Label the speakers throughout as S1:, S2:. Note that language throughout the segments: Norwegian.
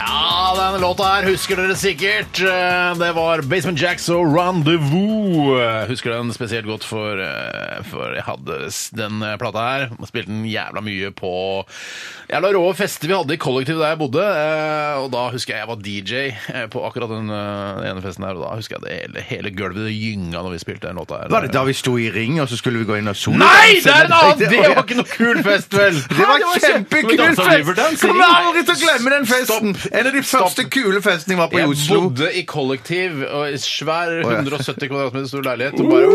S1: Ja, den låta her husker dere sikkert. Eh, Det var Basement Jacks og Rendezvous. Eh, Husker den spesielt godt, for, eh, for jeg hadde s- den eh, plata her. Jeg Spilte den jævla mye på jævla rå fester vi hadde i kollektivet der jeg bodde. Eh, Og da husker jeg jeg var DJ eh, på akkurat den eh, ene festen her, og da husker jeg det hele, hele gulvet det gynga når vi spilte den låta her.
S2: Var det da vi sto i ring, og så skulle vi gå inn og sone?
S1: Nei, det er en annen! Det var ikke noe kul fest, vel?
S2: Det var
S1: Vi
S2: kjempekul
S1: dansa
S2: fest!
S1: Riverdance i
S2: Kommer
S1: ring.
S2: aldri til å glemme den festen!
S1: Stopp.
S2: En av de første
S1: Stopp.
S2: kule festene jeg var på i
S1: Jeg
S2: Oslo.
S1: bodde i kollektiv og i svær
S2: ja.
S1: 170 kvadratmeter stor leilighet og bare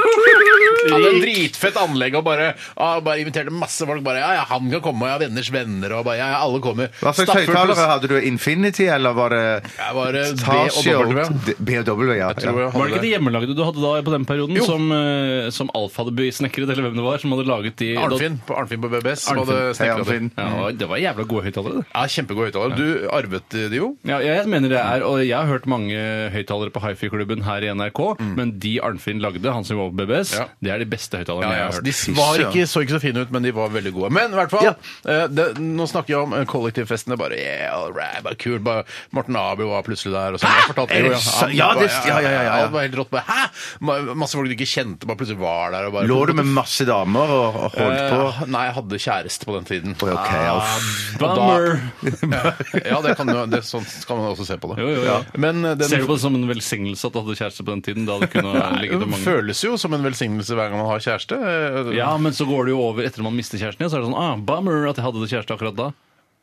S1: Hadde en dritfett anlegg og bare, ah, bare inviterte masse folk. Bare, ja, ja, han kan komme, og jeg har venners venner, og bare, ja, ja, alle kommer.
S2: Hva slags
S1: Stappfullt
S2: høyttalere
S1: hus.
S2: hadde du? Infinity, eller var det
S1: Jeg var eh, B
S2: Tasio?
S1: og W.
S2: D- BW, ja.
S1: Jeg tror
S2: ja.
S3: Var det
S1: jeg hadde
S3: ikke de
S1: det.
S3: hjemmelagde du hadde da på den perioden,
S1: Jo.
S3: som, eh, som Alf hadde besnekret, eller hvem det var, som hadde laget de
S1: Arnfinn på, Arnfinn på BBS. som
S3: Arnfinn.
S1: hadde snekret
S2: Hei,
S1: det.
S2: Arnfinn.
S3: Ja, det var- det var jævla gode høyttalere. det.
S1: Ja, Kjempegod høyttaler. Du arvet det jo.
S3: Ja, jeg mener det er, og jeg har hørt mange høyttalere på Hifi-klubben her i NRK, men de Arnfinn lagde, han som var på BBS,
S1: Mm. Ja.
S3: det er de beste høyttalerne
S1: Ja,
S3: jeg
S1: ja,
S3: har hørt.
S1: de var ikke, så ikke så fine ut, men de var veldig gode. Men i hvert fall, eh, det, nå snakker jeg om eh, kollektivfestene. Bare yeah, all right, bare kult. Bare, Morten Abu var plutselig der. Og sånn. Jeg fortalte-
S2: Er det
S1: jo,
S2: så-
S1: han
S2: ja,
S1: bare-
S2: det- ja, ja, ja, ja.
S1: Han var helt rått. Bare, Hæ?! Ma- Masse folk du ikke kjente, bare plutselig var der. Og bare,
S2: Lå du med masse damer og og holdt på?
S1: Eh, Nei, jeg hadde kjæreste på den tiden.
S2: Oi, ok, uff.
S1: Og
S3: Bummer!
S1: Da, ja, det kan, jo- det, sånn kan man også se på det.
S3: Jo, jo, ja.
S1: Men eh, den,
S3: Ser du på det som en velsignelse at du hadde kjæreste på den tiden? Da det kunne ha ligget og
S1: det
S3: manglet?
S1: føles jo som en velsignelse hver gang man har kjæreste. Eh,
S3: Ja, men så går det jo over etter man mister kjæresten igjen. Så er det sånn ah, bummer at jeg hadde det kjæreste akkurat da.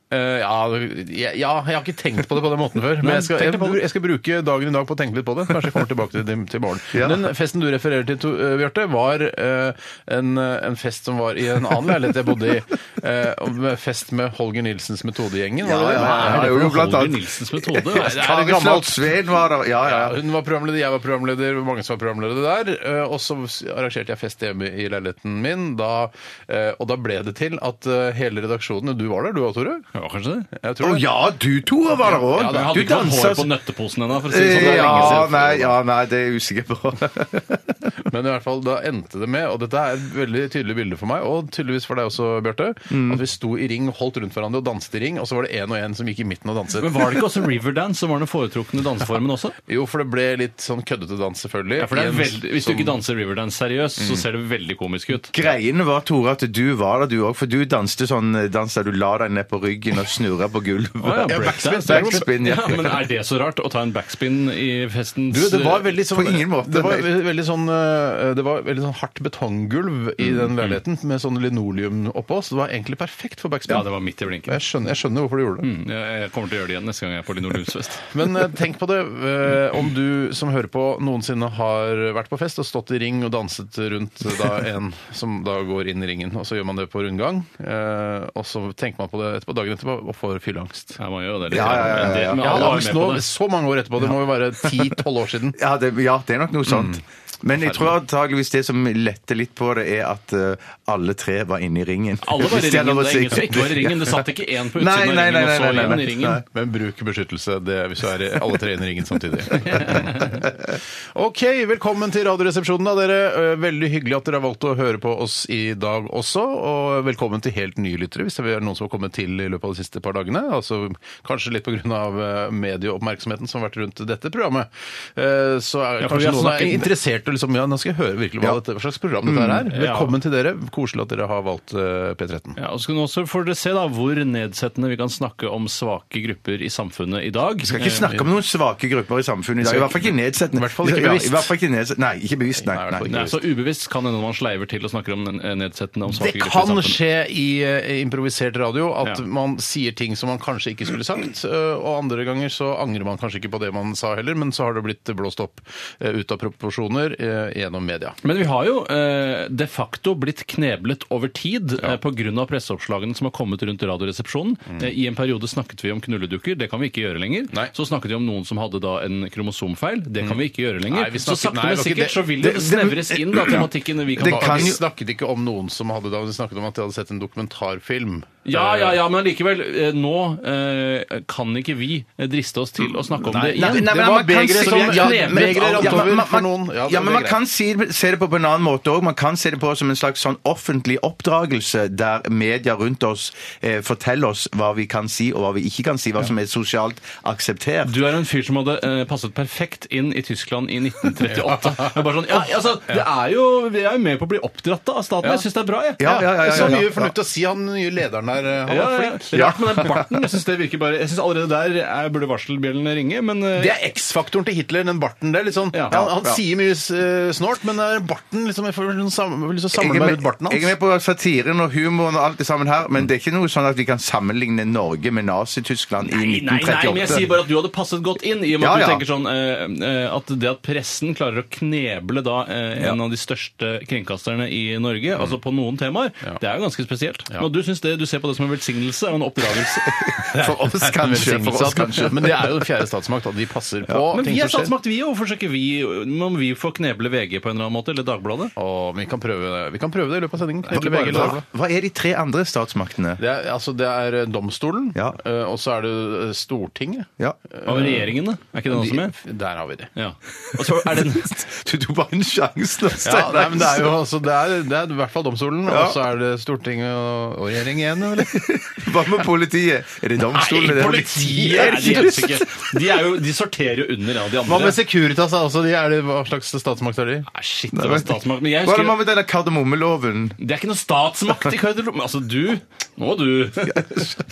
S1: Eh, ja, ja, ja, jeg har ikke tenkt på det på den måten før. Men
S3: Nei,
S1: jeg skal,
S3: tenk
S1: jeg,
S3: litt på det.
S1: jeg skal bruke dagen i dag på å tenke litt på det. Kanskje jeg kommer tilbake til det til morgen.
S2: Ja.
S1: Den festen du refererer til, to- eh, Bjarte, var eh, en, eh, en fest som var i en annen leilighet jeg bodde i. eh, og med fest med Holger Nilsens metodegjengen. var det det?
S2: Ja,
S3: Er det
S2: jo,
S3: for
S2: blant
S3: Holger
S2: annet.
S3: Nilsens metode?
S1: Nei, det er
S2: Kari
S1: gammelt.
S2: Slottsveen var der. Ja, ja.
S1: Ja, hun var programleder, jeg var programleder, mange som var programledere der. Eh, Og så arrangerte jeg fest hjemme i leiligheten min, da, eh, og da ble det til at eh, hele redaksjonen Du var der, du òg, Tore?
S3: Ja, kanskje det.
S1: Jeg
S2: Å
S1: tror det.
S2: ja, du Tore var der
S3: Ja,
S2: òg!
S3: det
S2: Du
S3: hadde ikke hatt
S2: dansa
S3: hår på nøtteposen ennå, for å si det sånn. Det er lenge
S2: ja,
S3: siden.
S2: nei, ja, nei, det er jeg usikker på.
S1: Men i hvert fall, da endte det med, og dette er et veldig tydelig bilde for meg, og tydeligvis for deg også, Bjarte,
S3: Mm.
S1: at vi sto i ring, holdt rundt hverandre og danset i ring, og så var det én og én som gikk i midten og danset.
S3: Men var det ikke også Riverdance som var den foretrukne danseformen også?
S1: Jo, for det ble litt sånn køddete dans, selvfølgelig.
S3: Ja, Mm. for det er
S1: I en
S3: veldig, Hvis du
S1: sånn-
S3: ikke danser Riverdance seriøst, så ser det veldig komisk ut.
S2: Greiene var, Tore, at du var der, du òg, for du danste sånn dans der du la deg ned på ryggen og snurra på gulvet.
S3: Å, ja,
S2: backspin,
S3: breakdance.
S2: backspin, ja.
S3: Ja, men er det så rart å ta en backspin i festens
S1: Du, det var veldig sånn,
S2: På ingen måte.
S1: Det var ve- veldig sånn, eh, det var veldig sånn hardt betonggulv i
S3: Mm,
S1: den leiligheten med sånn linoleum oppå, så det var egentlig perfekt for backspin.
S3: Ja, det var midt i blinken.
S1: jeg, skjønner, jeg skjønner hvorfor du gjorde det.
S3: Mm, Jeg jeg kommer til å gjøre det igjen neste gang jeg er på linoleumsfest.
S1: Men eh, tenk på det, eh, om du som hører på noensinne har vært på fest og stått i ring og danset rundt eh, da en som da går inn i ringen, og så gjør man det på rundgang, eh, og så tenker man på det etterpå, dagen etterpå og får fylleangst.
S3: Ja, man gjør jo det. litt.
S2: Ja, ja, ja, ja, ja.
S3: Men alle
S1: Jeg
S3: var
S1: hadde
S3: jo
S1: angst
S3: med
S1: nå
S3: på det.
S1: så mange år etterpå, det må jo være 10-12 år siden.
S2: Ja det, ja, det er nok noe sånt. Men jeg tror antageligvis det som letter litt på det, er at eh, alle tre var inne i ringen.
S3: Alle var i
S2: Hvis jeg
S3: ringen.
S2: lov å
S3: Det er ingen
S2: si.
S3: som ikke var i ringen. Det satt ikke én på utsiden
S2: Nei, nei, nei,
S3: av
S2: nei,
S3: ringen og
S2: nei,
S3: så
S2: nei,
S3: én i ringen.
S1: Men bruk beskyttelse det, hvis du er i- alle tre inn i ringen samtidig. OK, velkommen til Radioresepsjonen, da, dere. Eh, Veldig hyggelig at dere har valgt å høre på oss i dag også. Og velkommen til helt nye lyttere, hvis det er noen som har kommet til i løpet av de siste par dagene. Altså kanskje litt pga. eh, medieoppmerksomheten som har vært rundt dette programmet. Eh, Så er
S3: Ja, for vi har
S1: kanskje noen er
S3: snakket-
S1: interessert og liksom Ja, nå skal jeg høre virkelig hva, dette, hva slags program dette er.
S3: ja.
S1: Velkommen til dere. Koselig at dere har valgt eh, P13.
S3: Ja, og så kan også får dere se da hvor nedsettende vi kan snakke om svake grupper i samfunnet i dag.
S2: Vi skal ikke snakke om noen svake grupper i samfunnet. i dag. I hvert fall ikke nedsettende.
S1: I hvert fall ikke
S2: Ja,
S1: bevisst.
S2: I hvert fall ikke nedsettende. Nei, ikke bevisst. Nei,
S1: Nei, i hvert
S2: nei.
S1: fall
S3: Nei, så ubevisst kan det hende man sleiver til og snakker om den eh, nedsettende om svake
S1: Det
S3: grupper i
S1: kan
S3: samfunnet.
S1: skje i eh, improvisert radio at
S3: Ja.
S1: man sier ting som man kanskje ikke skulle sagt, eh, og andre ganger så angrer man kanskje ikke på det man sa heller, men så har det blitt blåst opp eh, ut av proporsjoner eh, gjennom media.
S3: Men vi har jo eh, de facto blitt kneblet over tid ja. eh, pga. presseoppslagene som har kommet rundt Radioresepsjonen. Eh, I en periode snakket vi om knulledukker. Det kan vi ikke gjøre lenger.
S1: Mm. Nei. Mm.
S3: Så snakket vi om noen som hadde da en kromosomfeil. Det kan vi ikke gjøre lenger.
S1: Nei, vi
S3: så sakte,
S1: snakket- nei,
S3: men
S1: det var ikke
S3: sikkert
S1: det-
S3: så vil det,
S2: det-
S3: snevres inn, da, tematikken vi kan
S2: Det
S3: ta.
S2: kan
S1: Vi
S2: jo-
S1: snakket ikke om noen som hadde det, vi snakket om at de hadde sett en dokumentarfilm.
S3: Ja, ja, ja, men likevel. eh, Nå eh, kan ikke vi eh, driste oss til å snakke om
S1: Nei,
S3: det igjen.
S1: nei,
S2: men
S1: det
S2: man
S1: var
S2: kan
S1: begeret
S2: si-
S1: som
S2: ja,
S1: kneblet
S2: men-
S1: begeret
S2: ja,
S1: oppover
S2: men- man-
S1: for noen. Ja,
S2: Ja,
S1: det
S2: men
S1: er
S2: man
S1: greit.
S2: kan si, se det på, på en annen måte òg. Man kan se det på som en slags sånn offentlig oppdragelse, der media rundt oss eh, forteller oss hva vi kan si og hva vi ikke kan si, hva som er sosialt akseptert.
S3: Du er en fyr som hadde eh, passet perfekt inn i Tyskland i 1938. Det er bare sånn, ja, altså, det er jo, Vi er jo med på å bli oppdratt da, av staten. Jeg syns det er bra, jeg.
S2: Ja, ja, ja, ja,
S1: Så
S2: ja,
S1: mye
S2: ja.
S1: fornuftig å si, han nye lederen der. eh, Han
S3: Ja,
S1: var
S3: ja,
S1: flink.
S3: ja. Rart med den barten. Jeg synes det virker bare, jeg synes allerede der er, burde varselbjellene ringe, men eh,
S1: Det er X-faktoren til Hitler, den barten der. Liksom.
S3: Ja.
S1: han han
S2: Ja.
S1: sier mye eh, snålt, men det er barten liksom, Jeg får liksom sam- jeg vil liksom
S2: Jeg
S1: samle
S2: er,
S1: meg
S2: med,
S1: rundt barten
S2: jeg er
S1: hans.
S2: med på satiren og humoren og alt det sammen her, men det er ikke noe sånn at vi kan sammenligne Norge med Nazi-Tyskland i
S3: Nei, nei,
S2: 1938.
S3: nei, men jeg sier bare at du hadde passet godt inn, i og med
S2: Ja,
S3: at du
S2: ja.
S3: tenker sånn eh, eh, at det at pressen klarer å kneble da eh, en av de største kringkasterne i Norge, altså på noen temaer, det er jo ganske spesielt. Men du synes det, du ser på det som en velsignelse og en oppdragelse.
S2: For oss, kanskje. For oss, kanskje.
S1: Men det er jo den fjerde statsmakt, at de passer på
S3: Men
S1: ting
S3: vi er
S1: som skjer.
S3: statsmakt, vi òg. Hvorfor skal ikke vi om vi får kneble VG på en eller annen måte, eller Dagbladet?
S1: Og vi kan prøve det, vi kan prøve det i løpet av sendingen. Kneble
S2: Hva,
S1: begge eller
S2: hva,
S1: dagbladet.
S2: hva er de tre andre statsmaktene?
S1: Det er, altså, det er domstolen,
S2: Ja.
S1: eh, og så er det eh, Stortinget.
S2: Ja.
S3: Og regjeringene? Er ikke det noe som er?
S1: De, der har vi det.
S3: Ja. Og så er det
S2: Du tok bare en sjanse nå,
S1: Ja, nei, men det er jo
S2: Steinar.
S1: altså, det er, det er i hvert fall domstolen, og så er det Stortinget og, og regjering igjen, eller?
S2: Hva med politiet? Er det domstolen?
S3: Nei,
S2: eller?
S3: politiet er de helst ikke. De, er jo, de sorterer jo under ja, de
S1: Hva med
S3: andre.
S1: Securitas da, også? De er det, hva slags statsmakt er de?
S3: Nei, shit, det var statsmakt. Men jeg
S2: Hva er det
S3: husker,
S2: med denne kardemommeloven?
S3: det er ikke noe statsmakt i garderoben. Altså, du Nå, du.
S1: Det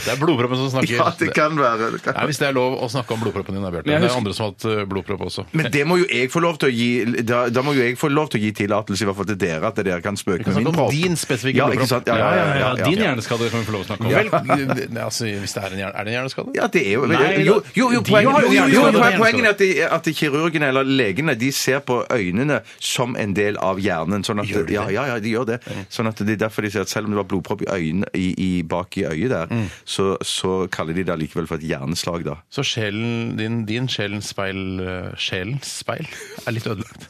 S1: er blodproppen som snakker.
S2: Ja, det kan være. Det kan.
S1: Nei, hvis det er lov å snakke om blodproppen din, da, Bjarte.
S3: Men jeg
S1: Det er
S3: husker-
S1: andre som har hatt eh, blodpropp også.
S2: Men det må jo jeg få lov til å gi Da, da må jo jeg få lov til å gi tillatelse i hvert fall til dere at dere kan spøke med
S1: snakke
S2: min
S1: om
S2: propp.
S1: din spesifikke
S2: ja,
S1: blodpropp.
S2: ikke sant? Ja, ja, ja, ja, ja,
S3: Din
S2: ja.
S3: hjerneskade kan vi få lov å snakke om.
S1: Vel, ne, altså, hvis det er en hjerne, er det en hjerneskade?
S2: Ja, det er jo
S3: Nei,
S2: Jo, jo, jo,
S3: de
S2: poenget,
S3: har jo
S2: jo, jo, jo,
S3: hjerneskade.
S2: poenget- poenget er at, de, at de kirurgene eller legene de ser på øynene som en del av hjernen. Sånn at, ja, ja, ja, de gjør det. Sånn at det er derfor de sier at selv om det var blodpropp i øynene, i, i, bak i øyet der, så, så kaller de det allikevel for et hjerneslag, da.
S1: Så sjelen din, din sjelens speil eh, Sjelens speil er litt ødelagt.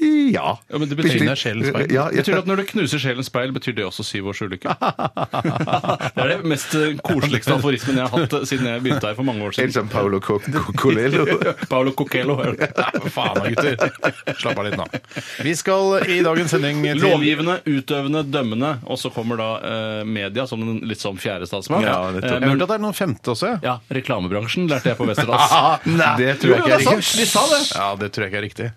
S2: Ja.
S3: Ja, men det betyr-
S2: Bitte litt.
S1: Det er sjelens speil.
S2: Ja, ja.
S3: Betyr det at når du knuser sjelens speil, betyr det også syv års ulykke? Det er det mest eh, koseligste aforismen jeg har hatt eh, siden jeg begynte her for mange år
S2: En
S3: siden.
S2: sånn Paolo Co- Co- Colello.
S3: Paolo Coquello.
S1: Nei, faen da, gutter. Slapp av litt nå. Vi skal i dagens sending til
S3: Lovgivende, utøvende, dømmende, og så kommer da eh, media som den litt sånn fjerde statsmakt.
S2: Ja, nettopp.
S3: Eh,
S1: Jeg
S3: men-
S1: hørte at det er noen femte også, jeg.
S3: Ja, reklamebransjen lærte jeg på Westerdals.
S2: Nei.
S1: Det tror
S3: Jo,
S1: jeg ikke
S3: det
S1: er
S3: er sant.
S1: riktig.
S3: De sa det.
S1: Ja, det tror jeg ikke er riktig.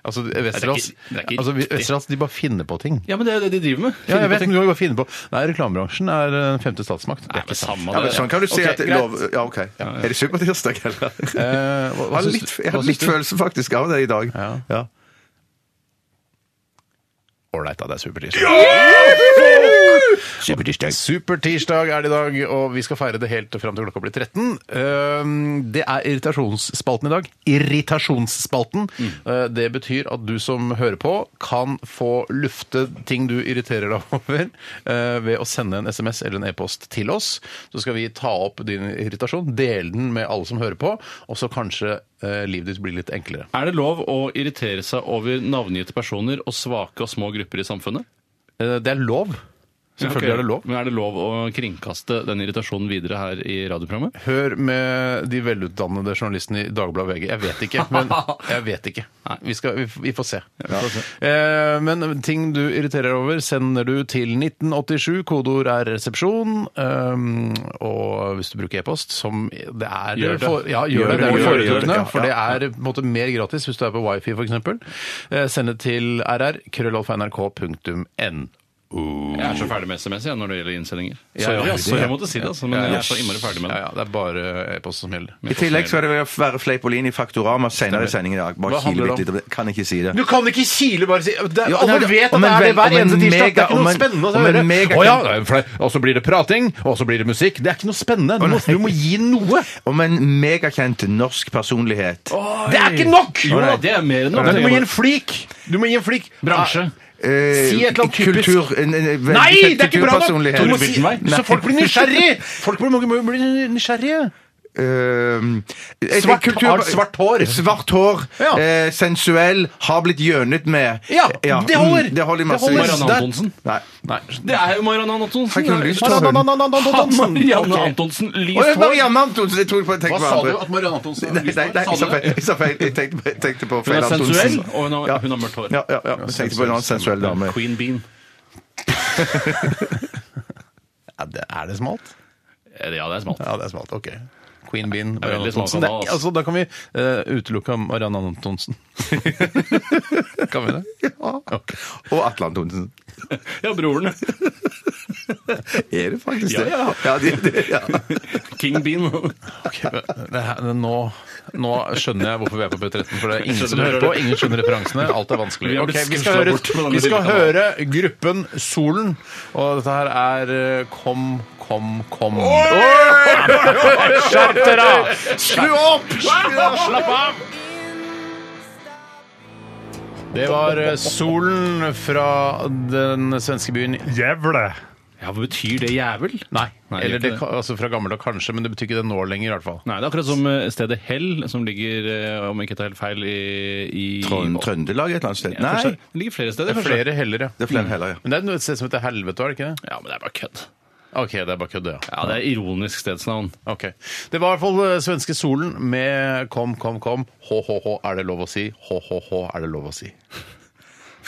S1: Altså, Westerdals
S3: ikke- det er ikke
S1: altså,
S3: riktig.
S1: Westerdals, de bare finner på ting.
S3: Ja, men det er jo det de driver med.
S1: Ja,
S3: Finner
S1: jeg
S3: på
S1: vet,
S3: ting.
S1: men du må jo bare finne på. Nei, reklamebransjen er den femte statsmakt. Det
S3: Nei,
S1: er
S3: men
S1: ikke sant.
S3: samme
S2: Ja, men
S3: det.
S2: sånn kan du si
S1: Ok,
S2: at
S1: greit.
S2: lov... Ja, OK. Er det supertirsdag, eller? Jeg
S1: Eh, hva, hva
S3: Altså,
S2: har
S1: syns
S2: litt,
S1: du-
S2: jeg
S1: hva
S2: har
S1: syns
S2: litt
S1: du?
S2: følelse faktisk av det i dag.
S1: Ja.
S2: Ja.
S1: Ålreit, da. Det er supertirsdag. Supertirsdag er det i dag, og vi skal feire det helt fram til klokka blir 13. Ehm, Det er irritasjonsspalten i dag. Irritasjonsspalten. Eh, Det betyr at du som hører på, kan få lufte ting du irriterer deg over, eh, ved å sende en SMS eller en e-post til oss. Så skal vi ta opp din irritasjon, dele den med alle som hører på, og så kanskje eh, livet ditt blir litt enklere.
S3: Er det lov å irritere seg over navngitte personer og svake og små grupper i samfunnet?
S1: Eh, Det er lov.
S3: Ok.
S1: Selvfølgelig er det lov.
S3: Men er det lov å kringkaste den irritasjonen videre her i radioprogrammet?
S1: Hør med de velutdannede journalistene i Dagbladet VG. Jeg vet ikke, men jeg vet ikke. Vi, skal, vi, vi får se. Eh, men ting du irriterer deg over, sender du til 1987. Kodeord er resepsjon. Um, og hvis du bruker e-post, som det er
S3: Gjør det.
S1: For, ja, gjør, det. Det
S3: Gjør
S1: er
S3: det, gjør det,
S1: foretrukne,
S2: ja,
S1: for det er på en måte mer gratis hvis du er på wifi, f.eks. Eh, send det til rr. krøllalfa.nrk.no.
S3: Jeg er så ferdig med SMS jeg, når det gjelder innsendinger. Sorry,
S1: ja,
S3: altså,
S1: ja.
S3: jeg måtte si det, altså, men
S1: Ja, ja.
S3: jeg er så innmari ferdig med
S1: Ja,
S3: det.
S1: ja, det er bare e-post som gjelder.
S2: I tillegg skal det være Fleipolin i Faktorama senere i sendingen i dag. Bare
S1: Hva handler
S2: kile
S1: det
S2: bitte litt. om det. Kan ikke si det.
S1: Du kan ikke kile bare si det,
S2: Jo,
S1: Alle
S2: nei, det-
S1: vet at
S2: om en
S1: det er det
S2: vel- om
S1: hver
S2: en
S1: eneste tirsdag. Det er
S2: mega-
S1: ikke noe
S2: om en-
S1: spennende å
S2: om en
S1: høre.
S2: mega-
S1: Å ja, det er flau. og så blir det prating, og så blir det musikk. Det er ikke noe spennende. Du må, du må gi noe.
S2: Om en megakjent norsk personlighet.
S1: Det er ikke nok!
S3: Jo da, det er mer enn
S1: Du må gi
S3: nok.
S1: en flik. Du må gi en flik. Ah,
S3: Bransje.
S2: Eh,
S1: Si et eller annet typisk.
S2: Kultur, en, en, en,
S1: Nei,
S2: veldig
S1: det er ikke bra nok!
S2: kulturpersonlighet.
S1: Du må si,
S3: Torbjørnsen vei.
S1: så folk blir nysgjerrige! Folk blir, må, bli nysgjerrige.
S2: Eh,
S1: Svart-
S2: kultur-
S1: har svart hår.
S2: Svart hår,
S1: Ja.
S2: eh, sensuell, har blitt gjønet med.
S1: Ja, det holder.
S2: mm, Det holder i
S1: Det
S2: massevis.
S1: holder.
S3: Marianne
S1: Der-
S3: Antonsen.
S2: Nei.
S1: Nei.
S3: Det er jo Marianne
S2: Har ikke noe lyst til å
S3: Antonsen.
S2: høre.
S3: Marianne
S1: Ok.
S3: Antonsen,
S2: Å,
S3: lyst
S2: ja,
S3: hår.
S2: Marianne Antonsen! Jeg tror på jeg tenkte på andre.
S1: Marianne Antonsen
S2: Nei, nei, nei, jeg sa feil. Jeg, sa feil. jeg tenkte, på- jeg tenkte på
S3: Hun
S2: Feil
S3: er
S2: Antonsen.
S3: sensuell, og hun har,
S2: Ja.
S3: hun har mørkt hår.
S2: Ja, ja, ja. Jeg tenkte på en annen sensuell dame.
S3: Queen Bean.
S1: Er det smalt?
S3: Ja, det er smalt.
S1: Ja, det er smalt. Ok. Queen Bean,
S3: er
S1: Marianne
S3: veldig smalt
S1: Antonsen. Det,
S3: kanal,
S1: er-
S3: altså.
S1: altså, da kan vi eh, utelukke Marianne Antonsen. kan vi det? Ok.
S2: Og Atle Antonsen.
S3: Ja, broren.
S2: Er det faktisk det?
S3: Ja, ja.
S2: det, det, ja.
S3: King Bean.
S1: Ok, men det her, det, nå, nå skjønner jeg hvorfor vi er på P13, for det er ingen
S3: skjønner
S1: som hører
S3: det.
S1: på, ingen skjønner referansene, alt er vanskelig.
S3: Vi har
S1: Ok,
S3: blitt
S1: vi, skal
S3: skusla
S1: høre,
S3: bort med denne
S1: vi skal
S3: lille
S1: høre gruppen Solen, og dette her er eh, Kom, kom, kom. Skjerp dere! Slu opp! Slapp av! Det var eh, Solen fra den svenske byen Gävle.
S3: Ja, hva betyr det jævel?
S1: Nei,
S3: Nei,
S1: eller
S3: det
S1: det,
S3: er ikke det.
S1: ka- altså fra gammel dag kanskje, men det betyr ikke det nå lenger i hvert fall.
S3: Nei, det er akkurat som eh, stedet Hell, som ligger, eh, om jeg ikke tar helt feil, i, i
S2: Trond- Trøndelag et eller annet sted?
S3: Nei.
S2: Nei,
S3: det ligger flere steder,
S1: Det er
S3: kanskje.
S1: flere heller, ja.
S2: det er flere heller, ja.
S1: Men det er et sted som heter Helvete, er det ikke det?
S3: Ja, men det er bare kødd.
S1: Ok, det er bare kødd, ja.
S3: Ja, det er ironisk stedsnavn.
S1: Ok. Det var i hvert fall eh, svenske Solen med Kom, kom, kom. HHH, er det lov å si? HHH, er det lov å si?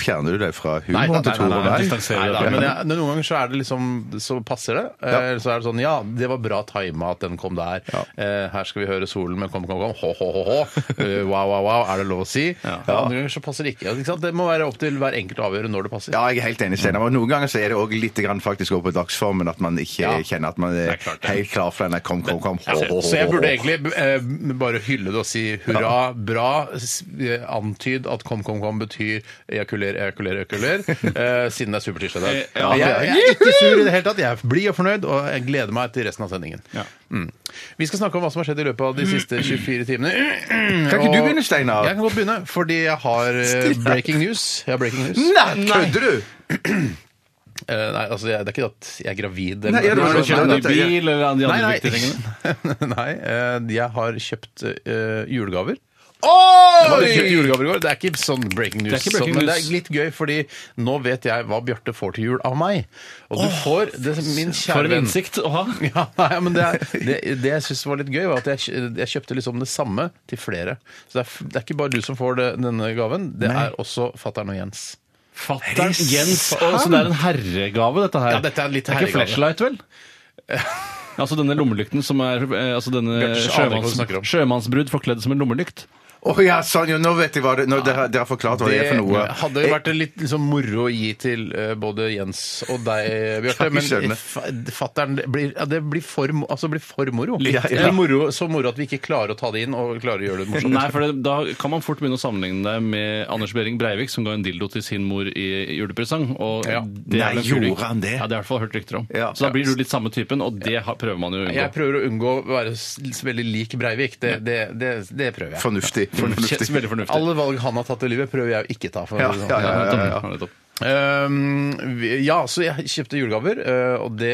S2: Fjerner du deg fra
S1: Nei,
S2: humoren til Tore?
S3: nei,
S2: Nei.
S3: distanser- Ser vi det?
S1: Nei, da, men jeg, noen ganger så er det liksom Så passer det. Eh, Så er det sånn Ja, det var bra tima at den kom der. Eh, her skal vi høre solen med Kom, kom, kom. Hå, hå, hå, hå. Eh, wow, wow, wow. Er det lov å si? Ja. Andre ganger så passer det ikke. Ja, Ikke sant? Det må være opp til hver enkelt å avgjøre når det passer.
S2: Ja, jeg er helt enig, Steinar. Og Noen ganger så er det òg litt grann faktisk over på dagsformen at man ikke
S1: Ja.
S2: kjenner at man er,
S3: er klart det.
S2: helt klar for denne kom, kom, kom. Hå, hå, hå,
S1: Så jeg burde
S2: hå.
S1: egentlig eh, bare hylle det og si hurra, bra, s- eh, antyd at kom, kom, kom betyr ejakuler, ejakuler, ejakuler, eh, siden det er supertirsdag i dag.
S3: Eh, ja.
S1: Men Jeg, jeg er ikke sur i det hele tatt. Jeg er blid og fornøyd, og jeg gleder meg til resten av sendingen.
S3: Ja.
S1: Mm. Vi skal snakke om hva som har skjedd i løpet av de siste 24 timene.
S2: Mm. Kan ikke du
S1: Og-
S2: begynne, Steinar?
S1: Jeg kan godt begynne, fordi jeg har eh, breaking news. Jeg har breaking news.
S2: Nei, kødder du?!
S1: Eh, nei, altså, jeg, det er ikke at jeg er gravid.
S2: Nei, jeg
S3: Du har
S2: Nei,
S3: du kjøpt
S2: nei,
S3: ny bil, eller de
S1: Nei,
S3: andre
S1: nei.
S3: viktige tingene?
S1: nei eh, jeg har kjøpt eh, julegaver. Jeg hadde kjøpt
S2: Oi!
S1: julegaver i går. Det er ikke sånn breaking news,
S3: Det er ikke breaking
S1: sånn, men det
S3: news.
S1: er litt gøy, fordi nå vet jeg hva Bjarte får til jul av meg. Og du får det, Min
S3: For
S1: kjære
S3: en
S1: venn
S3: innsikt å ha.
S1: ja, nei, men det, er, det, det jeg syns var litt gøy, var at jeg, kj- jeg kjøpte liksom det samme til flere. Så det er, f- det er ikke bare du som får det, denne gaven, det er også fatter'n og Jens.
S3: Fatter'n Jens. Og, så det er en herregave, dette her.
S1: Ja, dette er litt
S3: Det er ikke
S1: herregave.
S3: flashlight, vel? Altså denne lommelykten som er eh, altså denne
S1: Bjarte, så aner jeg ikke hva du
S3: sjømanns,
S1: snakker om.
S3: sjømannsbrudd forkledd som en lommelykt.
S2: Å ja, sånn, jo, nå vet jeg hva det Nå dere, dere har forklart hva det er for noe.
S1: hadde vært litt liksom, moro å gi til eh, både Jens og deg, Bjarte.
S2: Kan ikke
S1: Men fatter'n det blir, ja, det blir, for, mo- altså, det blir for moro.
S2: Litt,
S1: Det
S2: ja.
S1: blir moro. Så moro at vi ikke klarer å ta det inn og klarer å gjøre det morsomt.
S3: Nei, for det, Da kan man fort begynne å sammenligne deg med Anders Behring Breivik, som ga en dildo til sin mor i julepresang. Og
S1: Ja.
S3: det
S2: Nei,
S3: er vel en kulik.
S2: gjorde han det?
S3: Ja, Det har jeg i hvert fall hørt rykter om.
S2: Ja.
S3: Så da blir du litt samme typen, og det har, prøver man jo å unngå.
S1: Jeg prøver å unngå å være s- veldig lik Breivik. Det, det, det, det prøver jeg.
S2: Fornuftig.
S3: Kjennes
S2: fornuftig.
S3: Veldig fornuftig.
S1: Alle valg han har tatt i livet, prøver jeg å ikke ta. For å
S2: Ja,
S1: si det sånn.
S2: ja, ja, ja, ja, ja.
S3: nettopp, nettopp.
S1: Um, vi- ja, så jeg kjøpte julegaver, eh, og det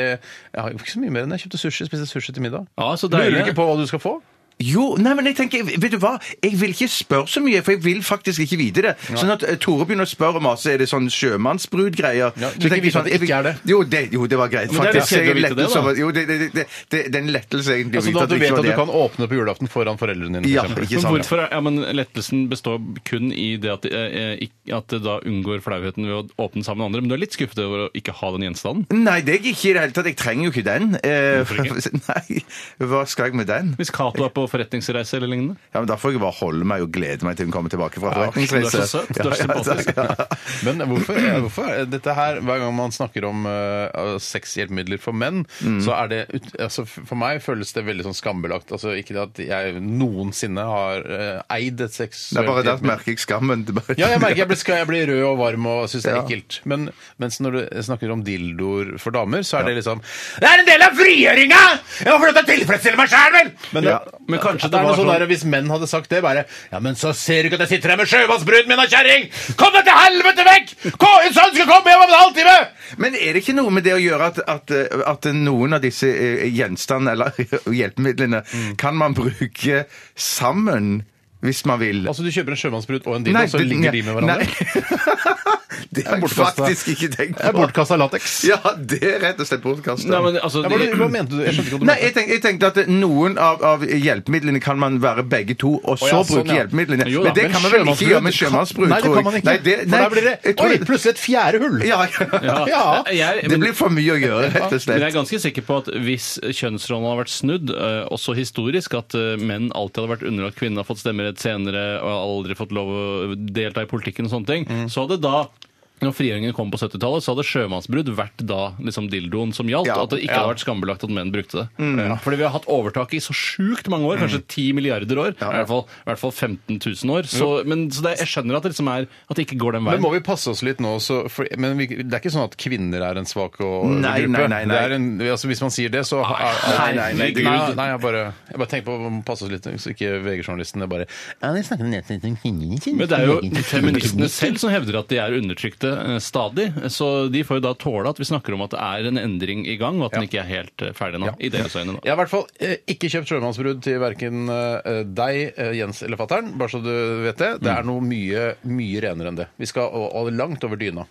S1: Jeg har jo ikke så mye mer enn det. Jeg kjøpte sushi, spiste sushi til middag.
S3: Ja, så
S1: Lurer du
S3: deilig.
S1: ikke på hva du skal få?
S2: Jo, nei, men jeg tenker, vet du hva? Jeg vil ikke spørre så mye, for jeg vil faktisk ikke vite det. Sånn at eh, Tore begynner å spørre masse, er det sånn sjømannsbrud-greier?
S1: Ja, du
S2: Så
S1: vil ikke
S2: tenker jeg sånn,
S1: vite at det
S2: jeg vil-
S1: ikke er det.
S2: Jo, det, jo, det var greit,
S3: Men det er litt
S2: faktisk. Jeg
S3: kjedelig å vite
S2: lettes
S3: det, da.
S2: over- Jo, det, det, det, det det er en lettelse egentlig å
S1: Altså,
S2: vite
S1: da
S2: at
S1: du
S2: det ikke
S1: vet at
S2: var
S1: du
S2: det.
S1: kan åpne opp julaften foran foreldrene dine. for
S2: Ja,
S1: eksempel.
S2: ikke
S3: Men
S2: sant?
S3: hvorfor, er- ja, men Lettelsen består kun i det at, eh, ikk- at det da unngår flauheten ved å åpne sammen med andre. Men du er litt skuffet over å ikke ha den gjenstanden?
S2: Nei, det er jeg ikke i det hele tatt. Jeg trenger jo ikke den. Eh,
S3: Hvorfor
S2: Nei, hva skal jeg med den?
S3: Hvis Cato er på på forretningsreise eller lignende?
S2: Ja, men Da får jeg bare holde meg og glede meg til hun kommer tilbake fra forretningsreise.
S3: Du er så søt. Du er så sympatisk.
S1: Men hvorfor, hvorfor er dette her, hver gang man snakker om eh, sexhjelpemidler for menn,
S2: Mm.
S1: så er det ut- altså, For meg føles det veldig sånn skambelagt. Altså, ikke det at jeg noensinne har eh, eid et
S2: Det
S1: seksuelt
S2: er bare der
S1: hjelpemiddel.
S2: merker jeg skammen. Det er bare-
S1: Ja, jeg merker jeg blir, skal- jeg blir rød og varm og syns det er
S2: Ja.
S1: ekkelt. Men mens når du snakker om dildoer for damer, så er det liksom Det er en del av frigjøringa! Jeg må få lov til å tilfredsstille meg sjæl, vel! Men,
S2: Ja,
S1: det,
S3: men kanskje
S1: det,
S3: det
S1: er
S3: var
S1: noe sånn
S3: sånn-
S1: der, Hvis menn hadde sagt det, bare Ja, men så ser du ikke at jeg sitter her med sjømannsbruden min og kjerring! Kom deg til helvete vekk! Kom, en sånn skal komme hjem om en halvtime!
S2: Men er det ikke noe med det å gjøre at, at, at noen av disse eh, gjenstandene eller hjelpemidlene
S1: Mm.
S2: kan man bruke sammen hvis man vil?
S1: Altså, du kjøper en sjømannsbrud og en dildo, så
S2: det-
S1: ligger de med hverandre?
S2: Nei. det har jeg
S1: Bortkastet.
S2: faktisk ikke tenkt
S1: Det er
S2: på.
S1: bortkasta lateks.
S2: Ja, det er rett og slett bortkastet.
S3: Nei, men altså,
S1: Ja, hva,
S3: de-
S1: hva mente du? Jeg skjønte ikke hva du
S2: Nei,
S1: mente.
S2: jeg tenkte, jeg tenkte at noen av, av hjelpemidlene kan man være begge to, og så
S1: Å ja, sånn,
S2: bruke
S1: ja.
S2: hjelpemidlene.
S3: Jo da,
S2: men det
S3: men
S2: kan man vel ikke gjøre med sjømannsbruk,
S1: Nei, det
S2: tror
S1: kan
S2: jeg.
S1: man ikke.
S2: Nei, det, nei,
S1: for da
S2: jeg
S1: blir det
S2: tror
S1: Oi, plutselig et fjerde hull!
S2: Ja,
S1: Ja.
S3: Jeg,
S2: Det blir for mye å gjøre, rett og
S3: Men jeg
S2: slett.
S3: er ganske sikker på at hvis kjønnsrollen hadde vært snudd, eh, også historisk, at eh, menn alltid hadde vært underlagt kvinner, fått stemmerett senere og aldri fått lov å delta i politikken og sånne ting,
S2: Mm.
S3: så hadde da når frigjøringen kom på 70-tallet, så hadde sjømannsbrudd vært da liksom dildoen som gjaldt.
S2: Ja, Mm,
S3: og at det ikke
S1: ja.
S3: hadde vært skambelagt at menn brukte det. Ja, Fordi vi har hatt overtaket i så sjukt mange år, kanskje 10 milliarder år. I, hvert fall, I hvert fall 15 000 år. Så, men, så det, jeg skjønner at det, liksom er, at det ikke går den
S1: Men
S3: veien.
S1: må vi passe oss litt nå så, for, men vi, Det er ikke sånn at kvinner er en svak og,
S2: Nei, nei,
S1: gruppe.
S2: nei, nei.
S1: Det er en, altså, hvis man sier det, så
S3: Nei, nei, nei,
S1: nei,
S3: Gud.
S1: nei, jeg bare, jeg bare tenker på å passe oss litt, så ikke VG-journalistene bare Ja, de snakker nedsettende om kvinnene sine.
S3: Men det er jo feministene selv som hevder at de er undertrykte eh, stadig. Så de får jo da tåle at vi snakker om at det er en endring i gang, og at den ikke er helt eh, ferdig nå. I deres øyne, da.
S1: Jeg har i hvert fall eh, ikke kjøpt sjømannsbrudd til verken eh, deg, eh, Jens eller fatter'n. Bare så du vet det.
S2: Mm.
S1: Det er noe mye, mye renere enn det. Vi skal og, og langt over dyna.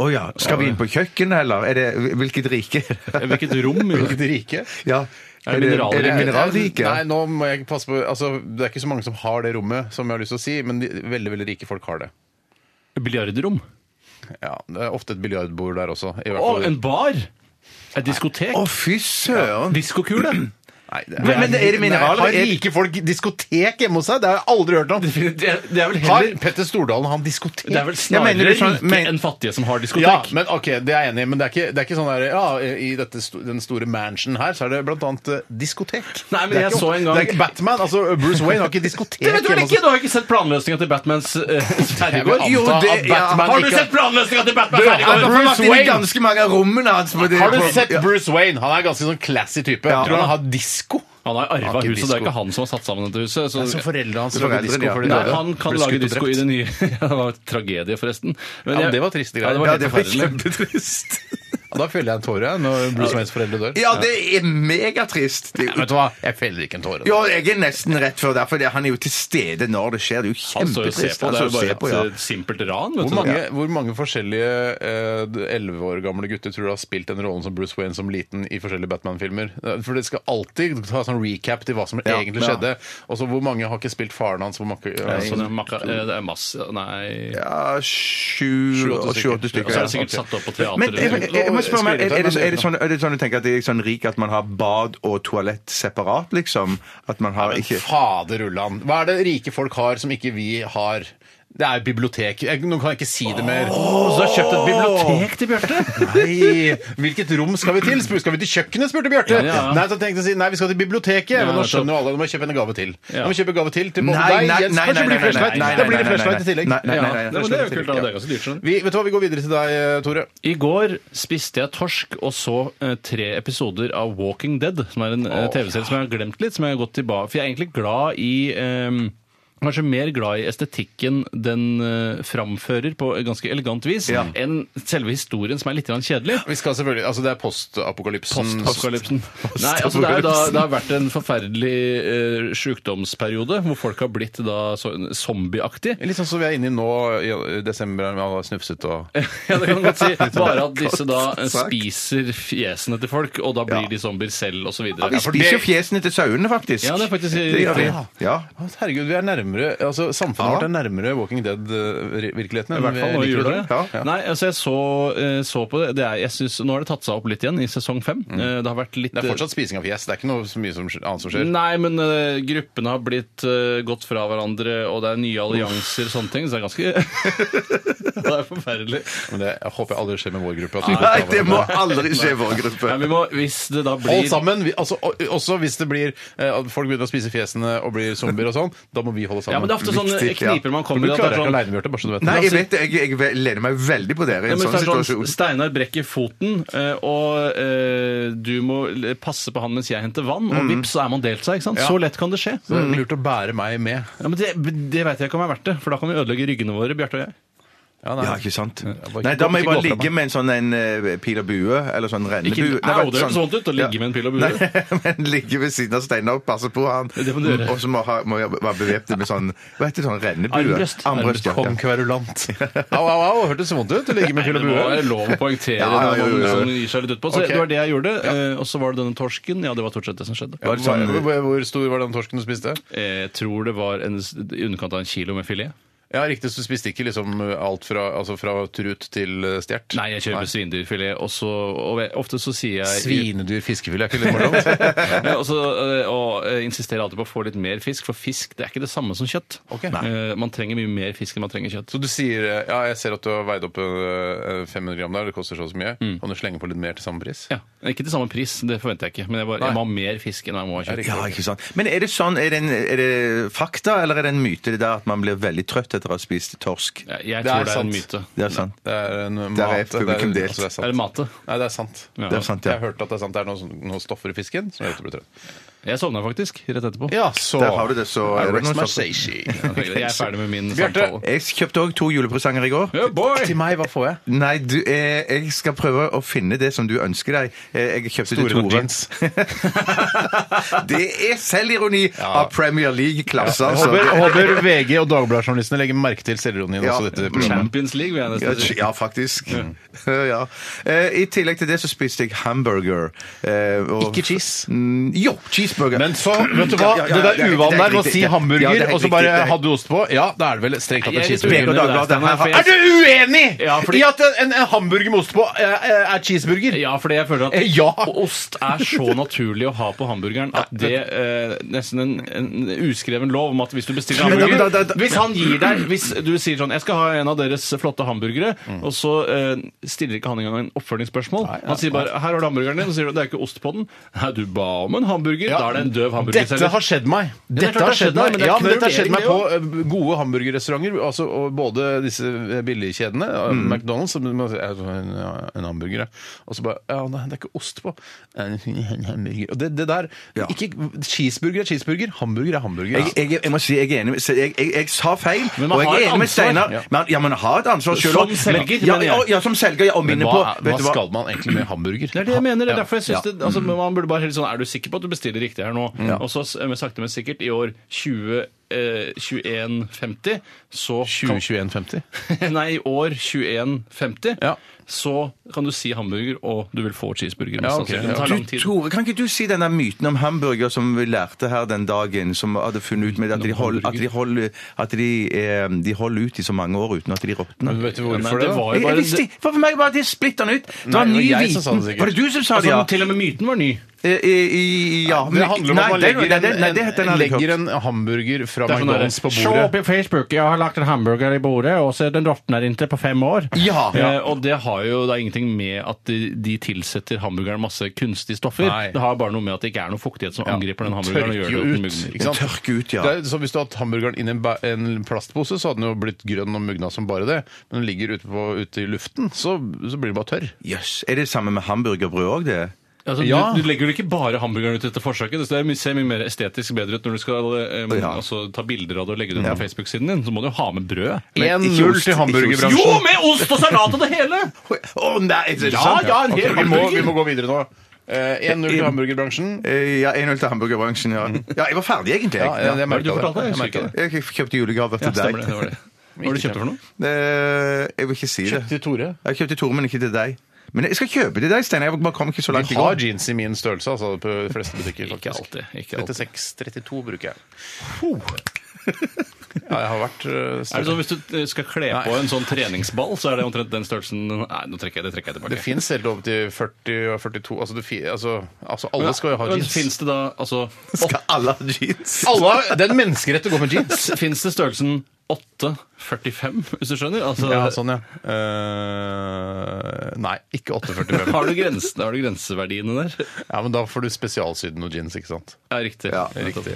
S2: Å ja. Skal vi inn på kjøkkenet, eller? Er det, hvilket rike?
S3: Eh, Hvilket
S2: Mm.
S3: rom? jo.
S1: Hvilket rike.
S2: ja.
S3: Er det mineraler?
S2: er det mineralrike?
S1: Nei, nå må jeg passe på altså, Det er ikke så mange som har det rommet, som jeg har lyst til å si, men de, veldig veldig rike folk har det.
S3: Biljardrom?
S1: Ja, Det er ofte et biljardbord der også. I hvert
S3: Å,
S1: fall.
S3: en bar! Et diskotek?
S2: Å, fy søren!
S3: Diskokule?
S1: Nei, det
S2: Men- men er det mineraler?
S1: Nei,
S2: Er-
S1: Har rike folk diskotek hjemme hos seg? Det har jeg aldri hørt om.
S3: Det er, det er vel
S1: Har
S3: heller
S1: Petter Stordalen han diskotek?
S3: Det er vel
S2: Jeg mener
S3: snarere
S2: det sånn-
S3: rike
S2: men-
S3: enn fattige som har diskotek.
S1: Ja, men ok, det er jeg enig i, men det er ikke, det er ikke sånn der, ja, i dette, sto- den store mansion her, så er det blant annet eh,
S3: Nei,
S1: diskotek.
S3: men
S1: Det er
S3: jeg
S1: ikke-
S3: så en gang-
S1: Det er ikke Batman, altså Bruce Wayne har ikke diskotek
S3: Det vet du vel
S1: hjemme hos
S3: ikke!
S1: seg.
S3: Du har ikke sett planløsninga til Batmans uh, Terjegård?
S1: Jeg vil anta
S2: Jo, det-
S1: at
S2: ja.
S1: Batman
S3: Har du
S1: ikke-
S3: sett planløsninga til Batman
S1: Du,
S2: Han
S3: Terjegård?
S2: har
S1: Bruce
S2: vært inne i
S1: Wayne!
S2: ganske mange av rommene hans. på det-
S1: Har du
S2: på-
S1: sett
S2: Ja.
S1: Bruce Wayne? Han er ganske sånn classy type.
S2: Ja.
S1: Tror du han har disko?
S3: Han har arva
S1: Har
S3: huset,
S1: ikke
S3: det er
S1: disko.
S3: ikke han som har satt sammen dette huset. Så
S2: Altså,
S1: foreldrene hans
S2: lagde disko for de
S3: Nei,
S2: døde.
S3: han kan lage disko i det nye. Ja, det var en tragedie, forresten. Men
S1: Ja, men
S3: jeg-
S1: det var triste greier.
S3: Ja, det var
S2: Ja,
S3: helt
S2: det var
S3: forferdelig.
S2: kjempetrist.
S1: Da feller jeg en tåre når Bruce Waynes foreldre dør.
S2: Ja, det er megatrist. Det er jo-
S1: Vet du hva? Jeg feller ikke en tåre.
S2: Ja, jeg er nesten rett før der, for det- han er jo til stede når det skjer. Det er jo
S3: Han står jo og
S2: kjempetrist.
S3: ser på, det er
S2: står og
S3: jo
S2: ser på,
S3: bare
S2: ja.
S3: et eh, simpelt ran. Vet
S1: Hvor
S3: du.
S1: mange, hvor mange forskjellige eh, elleve år gamle gutter tror du har spilt den rollen som Bruce Wayne som liten i forskjellige Batman-filmer? Eh, For det skal alltid ta sånn recap til hva som
S2: Ja,
S1: egentlig
S2: ja.
S1: skjedde. Og så hvor mange har ikke spilt faren hans? Hvor mange,
S3: Ja, sånn, ja, makka- eh, det er masse Nei.
S2: Ja, sju-
S1: Sju-åtte stykker.
S2: sju-åtte
S3: Og
S2: stykker.
S3: så er
S2: ja.
S3: det sikkert satt opp på
S2: Men jeg, jeg,
S3: teateret.
S2: jeg må spørre meg, er, er, det,
S1: Skrivetøy,
S2: er, det sånn, er det sånn du tenker at det er sånn rik at man har bad og toalett separat, liksom? At man har ikke
S1: Faderullan. Hva er det rike folk har som ikke vi har? Det er jo bibliotek. Jeg, nå kan jeg ikke si det mer.
S3: Så du har kjøpt et bibliotek til Bjarte?
S1: Nei, hvilket rom skal vi til? Spur- Skal vi til kjøkkenet, spurte Bjarte.
S3: Ja, ja.
S1: Nei, så tenkte jeg å si, nei, vi skal til biblioteket.
S3: Ja,
S1: men nå
S3: nettopp.
S1: skjønner jo alle, nå må jeg kjøpe en gave til.
S3: Ja.
S1: Nå må jeg kjøpe gave til til både deg, Jens. Kanskje blir det flashlight. Da blir det flashlight i tillegg.
S2: Nei, nei, nei, nei,
S3: Ja, men det er jo kult. da. Det er ganske dyrt. skjønner du.
S1: Vi, vet du hva, vi går videre til deg, eh, Tore.
S3: I går spiste jeg torsk og så eh, tre episoder av Walking Dead, som er en eh, TV-serie som jeg har glemt litt, som jeg har gått tilbake For jeg er egentlig glad i eh, Kanskje mer glad i estetikken den eh, framfører på ganske elegant vis,
S2: Ja.
S3: enn selve historien, som er litt grann kjedelig.
S1: Vi skal selvfølgelig, altså Det er postapokalypsen.
S3: Postapokalypsen. Nei, altså det, er da, det har vært en forferdelig eh, sjukdomsperiode hvor folk har blitt da så, zombieaktig.
S1: Litt sånn som vi er inne i nå i desember, med alle snufset og
S3: Ja, det kan du godt si. Bare at disse da eh,
S2: sagt.
S3: spiser fjesene til folk, og da blir
S2: Ja.
S3: de zombier selv, osv.
S2: Vi
S1: for
S2: spiser jo
S1: det-
S2: fjesene til sauene, faktisk.
S3: Ja, det er faktisk
S2: Det gjør vi.
S3: riktig.
S2: Ja.
S1: Herregud, vi er nærme nærmere altså Samfunnet vårt er nærmere Walking eh, Dead-virkeligheten.
S3: I hvert fall nå i jula.
S1: Ja.
S3: Nei, altså jeg så, eh, så på det. det er, jeg synes, nå har det tatt seg opp litt igjen i sesong fem. Eh, Det har vært litt
S1: Det er fortsatt spising av fjes. Det er ikke noe så mye som, annet som skjer.
S3: Nei, men eh, gruppene har blitt eh, gått fra hverandre, og det er nye allianser og sånne ting, så det er ganske Det er forferdelig.
S1: Men det jeg håper jeg aldri skjer med vår gruppe. at vi
S2: Nei,
S1: går fra
S2: det må
S1: hverandre.
S2: aldri skje i vår gruppe.
S3: Nei, vi må, hvis det da blir
S1: Alt sammen. Vi, altså, og- også hvis det blir eh, at folk begynner å spise fjesene og blir zombier og sånn, da må vi holde sammen.
S3: Ja, men det er ofte sånne
S2: Viktig, ja.
S3: kniper man
S1: Men
S3: kommer
S1: du
S3: i. at det er
S1: klarer ikke
S3: sånn-
S1: aleine, Bjarte. Bare så du vet
S2: Nei,
S1: det.
S2: jeg vet det. Jeg, jeg lener meg veldig på dere i
S3: Ja,
S2: en
S3: men
S2: sånn
S3: hvis det er
S2: situasjon.
S3: sånn, Steinar brekker foten, eh, og eh, du må l- passe på han mens jeg henter vann, og vips, så er man delt seg. ikke sant?
S1: Ja.
S3: Så lett kan det skje.
S1: Så det er lurt å bære meg med.
S3: Ja, men Det, det veit jeg ikke om er verdt det, for da kan vi ødelegge ryggene våre, Bjarte og jeg.
S1: Ja, nei.
S2: Ja, ikke sant?
S1: bare
S2: Nei, da
S1: ikke gå-
S2: må jeg
S1: ikke
S2: bare
S1: gå fra
S2: ligge med en sånn en eh, pil og bue, eller sånn
S3: Ikke,
S2: rennebue.
S3: Au, det
S2: vet du,
S3: høres sånn ut å ligge med en pil og bue.
S2: Nei, men ligge ved siden av Steinar og passe på han.
S3: Det må du gjøre.
S2: Og så må, ha- må jeg være bevæpnet med sånn Hva heter det, sånn rennebue?
S3: Armbrøst.
S2: ja, ja.
S1: Kong kverulant. Au, au, au! Hørtes vondt ut å ligge med
S3: Nei,
S1: pil
S3: det
S1: og
S3: må være
S1: bue.
S3: lov å poengtere
S2: Ja, ja,
S3: når
S2: jo,
S3: man
S2: jo, jo.
S3: sånn gir seg litt utpå. Så
S1: Ok.
S3: det var det jeg gjorde. eh, Og så var det denne torsken. Ja, det var stort sett det som skjedde.
S2: Var det sånn-
S1: Hvor- hvor, hvor stor var den torsken du spiste?
S3: Jeg tror det var en, s- i underkant av en kilo med filet.
S1: Ja, riktig, så du spiste ikke liksom alt fra, altså fra trut til eh, stjert?
S3: Nei, jeg kjøper svindyrfilet, og så og ve- ofte så sier jeg
S1: Svinedyr fiskefilet, er ikke litt morsomt?
S3: Ja, og, så, eh, og eh, insisterer alltid på å få litt mer fisk, for fisk det er ikke det samme som kjøtt.
S1: Ok.
S3: Eh, Man trenger mye mer fisk enn man trenger kjøtt.
S1: Så du sier eh, ja, jeg ser at du har veid opp eh, 500 gram der, det koster så og så mye. Kan du slenge på litt mer til samme pris?
S3: Mm. Ja, Ikke til samme pris, det forventer jeg ikke, men jeg, bare, jeg må ha mer fisk enn jeg må ha kjøtt.
S2: Ja, ikke sant. Men er det sånn, er det, en, er det fakta, eller er det en myte det der at man blir veldig trøtt etter å ha spist torsk?
S3: Jeg, jeg
S1: Det er
S3: tror det er en
S1: sant.
S3: myte.
S2: Det er sant.
S1: Det er en mat.
S2: er publikum delt.
S1: altså, det er sant.
S3: Er det mate?
S1: Nei, det er sant.
S3: Ja.
S2: Det er sant,
S1: Jeg har
S2: ja.
S1: hørt at det er sant. Det er noen noe stoffer i fisken som gjør at du blir trøtt.
S3: Jeg sovna faktisk rett etterpå.
S1: Ja, så
S2: Der har du det, så er
S1: I
S2: det
S1: rest
S2: noe
S1: my
S2: stoffer.
S1: seishi.
S3: Jeg er ferdig med min
S1: Bjarte.
S3: samtale.
S2: Jeg kjøpte òg to julepresanger i går.
S3: Yeah, boy!
S1: Til meg, hva får jeg?
S2: Nei, du, eh, jeg skal prøve å finne det som du ønsker deg. Eh, Jeg kjøpte
S1: Store
S2: til Tore.
S1: nok jeans.
S2: det er selvironi av Premier League-klasse,
S1: Jeg
S2: altså.
S1: håper, jeg håber VG og Dagbladet-journalistene legger merke til selvironien
S2: Ja.
S1: også i dette programmet.
S3: Champions League, vil jeg
S2: Ja,
S3: nesten si.
S2: tj- Ja, faktisk. ja. Eh, I tillegg til det så spiste jeg hamburger. eh, og-
S1: Ikke cheese.
S2: Mm, jo, cheeseburger.
S1: Men så, vet du hva,
S2: Ja, ja, ja,
S1: det
S2: det er
S1: der uvanen
S2: riktig,
S1: der med
S2: det
S1: å
S2: er
S1: si
S2: riktig. Ja, det er
S1: hamburger,
S2: helt
S1: og så
S2: riktig,
S1: bare
S2: det er-
S1: hadde du ost på, ja, da er det vel strengt tatt
S3: Jeg er
S1: en
S3: litt
S1: cheeseburger.
S2: uenig.
S3: uenig med deg,
S2: Dagbladet,
S3: Steinar, for
S1: Er
S3: jeg-
S1: du uenig
S3: Ja, fordi-
S1: i at en, en hamburger med ost på eh, eh, er cheeseburger?
S3: Ja, fordi jeg føler
S1: Eh,
S3: at
S1: ja.
S3: ost er så naturlig å ha på hamburgeren at det eh, nesten en, en uskreven lov om at hvis du bestiller
S2: Men da-
S3: hamburger
S2: da- da- da-
S3: Hvis han gir deg Hvis du sier sånn 'Jeg skal ha en av deres flotte hamburgere',
S2: Mm.
S3: og så eh, stiller ikke han engang en oppfølgingsspørsmål. Han sier bare 'Her har du hamburgeren din', og så sier du 'Det er ikke ost på den'. Nei, du ba om en hamburger. Da er det en døv hamburger.
S1: Dette har skjedd meg.
S3: det er klart
S1: Dette har skjedd meg,
S3: men det er
S1: ja,
S3: ikke
S1: men dette har
S3: vurdering,
S1: skjedd meg på eh, gode hamburgerrestauranter. Altså, og både disse eh, billigkjedene, eh, McDonald's som man sier, «Jeg har En en hamburger, ja. Og så bare Ja, nei, det er ikke ost på. En hamburger. Og det, det der
S2: Ja.
S1: ikke, Cheeseburger er cheeseburger, hamburger er hamburger. Altså,
S2: Jeg, jeg, jeg må si jeg er enig med så jeg, jeg, jeg sa feil,
S3: Men man
S2: og
S3: har
S2: jeg
S3: et
S2: er enig med
S3: ansvar.
S2: Steinar.
S1: Ja.
S2: Men- Ja, man har et ansvar sjøl
S3: Som selger,
S2: Ja,
S3: mener jeg.
S2: og- ja, som selger. Ja, og minner
S1: Men
S2: på
S1: hva,
S2: vet
S1: hva
S2: du hva?
S1: skal man egentlig med hamburger?
S3: Det er det jeg mener. det er derfor jeg synes
S2: Ja. Mm.
S3: det, altså, Man burde bare helt sånn Er du sikker på at du bestiller riktig her nå? Og så s- eh, men sakte, men sikkert, i år 20... Eh, 21.50, så kan-
S1: 2021-50?
S3: Nei, i år 21.50,
S1: Ja.
S3: så kan du si hamburger, og du vil få cheeseburger. mest
S1: Ja, ok.
S3: sannsynlig. Det
S1: Ja.
S3: tar lang
S2: Du,
S3: tid.
S2: Tore, kan ikke du si den der myten om hamburger som vi lærte her den dagen, som hadde funnet ut med at de holder at de holder, at de, eh, de holder ut i så mange år uten at de råtner?
S1: Vet du
S3: Nei,
S1: hvorfor
S3: det
S1: det? da?
S3: var
S2: Jeg,
S3: jo
S2: jeg
S3: bare...
S2: visste, for meg var det splitter nytt. Det var
S1: Nei, det var
S2: ny
S1: jeg som sa det
S2: viten.
S1: sikkert.
S2: Var det du som sa det,
S3: altså,
S2: ja?
S3: Til og med myten var ny.
S2: I, i, i- ja.
S1: Det handler om at man
S2: Nei, det-
S1: legger,
S2: nei, det- nei, det- den
S1: en,
S2: hadde jeg
S1: legger
S2: hørt.
S1: en hamburger fra
S3: Det er sånn der,
S1: McDonald's på bordet.
S3: i Facebook, jeg har lagt en hamburger i bordet, og så den råtner ikke på fem år.
S2: Ja.
S3: Eh, og det har jo da ingenting med at de, de tilsetter hamburgeren masse kunstige stoffer.
S1: Nei.
S3: Det har bare noe med at det ikke er noe fuktighet som angriper den hamburgeren. og gjør
S1: Tørker jo
S3: det
S1: ut.
S3: muggen.
S1: Ikke sant?
S2: Tørker ut, ja.
S1: Det er, så hvis du hadde hatt hamburgeren inn i en, ba- en plastpose, så hadde den jo blitt grønn og mugna som bare det. Men den ligger ute, på, ute i luften, så, så blir den bare tørr.
S2: Jøss. Er det samme med hamburgerbrød òg, det?
S3: Altså,
S1: Ja.
S3: du, du legger jo ikke bare hamburgeren ut etter forsøket. Det ser mye- ser mye mer estetisk bedre ut når du skal eh,
S2: Ja.
S3: altså, ta bilder av det og legge det ut på Facebook-siden din. Så må du jo ha med brød.
S2: ost,
S1: 1-0 til
S2: ikke ost.
S1: hamburgerbransjen.
S3: Jo, med ost og salat og det hele!
S2: Å nei, det er
S3: Ja,
S2: sant?
S3: ja, en hel
S1: Ok, vi, må,
S3: hamburger.
S1: vi må gå videre nå. Eh, 1-0 til hamburgerbransjen.
S2: Eh, Ja, 1-0 til hamburgerbransjen, ja. Ja, jeg var ferdig, egentlig.
S1: Ja,
S2: jeg.
S3: Hva
S1: jeg
S3: er det
S1: merket
S3: du fortalte? Jeg
S1: Jeg
S3: husker
S1: merket
S3: ikke
S1: det.
S3: det.
S2: Jeg kjøpte julegaver til
S3: Ja,
S2: deg.
S3: stemmer det. det, var det. Hva var det du kjøpte for noe?
S2: Eh, Jeg vil ikke si det.
S1: Kjøpte til Tore.
S2: Jeg kjøpte Tore, men ikke til deg. Men jeg skal kjøpe til deg, Steinar. Jeg bare kom ikke så langt
S1: Vi
S2: i
S1: har
S2: går.
S1: jeans i min størrelse, altså, på de fleste butikker. faktisk.
S3: alltid, ikke alltid.
S1: 36-32 bruker jeg. Ja, jeg har vært eh,
S3: Er det sånn Hvis du eh, skal kle på
S1: Nei.
S3: en sånn treningsball, så er det omtrent den størrelsen Nei, nå trekker jeg det trekker jeg tilbake.
S1: Det fins helt opp til 40 og 42 Altså, det, fi- altså, altså alle skal jo ha
S3: Men
S1: jeans.
S3: Fins det da altså
S2: Skal alle ha jeans?
S1: Alle, har- det er en menneskerett å gå med jeans.
S3: Fins det størrelsen 8,45, hvis du skjønner? Altså,
S1: Ja, sånn, ja. Eh, nei, ikke 845.
S3: Har du, grensen, har du grenseverdiene der?
S1: Ja, men da får du spesialsydd noe jeans, ikke sant?
S3: Ja, riktig.
S1: Riktig.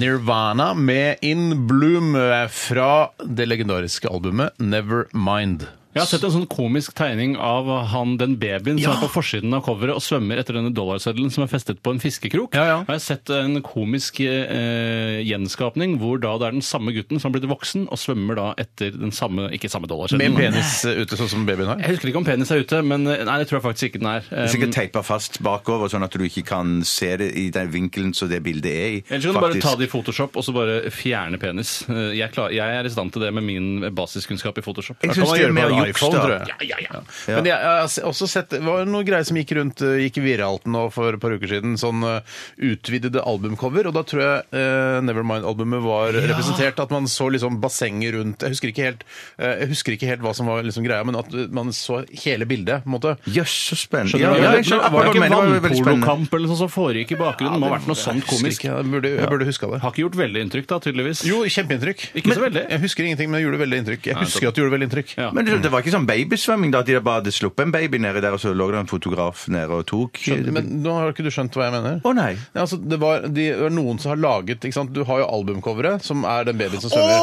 S1: Nirvana med In Bloom eh, fra det legendariske albumet Nevermind.
S3: Jeg har sett en sånn komisk tegning av han, den babyen som
S1: Ja.
S3: er på forsiden av coveret og svømmer etter denne dollarseddelen som er festet på en fiskekrok.
S1: Ja, ja.
S3: Og jeg har sett en komisk eh, gjenskapning hvor da det er den samme gutten som har blitt voksen og svømmer da etter den samme, ikke samme
S1: Med
S3: dollarseddelen.
S1: penis eh, ute, sånn som babyen har.
S3: Jeg husker ikke om penis er ute, men eh, nei, det tror jeg faktisk ikke den er.
S2: Det er
S3: Um,
S2: Sikkert teipa fast bakover, sånn at du ikke kan se det i den vinkelen som det bildet er i.
S3: Eh, Ellers kan du bare
S2: faktisk.
S3: ta det i Photoshop og så bare fjerne penis. Eh, Jeg, klar, jeg er i stand til det med min basiskunnskap i Photoshop.
S2: Jeg
S1: Da kan
S2: syns
S1: man
S2: det
S1: gjøre
S2: er mer
S1: på en
S2: juks,
S1: iPhone,
S2: da.
S1: tror jeg. Ja. Men jeg, jeg har se- også sett, det var noen greier som gikk rundt, eh, gikk viralt nå for et par uker siden, sånn eh, utvidede albumcover, og da tror jeg eh, Nevermind-albumet var representert, at man så liksom bassenget rundt, jeg husker ikke helt, eh, jeg husker ikke helt hva som var liksom greia, men at eh, man så hele bildet, på en måte.
S2: Jøss, så spennende. Ja,
S3: Skjønner du?
S2: ja, jeg
S3: Det
S2: skjønner akkurat hva
S3: var ikke
S2: du mener, det var veldig spennende.
S3: vannpolokamp eller noe sånt som foregikk i bakgrunnen. Det må ha vært noe sånt
S1: Jeg husker
S3: komisk.
S1: ikke, Jeg burde, jeg burde huska det.
S3: Har ikke gjort veldig inntrykk, da, tydeligvis.
S1: Jo, kjempeinntrykk.
S3: Ikke så veldig.
S1: Jeg husker ingenting, men det gjorde veldig inntrykk. Jeg husker at det gjorde veldig inntrykk.
S3: Ja.
S2: Men det det var ikke sånn babysvømming, da? At de bare hadde sluppet en baby nedi der, og så lå det en fotograf nede og tok
S1: Skjønner, men nå har ikke du skjønt hva jeg mener.
S2: Å, nei.
S1: Ja, altså, det, var, de, det var noen som har laget ikke sant? Du har jo albumcoveret, som er den babyen som
S2: Å,
S1: svømmer.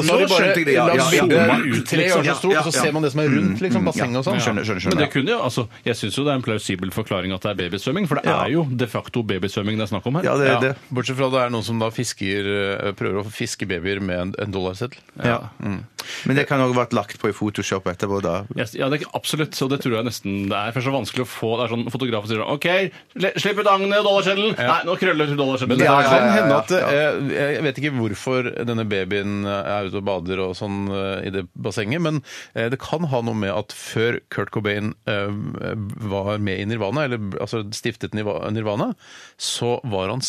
S1: Så har
S2: nå
S1: de bare
S2: skjønte jeg det, ja,
S1: lagd
S2: ja, ja.
S1: bildet
S2: Zooma
S3: ut,
S1: tre
S3: liksom.
S1: ganger så stort,
S2: Ja,
S1: og
S2: ja,
S1: så
S2: Mm,
S1: ser man det som er rundt liksom, bassenget og sånn.
S2: Ja. Skjønner, skjønner, skjønner,
S3: Men det
S2: ja.
S3: kunne jo, altså, jeg syns jo det er en plausibel forklaring at det er babysvømming, for det
S2: Ja.
S3: er jo de facto babysvømming det er snakk om her.
S2: Ja, det,
S1: Ja,
S2: det.
S1: Bortsett fra det er noen som da fisker, eh, prøver å fiske babyer med en, en dollarseddel.
S2: Ja. mm. Men det kan òg vært lagt på i Photoshop etterpå, da.
S3: Yes, ja, det er ikke absolutt, og det tror jeg nesten det er. For det er så vanskelig å få Det er sånn fotografen sier sånn, OK, le- slipp ut agnet og dollarseddelen! Nei, nå krøller dollarseddelen.
S1: Det
S2: Ja,
S1: sånn- kan
S2: ja, ja, ja,
S1: hende at
S2: ja.
S1: eh, Jeg vet ikke hvorfor denne babyen eh, er ute og bader og sånn eh, i det bassenget, men eh, det kan ha noe med at før Kurt Cobain eh, var med i Nirvana, eller altså stiftet Niva- Nirvana, så var han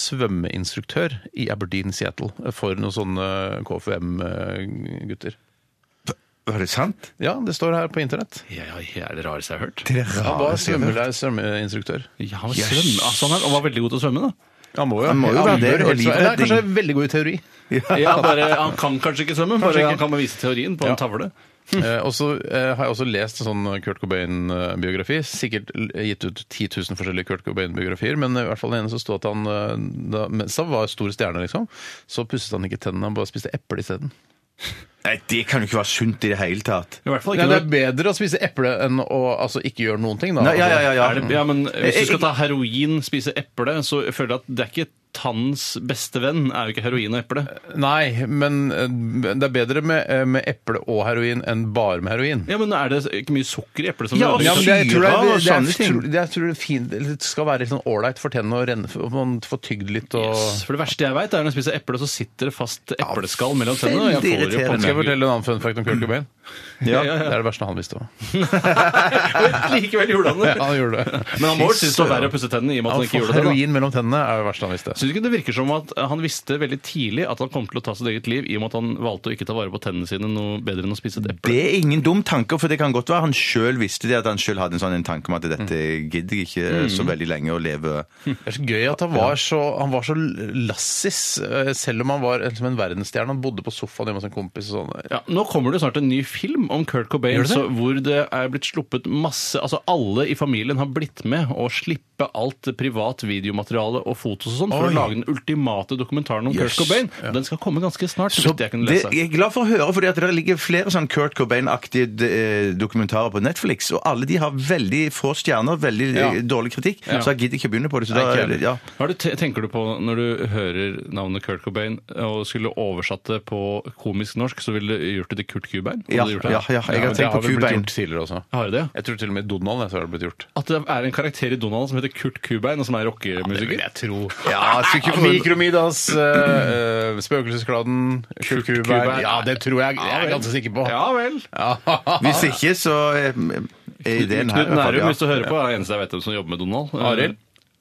S1: svømmeinstruktør i Aberdeen, Seattle, eh, for noen sånne KFUM-gutter.
S2: Var det sant?
S1: eh, Ja, det står her på internett.
S3: Ja, ja, det er det rareste jeg har hørt.
S2: Det er
S1: Han var
S2: rareste jeg har hørt.
S1: svømmeleir- svømmeinstruktør.
S3: Ja, han var svømme, altså, han er, og var veldig god til å svømme, da.
S1: Han må jo,
S2: Han må jo være det,
S1: bør
S2: og
S1: helt svømme. Eller
S2: livredding.
S1: Kanskje veldig god i teori.
S3: Ja, bare, han kan kanskje ikke svømme,
S1: Kanskje
S3: bare
S1: ikke.
S3: han kan bevise teorien på
S1: Ja.
S3: en tavle.
S1: Eh, og så eh, har jeg også lest en sånn Kurt Cobain-biografi. Sikkert l- gitt ut 10 000 forskjellige Kurt Cobain-biografier, men i hvert fall den ene så sto at han eh, da, mens han var stor stjerne, liksom, så pusset han ikke tennene, han bare spiste eple isteden.
S2: Nei, det kan jo ikke være sunt i det hele tatt.
S3: I hvert fall
S1: Ja,
S3: ikke
S1: det
S3: når-
S1: er bedre å spise eple enn å altså, ikke gjøre noen ting, da.
S2: Nei, ja, ja, ja, ja.
S3: Er det, ja, men Hvis
S1: Eh,
S2: Jeg-
S3: du skal ta heroin, spise eple, så føler jeg at det er ikke tannens beste venn er jo ikke heroin og eple.
S1: Altså, Nei, men eh, det er bedre med, eh, med eple og heroin enn bare med heroin.
S3: Ja, men Er det ikke mye sukker i eplet? som-
S2: Ja, og
S1: Ja, men det, jeg tror
S2: syre
S1: det, er-
S2: og
S1: det, er-
S2: sånne ting.
S1: tror- jeg tror det, er fint, det skal være litt sånn ålreit for tennene å renne, for man får tygd litt og
S3: Yes, for Det verste jeg veit, er når jeg spiser eple, så sitter det fast epleskall mellom tennene.
S2: veldig
S3: og jeg får det jo
S2: irriterende.
S3: på-
S1: Skal jeg fortelle en annen fun fact om Kurt Cobain?
S3: Ja, ja, ja.
S1: Det er det verste han visste om.
S3: Men Likevel gjorde han det.
S1: Ja, han gjorde det.
S3: Men han må jo synes det var verre å pusse tennene i og med at han
S1: Han
S3: ikke
S1: får
S3: gjorde det. da.
S1: heroin mellom tennene, er det verste han visste.
S3: Synes du ikke det virker som at eh, han visste veldig tidlig at han kom til å ta sitt eget liv, i og med at han valgte å ikke ta vare på tennene sine noe bedre enn å spise et eple?
S2: Eh, Det er ingen dum tanke, for det kan godt være han sjøl visste det, at han sjøl hadde en sånn en tanke om at dette gidder jeg ikke eh,
S3: Mm.
S2: så veldig lenge å leve
S1: Det er så gøy at han var så, han var så lassis, eh, selv om han var en- som en verdensstjerne. Han bodde på sofaen hjemme hos en kompis og sånn.
S3: Ja, nå kommer det jo snart en ny film om Kurt Cobain
S1: Gjør det det?
S3: så hvor det er blitt sluppet masse Altså alle i familien har blitt med å slippe alt privat videomateriale og fotos og sånn for
S1: Oi.
S3: å lage den ultimate dokumentaren om
S2: Yes.
S3: Kurt Cobain. Den skal komme ganske snart, så
S2: Så
S3: vidt jeg kunne
S2: det-
S3: lese.
S2: jeg er glad for å høre, fordi at det ligger flere sånn Kurt Cobain-aktige eh, dokumentarer på Netflix, og alle de har veldig få stjerner, veldig eh,
S1: Ja.
S2: dårlig kritikk, så jeg gidder ikke begynne på det. Så
S1: Nei,
S2: da,
S1: ikke heller.
S2: ja.
S3: Hva er det te- tenker du på når du hører navnet Kurt Cobain og skulle oversatt det på komisk norsk, så ville du gjort det til Kurt Cubain? Hadde
S2: Ja,
S3: du gjort
S2: ja,
S3: det?
S2: ja, jeg har
S1: men det
S2: tenkt
S1: har
S2: på
S1: vel blitt
S2: Cubain.
S1: gjort tidligere også.
S3: Har du det?
S1: Jeg tror til og med Donald jeg, så har det blitt gjort.
S3: At det er en karakter i Donald som heter Kurt Cubain, og som er rockemusiker?
S1: jeg tro.
S2: Ja, så ikke for-
S1: Mikromidas, Ah, eh, eh, Spøkelseskladden, Kurt
S3: Kurt
S1: Cubain.
S3: Cubain.
S1: Ja, det tror jeg jeg er ganske sikker på.
S3: Ja vel.
S2: Hvis ikke, så eh, er ideen her. i hvert
S3: Knut
S2: fall,
S3: Nærum,
S2: ja.
S3: hvis du hører på, er det eneste jeg vet om som jobber med Donald.
S1: Arild?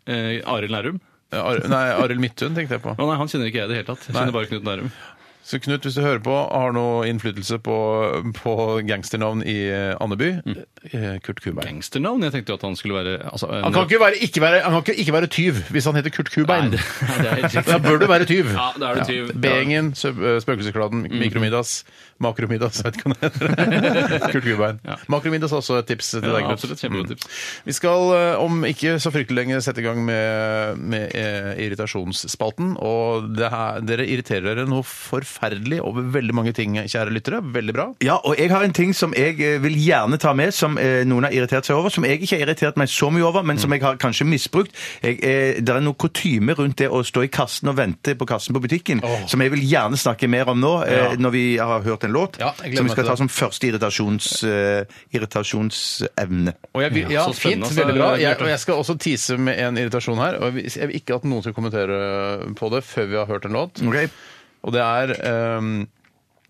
S3: Eh, Arild Nærum.
S1: Ar nei, Arild Midthun tenkte jeg på.
S3: Å nei, han kjenner ikke jeg i det hele tatt. Jeg
S1: Nei.
S3: kjenner bare Knut Nærum.
S1: Så Knut, hvis du hører på, har noe innflytelse på, på gangsternavn i eh, Andeby,
S3: Mm.
S1: eh, Kurt Kubein.
S3: Gangsternavn? Jeg tenkte jo at han skulle være altså,
S1: Han kan ikke være, ikke, være, han kan ikke, ikke være tyv hvis han heter Kurt Kubein.
S3: Nei, det- nei, det er helt riktig.
S1: da bør du være tyv.
S3: Ja, da er du tyv. Mm.
S1: Beingen, sø- eh, Spøkelseskladden, Mikromiddags, Makromiddags, jeg vet ikke hva det heter. Kurt Kubein.
S3: Ja.
S1: Makromiddags er også et tips til
S3: Ja,
S1: deg, Knut.
S3: absolutt, kjempegodt
S1: Mm.
S3: tips.
S1: Vi skal eh, om ikke så fryktelig lenge sette i gang med, med eh, irritasjonsspalten. Og det her, dere irriterer dere noe forferdelig over veldig mange ting, kjære lyttere. Veldig bra.
S2: Ja, og jeg har en ting som jeg eh, vil gjerne ta med, som eh, noen har irritert seg over, som jeg ikke har irritert meg så mye over, men
S1: Mm.
S2: som jeg har kanskje misbrukt. Jeg, eh, det er noe kutyme rundt det å stå i kassen og vente på kassen på butikken, som jeg vil gjerne snakke mer om nå, eh,
S1: Ja.
S2: når vi har hørt en låt,
S1: Ja, jeg gleder
S2: som vi
S1: meg
S2: skal
S1: til
S2: ta
S1: det.
S2: som første irritasjons, eh, irritasjonsevne.
S1: Og jeg, vil- ja,
S3: så spennende,
S1: fint,
S3: altså,
S1: veldig bra. Jeg,
S3: Bjarte.
S1: og jeg skal også tease med en irritasjon her. Og jeg vil- jeg vil ikke at noen skal kommentere eh, på det før vi har hørt en låt.
S2: Ok?
S1: Og det er um,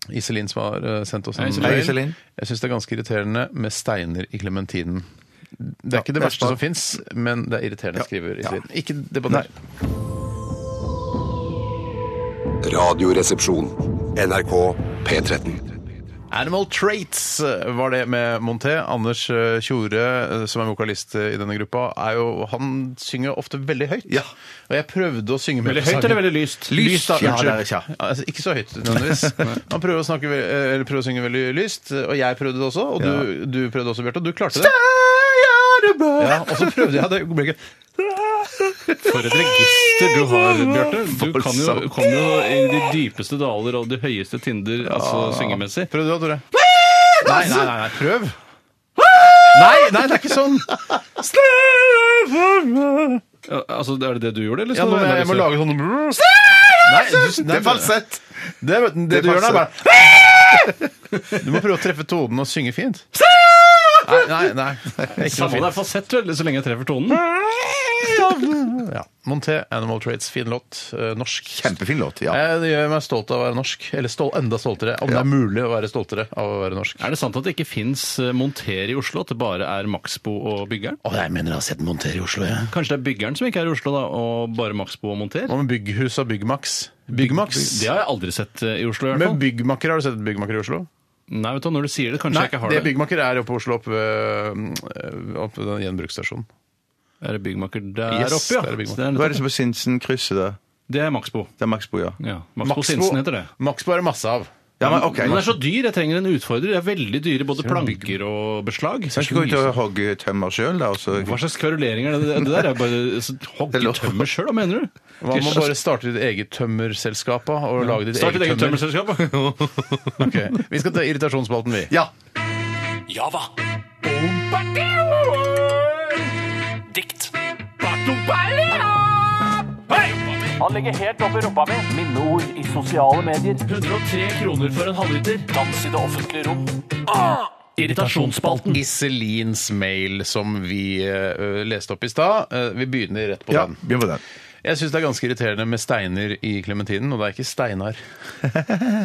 S1: Iselin som har eh, sendt oss en
S3: Hei, Iselin.
S2: Hei,
S1: mail.
S2: Iselin.
S1: Jeg syns det er ganske irriterende med steiner i klementinen. Det er ikke det
S2: det er
S1: verste
S2: smart.
S1: som fins, men det er irriterende, skriver Iselin. Ikke debatter.
S4: Radioresepsjon. NRK P13.
S1: Animal Traits eh, var det med Monté. Anders eh, Tjore, eh, som er vokalist eh, i denne gruppa, er jo, han synger ofte veldig høyt.
S2: Ja.
S1: Og jeg prøvde å synge med
S3: Veldig
S1: på
S3: høyt
S1: sangen.
S3: eller veldig lyst?
S1: Lyst, da.
S2: Ja,
S1: unnskyld.
S2: det er det, ja.
S1: Altså, ikke så høyt, nødvendigvis. Han prøver å, snakke, ve- eh, eller prøver å synge veldig lyst, eh, og jeg prøvde det også, og du, du prøvde også, Bjarte, og du klarte det. Ja, og så prøvde jeg det i øyeblikket.
S3: For et register du har, Bjarte. Du kan jo,
S1: Voldsomt.
S3: kom jo i de dypeste daler og de høyeste tinder, altså syngemessig.
S1: Prøv du da, Tore. Nei, nei, nei, nei, prøv. Nei, nei, det er ikke sånn.
S3: Ja, Altså, Er det det du gjorde, eller?
S1: Ja,
S3: skal
S1: nå må
S3: du
S1: jeg, jeg må
S3: analysere?
S1: lage sånn Nei, du, nei,
S2: falsett.
S1: Det, det,
S2: Det er
S1: du gjør nå, er
S2: falsett.
S1: bare Du må prøve å treffe tonen og synge fint. Nei, nei. nei. Ikke noe
S3: Samme det er
S1: fint.
S3: fasett, vel, så lenge jeg treffer tonen.
S1: Ja. Monté, Animal Traits, fin låt. eh, Norsk.
S2: Kjempefin låt, ja.
S1: Jeg, det gjør meg stolt av å være norsk. Eller stol, enda stoltere, om det er mulig å være stoltere av å være norsk.
S3: Er det sant at det ikke fins monter i Oslo, at det bare er Maxbo og byggeren?
S1: Å, jeg mener jeg har sett Monter i Oslo, jeg.
S3: Kanskje det er byggeren som ikke er i Oslo, da, og bare Maxbo og monter?
S1: Hva med Bygghus og Byggmax? Byggmax?
S3: Det har jeg aldri sett eh, i Oslo, i hvert
S1: Men
S3: fall.
S1: byggmakker, har du sett byggmakker i Oslo?
S3: Nei, vet du, når du sier det, kanskje jeg ikke har
S1: det
S3: det.
S1: byggmakker er oppe på Oslo, oppe ved, oppe ved den gjenbruksstasjonen.
S3: Er det byggmaker der
S1: Yes,
S3: oppe, ja?
S1: det er byggmaker.
S3: Så det, er
S2: Hva er det
S3: nettopp-
S2: som er på Sinsen-krysset der?
S3: det er Maxbo.
S2: Det er Maxbo, ja.
S3: Ja, Maxbo Sinsen heter det.
S1: Maxbo er det masse av.
S2: Ja, men ok.
S3: Den er så dyr. Jeg trenger en utfordrer. Det er veldig dyre både planker og beslag.
S2: Kan ikke gå ut og hogge tømmer sjøl, da? og så-
S3: Hva slags kverulering er det? Det der er bare så hogg i tømmer sjøl, da, mener du?
S1: Hva med å bare starte ditt eget tømmerselskap da, og lage ditt
S3: Start ditt
S1: eget
S3: eget
S1: tømmer?
S3: tømmerselskap.
S1: Ok, Vi skal til irritasjonsspalten, vi.
S2: Ja.
S5: Han ligger helt oppi rumpa mi. Minneord i sosiale medier. 103 kroner for en halvliter. Dans i det offentlige rom. Ah! Irritasjonsspalten.
S1: Iselins mail, som vi eh, leste opp i stad. Eh, vi begynner rett på
S2: ja.
S1: den.
S2: Begynn på den.
S1: Jeg syns det er ganske irriterende med steiner i klementinen, og det er ikke steinar.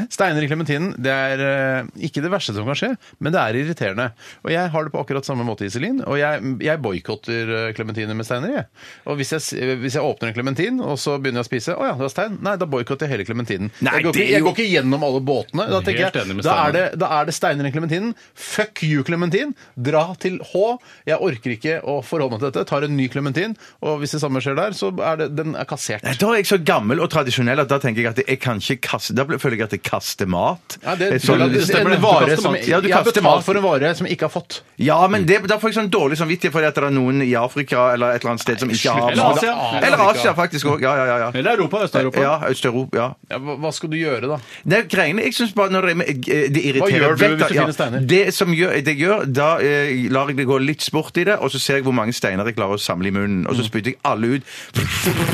S1: steiner i klementinen det er eh, ikke det verste som kan skje, men det er irriterende. Og jeg har det på akkurat samme måte, Iselin, og jeg, jeg boikotter eh, klementiner med steiner. Jeg. Og hvis jeg, s- eh, hvis jeg åpner en klementin, og så begynner jeg å spise, å ja, det var stein, nei, da boikotter jeg hele klementinen.
S2: Nei,
S1: Jeg, går
S2: det
S1: ikke-
S2: er
S1: jeg
S2: jo-
S1: går ikke gjennom alle båtene. Da tenker
S3: Helt enig
S1: jeg,
S3: med
S1: da
S3: Steinar.
S1: er det da er det steiner i klementinen. Fuck you, klementin! Dra til H. Jeg orker ikke å forholde meg til dette. Tar en ny klementin, og hvis det samme skjer der, så er det, den er kassert.
S2: Nei, Eh, Da er jeg så gammel og tradisjonell at da tenker jeg at jeg kan ikke kaste Da føler jeg at jeg kaster mat.
S1: Ja, det,
S2: Eh, sånn-
S1: det, det,
S2: stemmer
S1: en
S2: det. Du
S1: vare
S2: kaster
S1: som,
S2: mat. Ja, du
S1: jeg har
S2: kaster
S1: betalt
S2: mat.
S1: for en vare som jeg ikke har fått.
S2: Ja, men det, da får jeg sånn dårlig samvittighet fordi at det er noen i Afrika eller et eller annet sted som ikke har
S3: Eller
S2: mat.
S3: Asia.
S2: Eller Asia, faktisk òg. Ja, ja, ja. ja.
S3: Eller Europa, Øst-Europa.
S2: Ja, Øst-Europa. ja.
S1: Ja, hva hva skal du gjøre, da?
S2: Det er greiene, jeg synes bare når det, eh, det irriterer
S1: Hva gjør du
S2: vekk,
S1: hvis du
S2: ja,
S1: finner steiner?
S2: Det som gjør, det jeg gjør, da eh, lar jeg det gå litt sport i det, og så ser jeg hvor mange steiner jeg klarer å samle i munnen, og så
S1: Mm.
S2: spytter jeg alle ut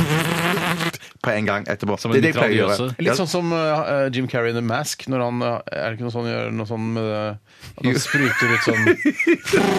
S2: på en gang etterpå.
S3: Som en
S2: det er det jeg pleier å gjøre.
S3: mitraljøse.
S1: Litt sånn som eh, Jim Carrey in The Mask, når han eh, Er det ikke noe sånn gjør noe sånn med det- At han spruter ut sånn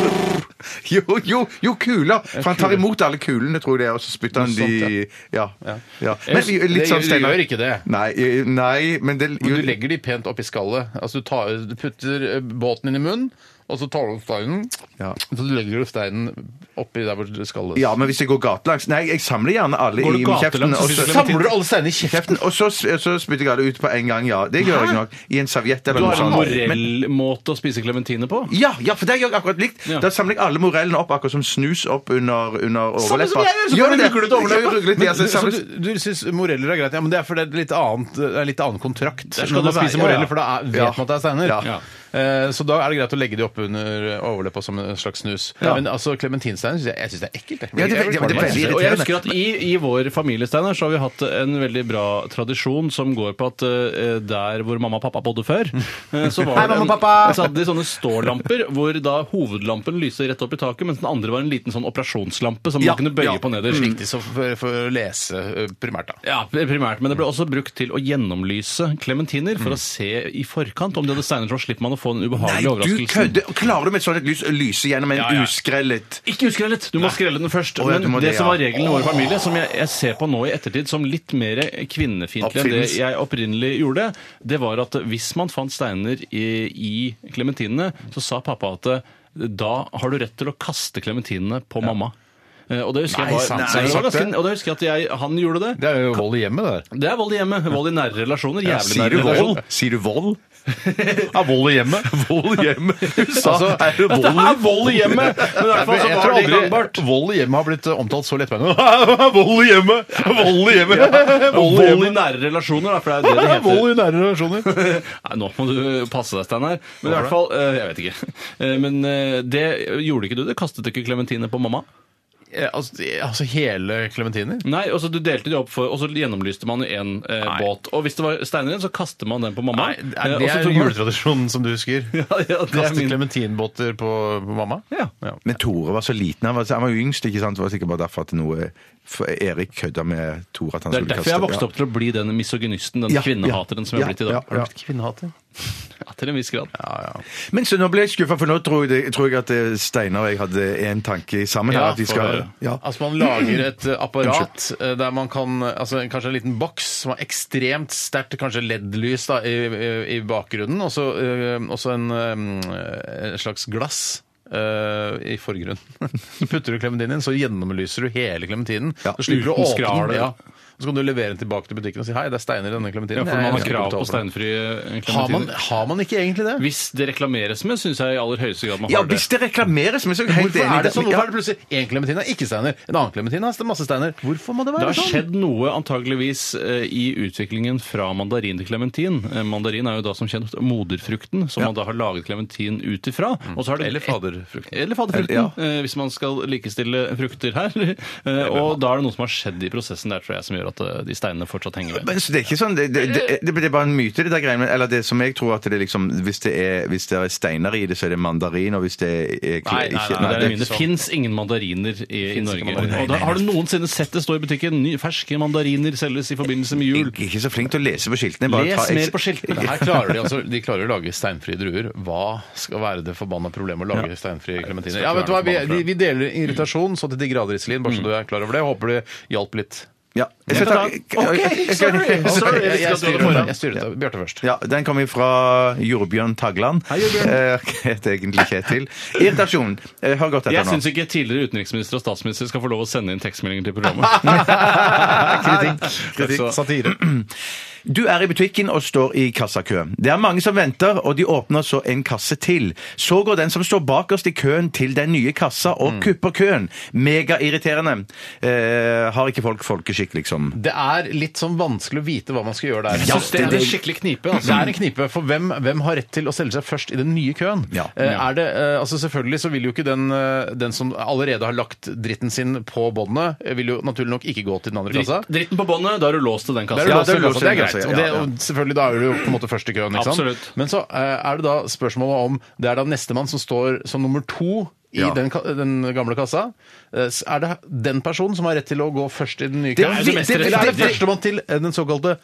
S2: Jo, jo, jo, kuler! For han tar
S1: kuler.
S2: imot alle kulene, tror jeg, og så spytter han
S1: Noe sånt,
S2: de Ja. ja. Men
S1: Det gjør-
S2: litt sånn
S1: det
S2: steiner
S1: gjør ikke det.
S2: Nei, eh, nei men det
S1: Men Du legger de pent oppi skallet. Altså, du, tar, du putter eh, båten inn i munnen, og så tar du opp steinen,
S2: Ja.
S1: så legger du steinen oppi der hvor det skal
S2: Ja, men hvis jeg går gatelangs Nei, jeg samler gjerne alle
S3: Går du
S2: i kjeften.
S3: gatelangs, så
S2: og
S3: synes
S2: så-
S3: du det er
S1: Samler du alle steinene i kjeften?
S2: kjeften, og så, så spytter jeg alle ut på en gang, ja. Det gjør jeg nok. I en serviett eller
S3: Du
S2: noe
S3: har en
S2: sånt. Men-
S3: morellmåte å spise klementiner på?
S2: Ja, ja, for det gjør jeg akkurat likt.
S3: Ja.
S2: Da samler jeg alle morellene opp, akkurat som snus opp under, under overleppa.
S1: som jeg gjør, så
S2: Gjør du
S1: kan du
S2: det?
S1: rugle til overleppa.
S2: Ja, rugle til,
S1: Men
S2: ja, så jeg
S1: så
S2: samler-
S1: du, du syns moreller er greit, ja, men det er fordi det er litt annet, det er litt annen kontrakt.
S3: Der skal
S1: når man
S3: det være,
S1: spiser
S3: ja.
S1: moreller, for da er, vet
S2: Ja.
S1: man at det er steiner.
S2: Ja.
S3: Ja.
S1: Eh, Så da er det greit å legge de opp under overleppa som en slags snus.
S3: Ja.
S1: Men altså, klementinsteinen syns jeg, jeg synes det er ekkelt. jeg.
S2: Ja, det er-
S1: Jeg vil
S2: ja, men det er
S1: kvalme.
S2: veldig
S3: Og jeg
S2: irriterende.
S3: husker at i, i vår familie Steinar, så har vi hatt en veldig bra tradisjon som går på at eh, der hvor mamma og pappa bodde før, eh, så, var
S1: Hei,
S3: det en,
S1: mamma og pappa!
S3: så hadde de sånne stålamper hvor da hovedlampen lyser rett opp i taket, mens den andre var en liten sånn operasjonslampe som
S2: Ja,
S3: man kunne bøye
S2: ja. Mm.
S3: på nederst.
S1: Viktig så for, for å lese eh, primært, da.
S3: Ja, primært, men det ble også brukt til å gjennomlyse klementiner for å se i forkant om de hadde steiner, så slipper man å få den
S2: Mm. Nei,
S3: ubehagelige
S2: du
S3: overraskelsen.
S2: kødder! Klarer du med et sånt lys å lyse gjennom en
S3: Ja, ja.
S2: uskrellet
S3: Ikke uskrellet! Du må skrelle den først.
S2: Å, ja, du
S3: men
S2: må
S3: det,
S2: det,
S3: som
S2: ja.
S3: var regelen i vår familie, som jeg, jeg ser på nå i ettertid som litt mer kvinnefiendtlig enn det
S2: Oppfinnelse.
S3: jeg opprinnelig gjorde, det var at hvis man fant steiner i, i klementinene, så sa pappa at eh, da har du rett til å kaste klementinene på mamma. Eh, Og det husker
S1: Nei,
S3: jeg var,
S1: sant,
S3: Nei,
S1: sant,
S3: det var
S1: sant,
S3: ganske,
S1: det.
S3: og da husker jeg at jeg, han gjorde det.
S1: Det er jo vold i hjemmet, det der.
S3: Det er vold i hjemmet. Vold i nære relasjoner. Jævlig
S2: Sier
S3: nære
S2: du vold?
S3: relasjoner.
S2: Sier du vold?
S1: Ja, vold i hjemmet.
S2: Vold hjemme?
S1: Altså,
S2: er det
S3: Dette er vold i hjemmet! Men i hvert fall så
S1: Jeg
S3: var
S1: tror
S3: det gangbart.
S1: aldri vold i hjemmet har blitt eh, omtalt så lettbeint. Vold i hjemmet! Vold i hjemmet! Vold i
S3: Vold i
S1: hjemmet!
S3: nære relasjoner, da, for det er jo det det heter.
S1: Vold i nære relasjoner.
S3: Nei, nå må du passe deg, Steinar. Men i hvert fall, eh, jeg vet ikke. Eh, Men eh, det gjorde ikke du? Det kastet ikke klementiner på mamma?
S1: Eh, Altså, det- altså hele klementiner?
S3: Nei, altså du delte de opp for, og så gjennomlyste man i én eh,
S1: Nei.
S3: båt. Og hvis det var steiner igjen, så kastet man den på mamma.
S1: Nei,
S3: Eh,
S1: er
S3: og
S1: det
S3: så
S1: er
S3: tok man-
S1: juletradisjonen som du husker.
S3: Ja, ja, det er
S1: Kaste
S3: min.
S1: klementinbåter på, på mamma?
S3: Ja.
S2: Men Tore var så liten. Han var, han var jo yngst, ikke sant? Det var sikkert bare derfor at noe for Erik kødda med Tore. At han
S3: Det er
S2: skulle
S3: derfor jeg
S2: kaste-
S3: vokste opp til å bli den misogynisten, den
S2: Ja, ja,
S3: kvinnehateren som jeg
S2: ja,
S3: har blitt i dag.
S2: ja, ja.
S1: kvinnehater?
S3: Ja, til en viss grad.
S2: Men så nå ble jeg skuffa, for nå tror jeg, det- tror jeg at eh, Steinar og jeg hadde én tanke sammen. her,
S3: Ja,
S2: at vi
S3: for
S2: skal...
S3: det.
S2: Ja.
S1: Altså Man lager et eh, apparat eh, der man kan eh, altså Kanskje en liten boks som har ekstremt sterkt kanskje LED-lys da, i, i- i bakgrunnen, og så eh, og så en, eh, en slags glass. eh, I forgrunnen. Så putter du klementinen inn, så gjennomlyser du hele klementinen.
S2: Ja,
S1: så slipper du å
S3: uten
S1: åpne
S3: skral,
S1: den.
S3: ja.
S1: Ja. Og så kan du levere den tilbake til butikken og si hei, det er steiner i denne
S3: Ja,
S1: klementinen.
S3: for
S1: Jeg-
S3: man
S1: jeg
S3: har
S1: skal
S3: krav
S1: betale
S3: på
S1: for den.»
S3: steinfrie
S1: Har man,
S3: klementiner.
S1: har man ikke egentlig det?
S3: Hvis det reklameres med, syns jeg i aller høyeste grad man
S2: ja,
S3: har det.
S2: hvis det reklameres, men så er jeg helt
S1: Hvorfor
S2: enig. i
S1: er det
S2: det.
S1: sånn?
S2: Ja.
S1: Hvorfor er det plutselig én klementin er ikke steiner, en annen klementin er masse steiner? Hvorfor må det
S3: Det
S1: være
S3: har
S1: sånn?
S3: skjedd noe antageligvis eh, i utviklingen fra mandarin til klementin. Eh, Mandarin er jo da som kjent moderfrukten, som man da har laget klementin ut ifra. Og så har det-
S1: Eller faderfrukten.
S3: Eller faderfrukten,
S2: Ja.
S3: eh, hvis man skal likestille frukter her. Eh, og da er det noe som har skjedd i prosessen der, tror jeg, som gjør at eh, de steinene fortsatt henger ved.
S2: Men så det er ikke sånn, det, det, det, det, det er bare en myte, det der greiene. men- Eller det som jeg tror at det er liksom Hvis det er, hvis det er steiner i det, så er det mandarin, og hvis det er ikke
S1: Nei, nei, nei,
S3: Nei, det, er
S2: det-
S3: mye. det fins ingen mandariner i, i
S1: Finnes
S3: Norge.
S1: ikke mandariner.
S3: Og da, har du noensinne sett det stå i butikken? Ny, ferske mandariner selges i forbindelse med jul.
S2: Jeg er ikke så flink til å lese på skiltene. Bare
S3: Les
S2: ta-
S3: mer på skiltene.
S1: Men her klarer de, altså, de klarer å lage steinfrie druer. Hva skal være det forbanna problemet å lage steinfrie klementiner? Ja, vet du hva, vi, vi- vi deler irritasjon så til de grader, Iselin, bare så du er klar over det. Jeg håper det hjalp litt.
S2: Ja. Jeg skal ta
S3: Ok, sorry. Sorry.
S1: Jeg, jeg
S3: skal du ha
S1: styrer
S3: foran.
S1: det. Jeg styrer det. Bjarte først.
S2: Ja, Den kommer fra Jordbjørn Tagland. Hei, Jordbjørn. heter egentlig Kjetil. Irritasjon. Eh, Hør godt
S3: Jeg
S2: etter nå.
S3: syns ikke tidligere utenriksminister og statsminister skal få lov å sende inn tekstmeldinger til programmet.
S2: Kritikk.
S1: Kritikk. Satire.
S2: Du er i butikken og står i kassakø. Det er mange som venter, og de åpner så en kasse til. Så går den som står bakerst i køen til den nye kassa og
S3: Mm.
S2: kupper køen. Megairriterende. Eh, har ikke folk folkeskikk, liksom?
S1: Det er litt sånn vanskelig å vite hva man skal gjøre der.
S3: Jeg synes det er en skikkelig knipe.
S1: Det
S3: Altså.
S1: er en knipe, for hvem, hvem har rett til å selge seg først i den nye køen?
S2: Ja.
S1: Eh, Er det, eh, altså selvfølgelig så vil jo ikke den, eh, den som allerede har lagt dritten sin på båndet, eh, vil jo naturlig nok ikke gå til den andre kassa.
S3: Dritt, dritten på båndet, da er du låst til den
S1: Da er
S3: kassa.
S1: det
S2: Ja,
S1: låst
S2: da er det
S1: i kassa, det er
S2: låst i
S1: greit.
S2: kassa,
S1: Og det,
S2: ja, ja.
S1: og selvfølgelig da er du jo på en måte først i køen. ikke sant?
S3: Absolutt.
S1: Men så eh, er det da spørsmålet om det er da nestemann som står som nummer to i
S2: Ja.
S1: den, ka- den gamle kassa. Eh, s- Er det den personen som har rett til å gå først i den nye
S2: Det er
S1: køen?
S2: jo Det er jo det mest
S1: Eller er det
S2: rettferdige.
S1: førstemann til eh, den såkalte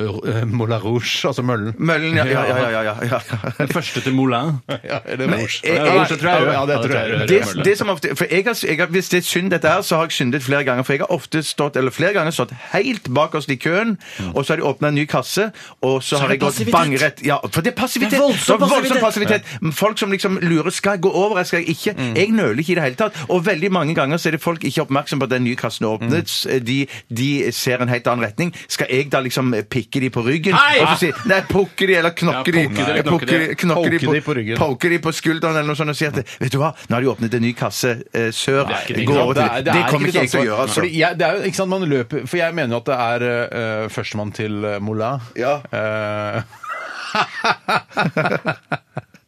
S1: Ur- Moulin Rouge, altså møllen.
S2: Møllen, ja. ja, ja, ja, ja, ja.
S3: Den første til Moulin.
S1: Ja, er det
S2: Men-
S1: rouge?
S2: eh,
S1: Ja,
S2: eh,
S1: rouge, tror jeg. Ja, det tror jeg.
S3: Ja, det tror jeg.
S2: Det, det som ofte, for jeg har, jeg har, hvis det er synd dette her, så har jeg syndet flere ganger. For jeg har ofte stått eller flere ganger stått helt bakerst i køen,
S1: Mm.
S2: og så har de åpna en ny kasse, og så, har
S3: er
S2: jeg
S3: det
S2: gått
S3: passivitet.
S2: bangrett. Ja, for det er passivitet!
S3: Det er voldsom
S2: Det er
S3: passivitet.
S2: Men Folk som liksom lurer skal jeg gå over, skal jeg ikke?
S1: Mm.
S2: Jeg nøler ikke i det hele tatt. Og veldig mange ganger så er det folk ikke oppmerksom på at den nye kassen er åpnet.
S1: Mm.
S2: Eh, De, de ser en helt annen retning. Skal jeg da liksom pikke de på ryggen?
S3: Nei!
S2: Og så si, nei, pukke de, eller knokke
S3: Ja,
S2: de.
S3: poke de,
S2: Jeg
S3: knokke
S2: poker-
S3: de.
S2: knokker
S1: Poke de på ryggen.
S2: poker de på skulderen eller noe sånt og sier at vet du hva, nå har de åpnet en ny kasse eh, sør.
S3: Det er ikke din
S2: Gå
S3: jobb.
S2: over til det. Det kommer ikke jeg til å gjøre, altså.
S1: Fordi jeg, det er jo, ikke sant, man løper, for jeg mener jo at det er eh, førstemann til eh, Moulin.
S2: Ja.
S1: Eh,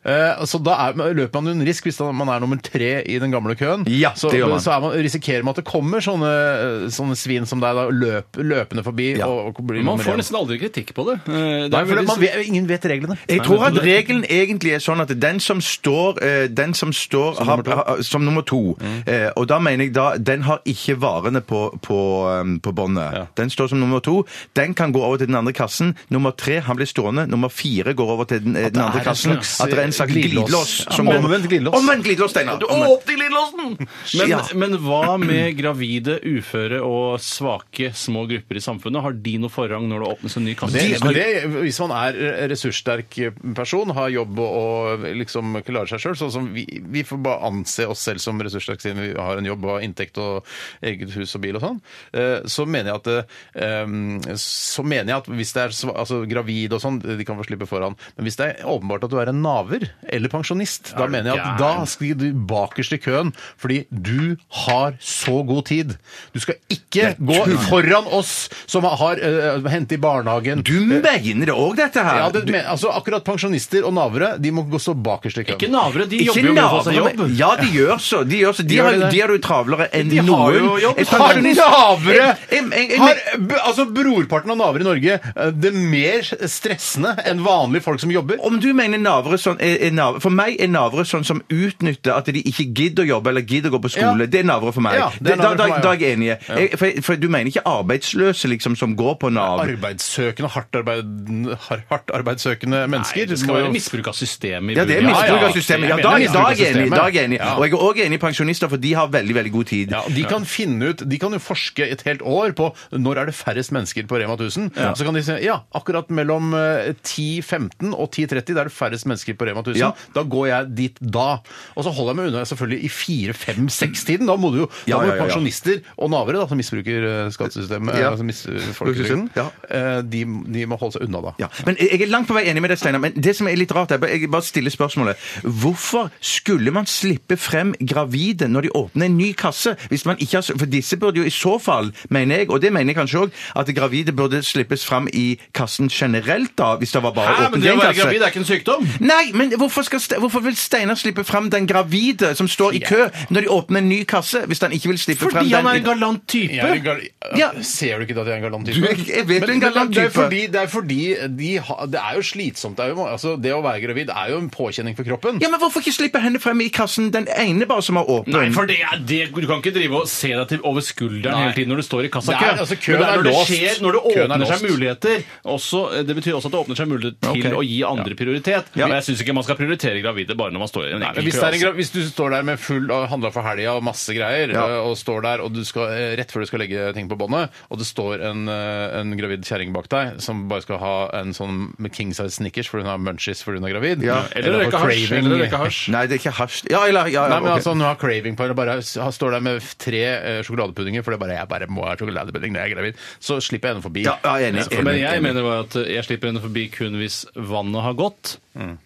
S1: eh, så da er, løper man jo en risk hvis da man er nummer tre i den gamle køen.
S2: Ja,
S1: så,
S2: det gjør man.
S1: så er man, risikerer man at det kommer sånne, eh, sånne svin som deg da, løp, løpende forbi.
S2: Ja.
S1: Og, og blir
S3: Man
S1: nummer
S3: får
S1: én.
S3: nesten aldri kritikk på det. Eh, det
S1: Nei,
S3: er
S1: for det-
S3: veldig-
S1: man vet, ingen vet reglene.
S2: Jeg tror at regelen egentlig er sånn at den som står, eh, den som står som, nummer har, har- som nummer to eh, Og da mener jeg da den har ikke varene på, på, eh, på båndet. Den står som nummer to. Den kan gå over til den andre kassen. Nummer tre han blir stående. Nummer fire går over til den, eh, den
S1: det
S2: andre
S1: er en
S2: kassen.
S1: slags,
S2: At det er en slags
S1: eh, glidelås.
S2: glidelås.
S1: Ja,
S2: som går-
S1: omvendt glidelås.
S2: Omvendt glidelås, Steinar!
S3: Du
S2: Omvendt.
S3: åpner glidelåsen! Men,
S2: Ja.
S3: men hva med gravide, uføre og svake små grupper i samfunnet? Har de noe forrang når det åpnes en ny kasse?
S1: Det, men det, hvis man er ressurssterk person, har jobb og, og liksom klarer seg sjøl sånn som vi, vi får bare anse oss selv som ressurssterke siden vi har en jobb og har inntekt og eget hus og bil og sånn, eh, så mener jeg at eh, em, så mener jeg at hvis det er sva- altså, gravid og sånn, de kan få slippe foran, men hvis det er åpenbart at du er en naver eller pensjonist, da mener jeg at da skal du bakerst i køen, fordi du har så god tid. Du skal ikke gå foran oss som har uh, hentet i barnehagen.
S2: Du mener det òg, dette her?
S1: Ja, det, men, altså Akkurat pensjonister og navere de må gå stå bakerst i køen.
S3: Ikke navere, de
S2: Ikke
S3: jobber jo med å få seg
S2: navere,
S3: jobb.
S2: men- Ja, de gjør så. De, gjør så. de,
S1: Gjør
S2: har,
S1: de
S2: jo-
S1: det?
S2: de har jo travlere enn
S3: De har
S2: noen.
S3: jo jobb.
S2: Jeg-
S1: Har navere
S2: Jeg- jeg- jeg-
S1: har, b- Altså Brorparten av navere i Norge eh, det er mer stressende enn vanlige folk som jobber.
S2: Om du mener navere sånn er, er navere, For meg er navere sånn som utnytter at de ikke gidder å jobbe eller gidder å gå på skole.
S1: Ja.
S2: Det er navere for meg.
S1: Ja, det er
S2: da,
S1: navere
S2: da,
S1: for meg,
S2: da
S1: ja.
S2: er jeg enig. Jeg, for, for du mener ikke arbeidsløse liksom som går på Nav?
S1: Arbeidssøkende, hardt, arbeid, har- hardt arbeidssøkende
S3: Nei,
S1: mennesker.
S3: det skal være misbruk av systemet. i
S2: Ja, det er
S3: bunn.
S2: misbruk
S1: Ja,
S2: av
S1: ja.
S2: systemet. Ja,
S1: Jeg
S2: da,
S1: mener
S2: da er jeg enig.
S1: misbruk av
S2: Da er jeg enig.
S1: systemet.
S2: Og jeg er òg enig i pensjonister, for de har veldig, veldig god tid.
S1: Ja, De kan finne ut, de kan jo forske et helt år på når er det færrest mennesker på Rema 1000. Så kan de si ja, akkurat mellom eh, 10.15 og 10.30 da er det færrest mennesker på Rema 1000.
S2: Ja.
S1: Da går jeg dit da. Og så holder jeg meg unna selvfølgelig i 4-5-6-tiden. Da må du jo
S2: Ja,
S1: da må
S2: ja, ja, ja.
S1: pensjonister og navere da, som misbruker eh, skattesystemet, eh,
S2: Ja.
S1: altså misbruker folketrygden,
S2: Ja.
S1: eh, de, de må holde seg unna da.
S2: Ja, men Jeg er langt på vei enig med deg, Steinar. Men det som er litt rart, er, jeg bare stiller spørsmålet Hvorfor skulle man slippe frem gravide når de åpner en ny kasse? Hvis man ikke har, for disse burde jo i så fall, mener jeg, og det mener jeg kanskje òg, at gravide burde slippes frem i kassen generelt, da, hvis det var bare
S3: Hæ,
S2: åpnet
S3: men det å
S2: en
S3: være
S2: kasse.
S3: gravid er ikke en sykdom!
S2: Nei, men hvorfor, skal, Ste- hvorfor vil Steinar slippe frem den gravide som står i kø når de åpner en ny kasse, hvis han ikke vil slippe frem
S3: Fordi
S2: den
S3: han er en galant type!
S1: Jeg er en gal-
S2: Ja.
S1: Ser du ikke at jeg er en galant type?
S2: Du, jeg- jeg vet du er en galant
S1: det er
S2: type.
S1: fordi, det er fordi de ha, Det er jo slitsomt. Det, er jo, altså, det å være gravid er jo en påkjenning for kroppen.
S2: Ja, men Hvorfor ikke slippe henne frem i kassen, den ene bare som har åpnet?
S3: Nei, for det er det, Du kan ikke drive og se deg til over skulderen
S1: Nei.
S3: hele tiden når du står i kassa.
S1: Nei, altså, køen
S3: Men det
S1: er
S3: når det
S1: låst.
S3: skjer, når det
S1: Køen er
S3: åpner seg
S1: låst.
S3: muligheter også, Det betyr også at det åpner seg muligheter til
S2: Ok.
S3: å gi andre prioritet. Men jeg syns ikke man skal prioritere gravide bare når man står i en
S1: Men
S3: enkel
S1: Hvis,
S3: kø.
S1: det er en,
S3: altså.
S1: gra- hvis du står der med full og handla for helga og masse greier,
S2: Ja.
S1: øh, og står der og du skal, eh, rett før du skal legge ting på båndet, og det står en, eh, en gravid kjerring bak deg som bare skal ha en sånn med king size snickers fordi hun har munchies fordi hun er gravid
S2: Ja.
S3: Eller
S1: har
S3: røyke hasj.
S1: craving.
S3: Eller røyke hasj.
S2: Nei, det er ikke hasj. Ja, eller ja, ja,
S1: Nei, men
S2: ok.
S1: altså, Hun har craving på det. Bare, han står der med tre eh, sjokoladepuddingen fordi bare, jeg bare må ha sjokoladepudding når jeg er gravid. Så slipper jeg henne forbi.
S2: Ja, ja, jeg er enig.
S3: Men jeg mener bare at jeg slipper henne forbi kun hvis vannet har gått,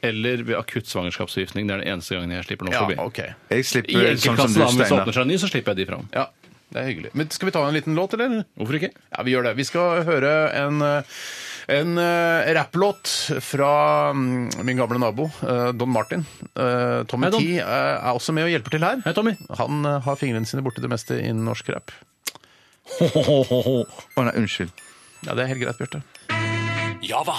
S3: eller ved akutt svangerskapsforgiftning. Det er den eneste gangen jeg slipper noen
S1: Mm. Ja,
S3: forbi.
S1: ok.
S2: Jeg
S3: I
S2: slipper sånn som
S3: enkeltklasse,
S2: du,
S3: da, men hvis det
S2: Steinar.
S3: åpner seg en ny, så slipper jeg de fram.
S1: Ja, det er hyggelig. Men Skal vi ta en liten låt, eller?
S3: Hvorfor ikke?
S1: Ja, vi gjør det. Vi skal høre en, en eh, rapplåt fra mm, min gamle nabo, eh, Don Martin. Eh, Tommy
S3: Hei, Don.
S1: T eh, er også med og hjelper til her.
S3: Hei, Tommy.
S1: Han eh, har fingrene sine borti det meste innen norsk rap.
S2: Å nei, unnskyld.
S1: Ja, det er helt greit, Bjarte.
S5: Java.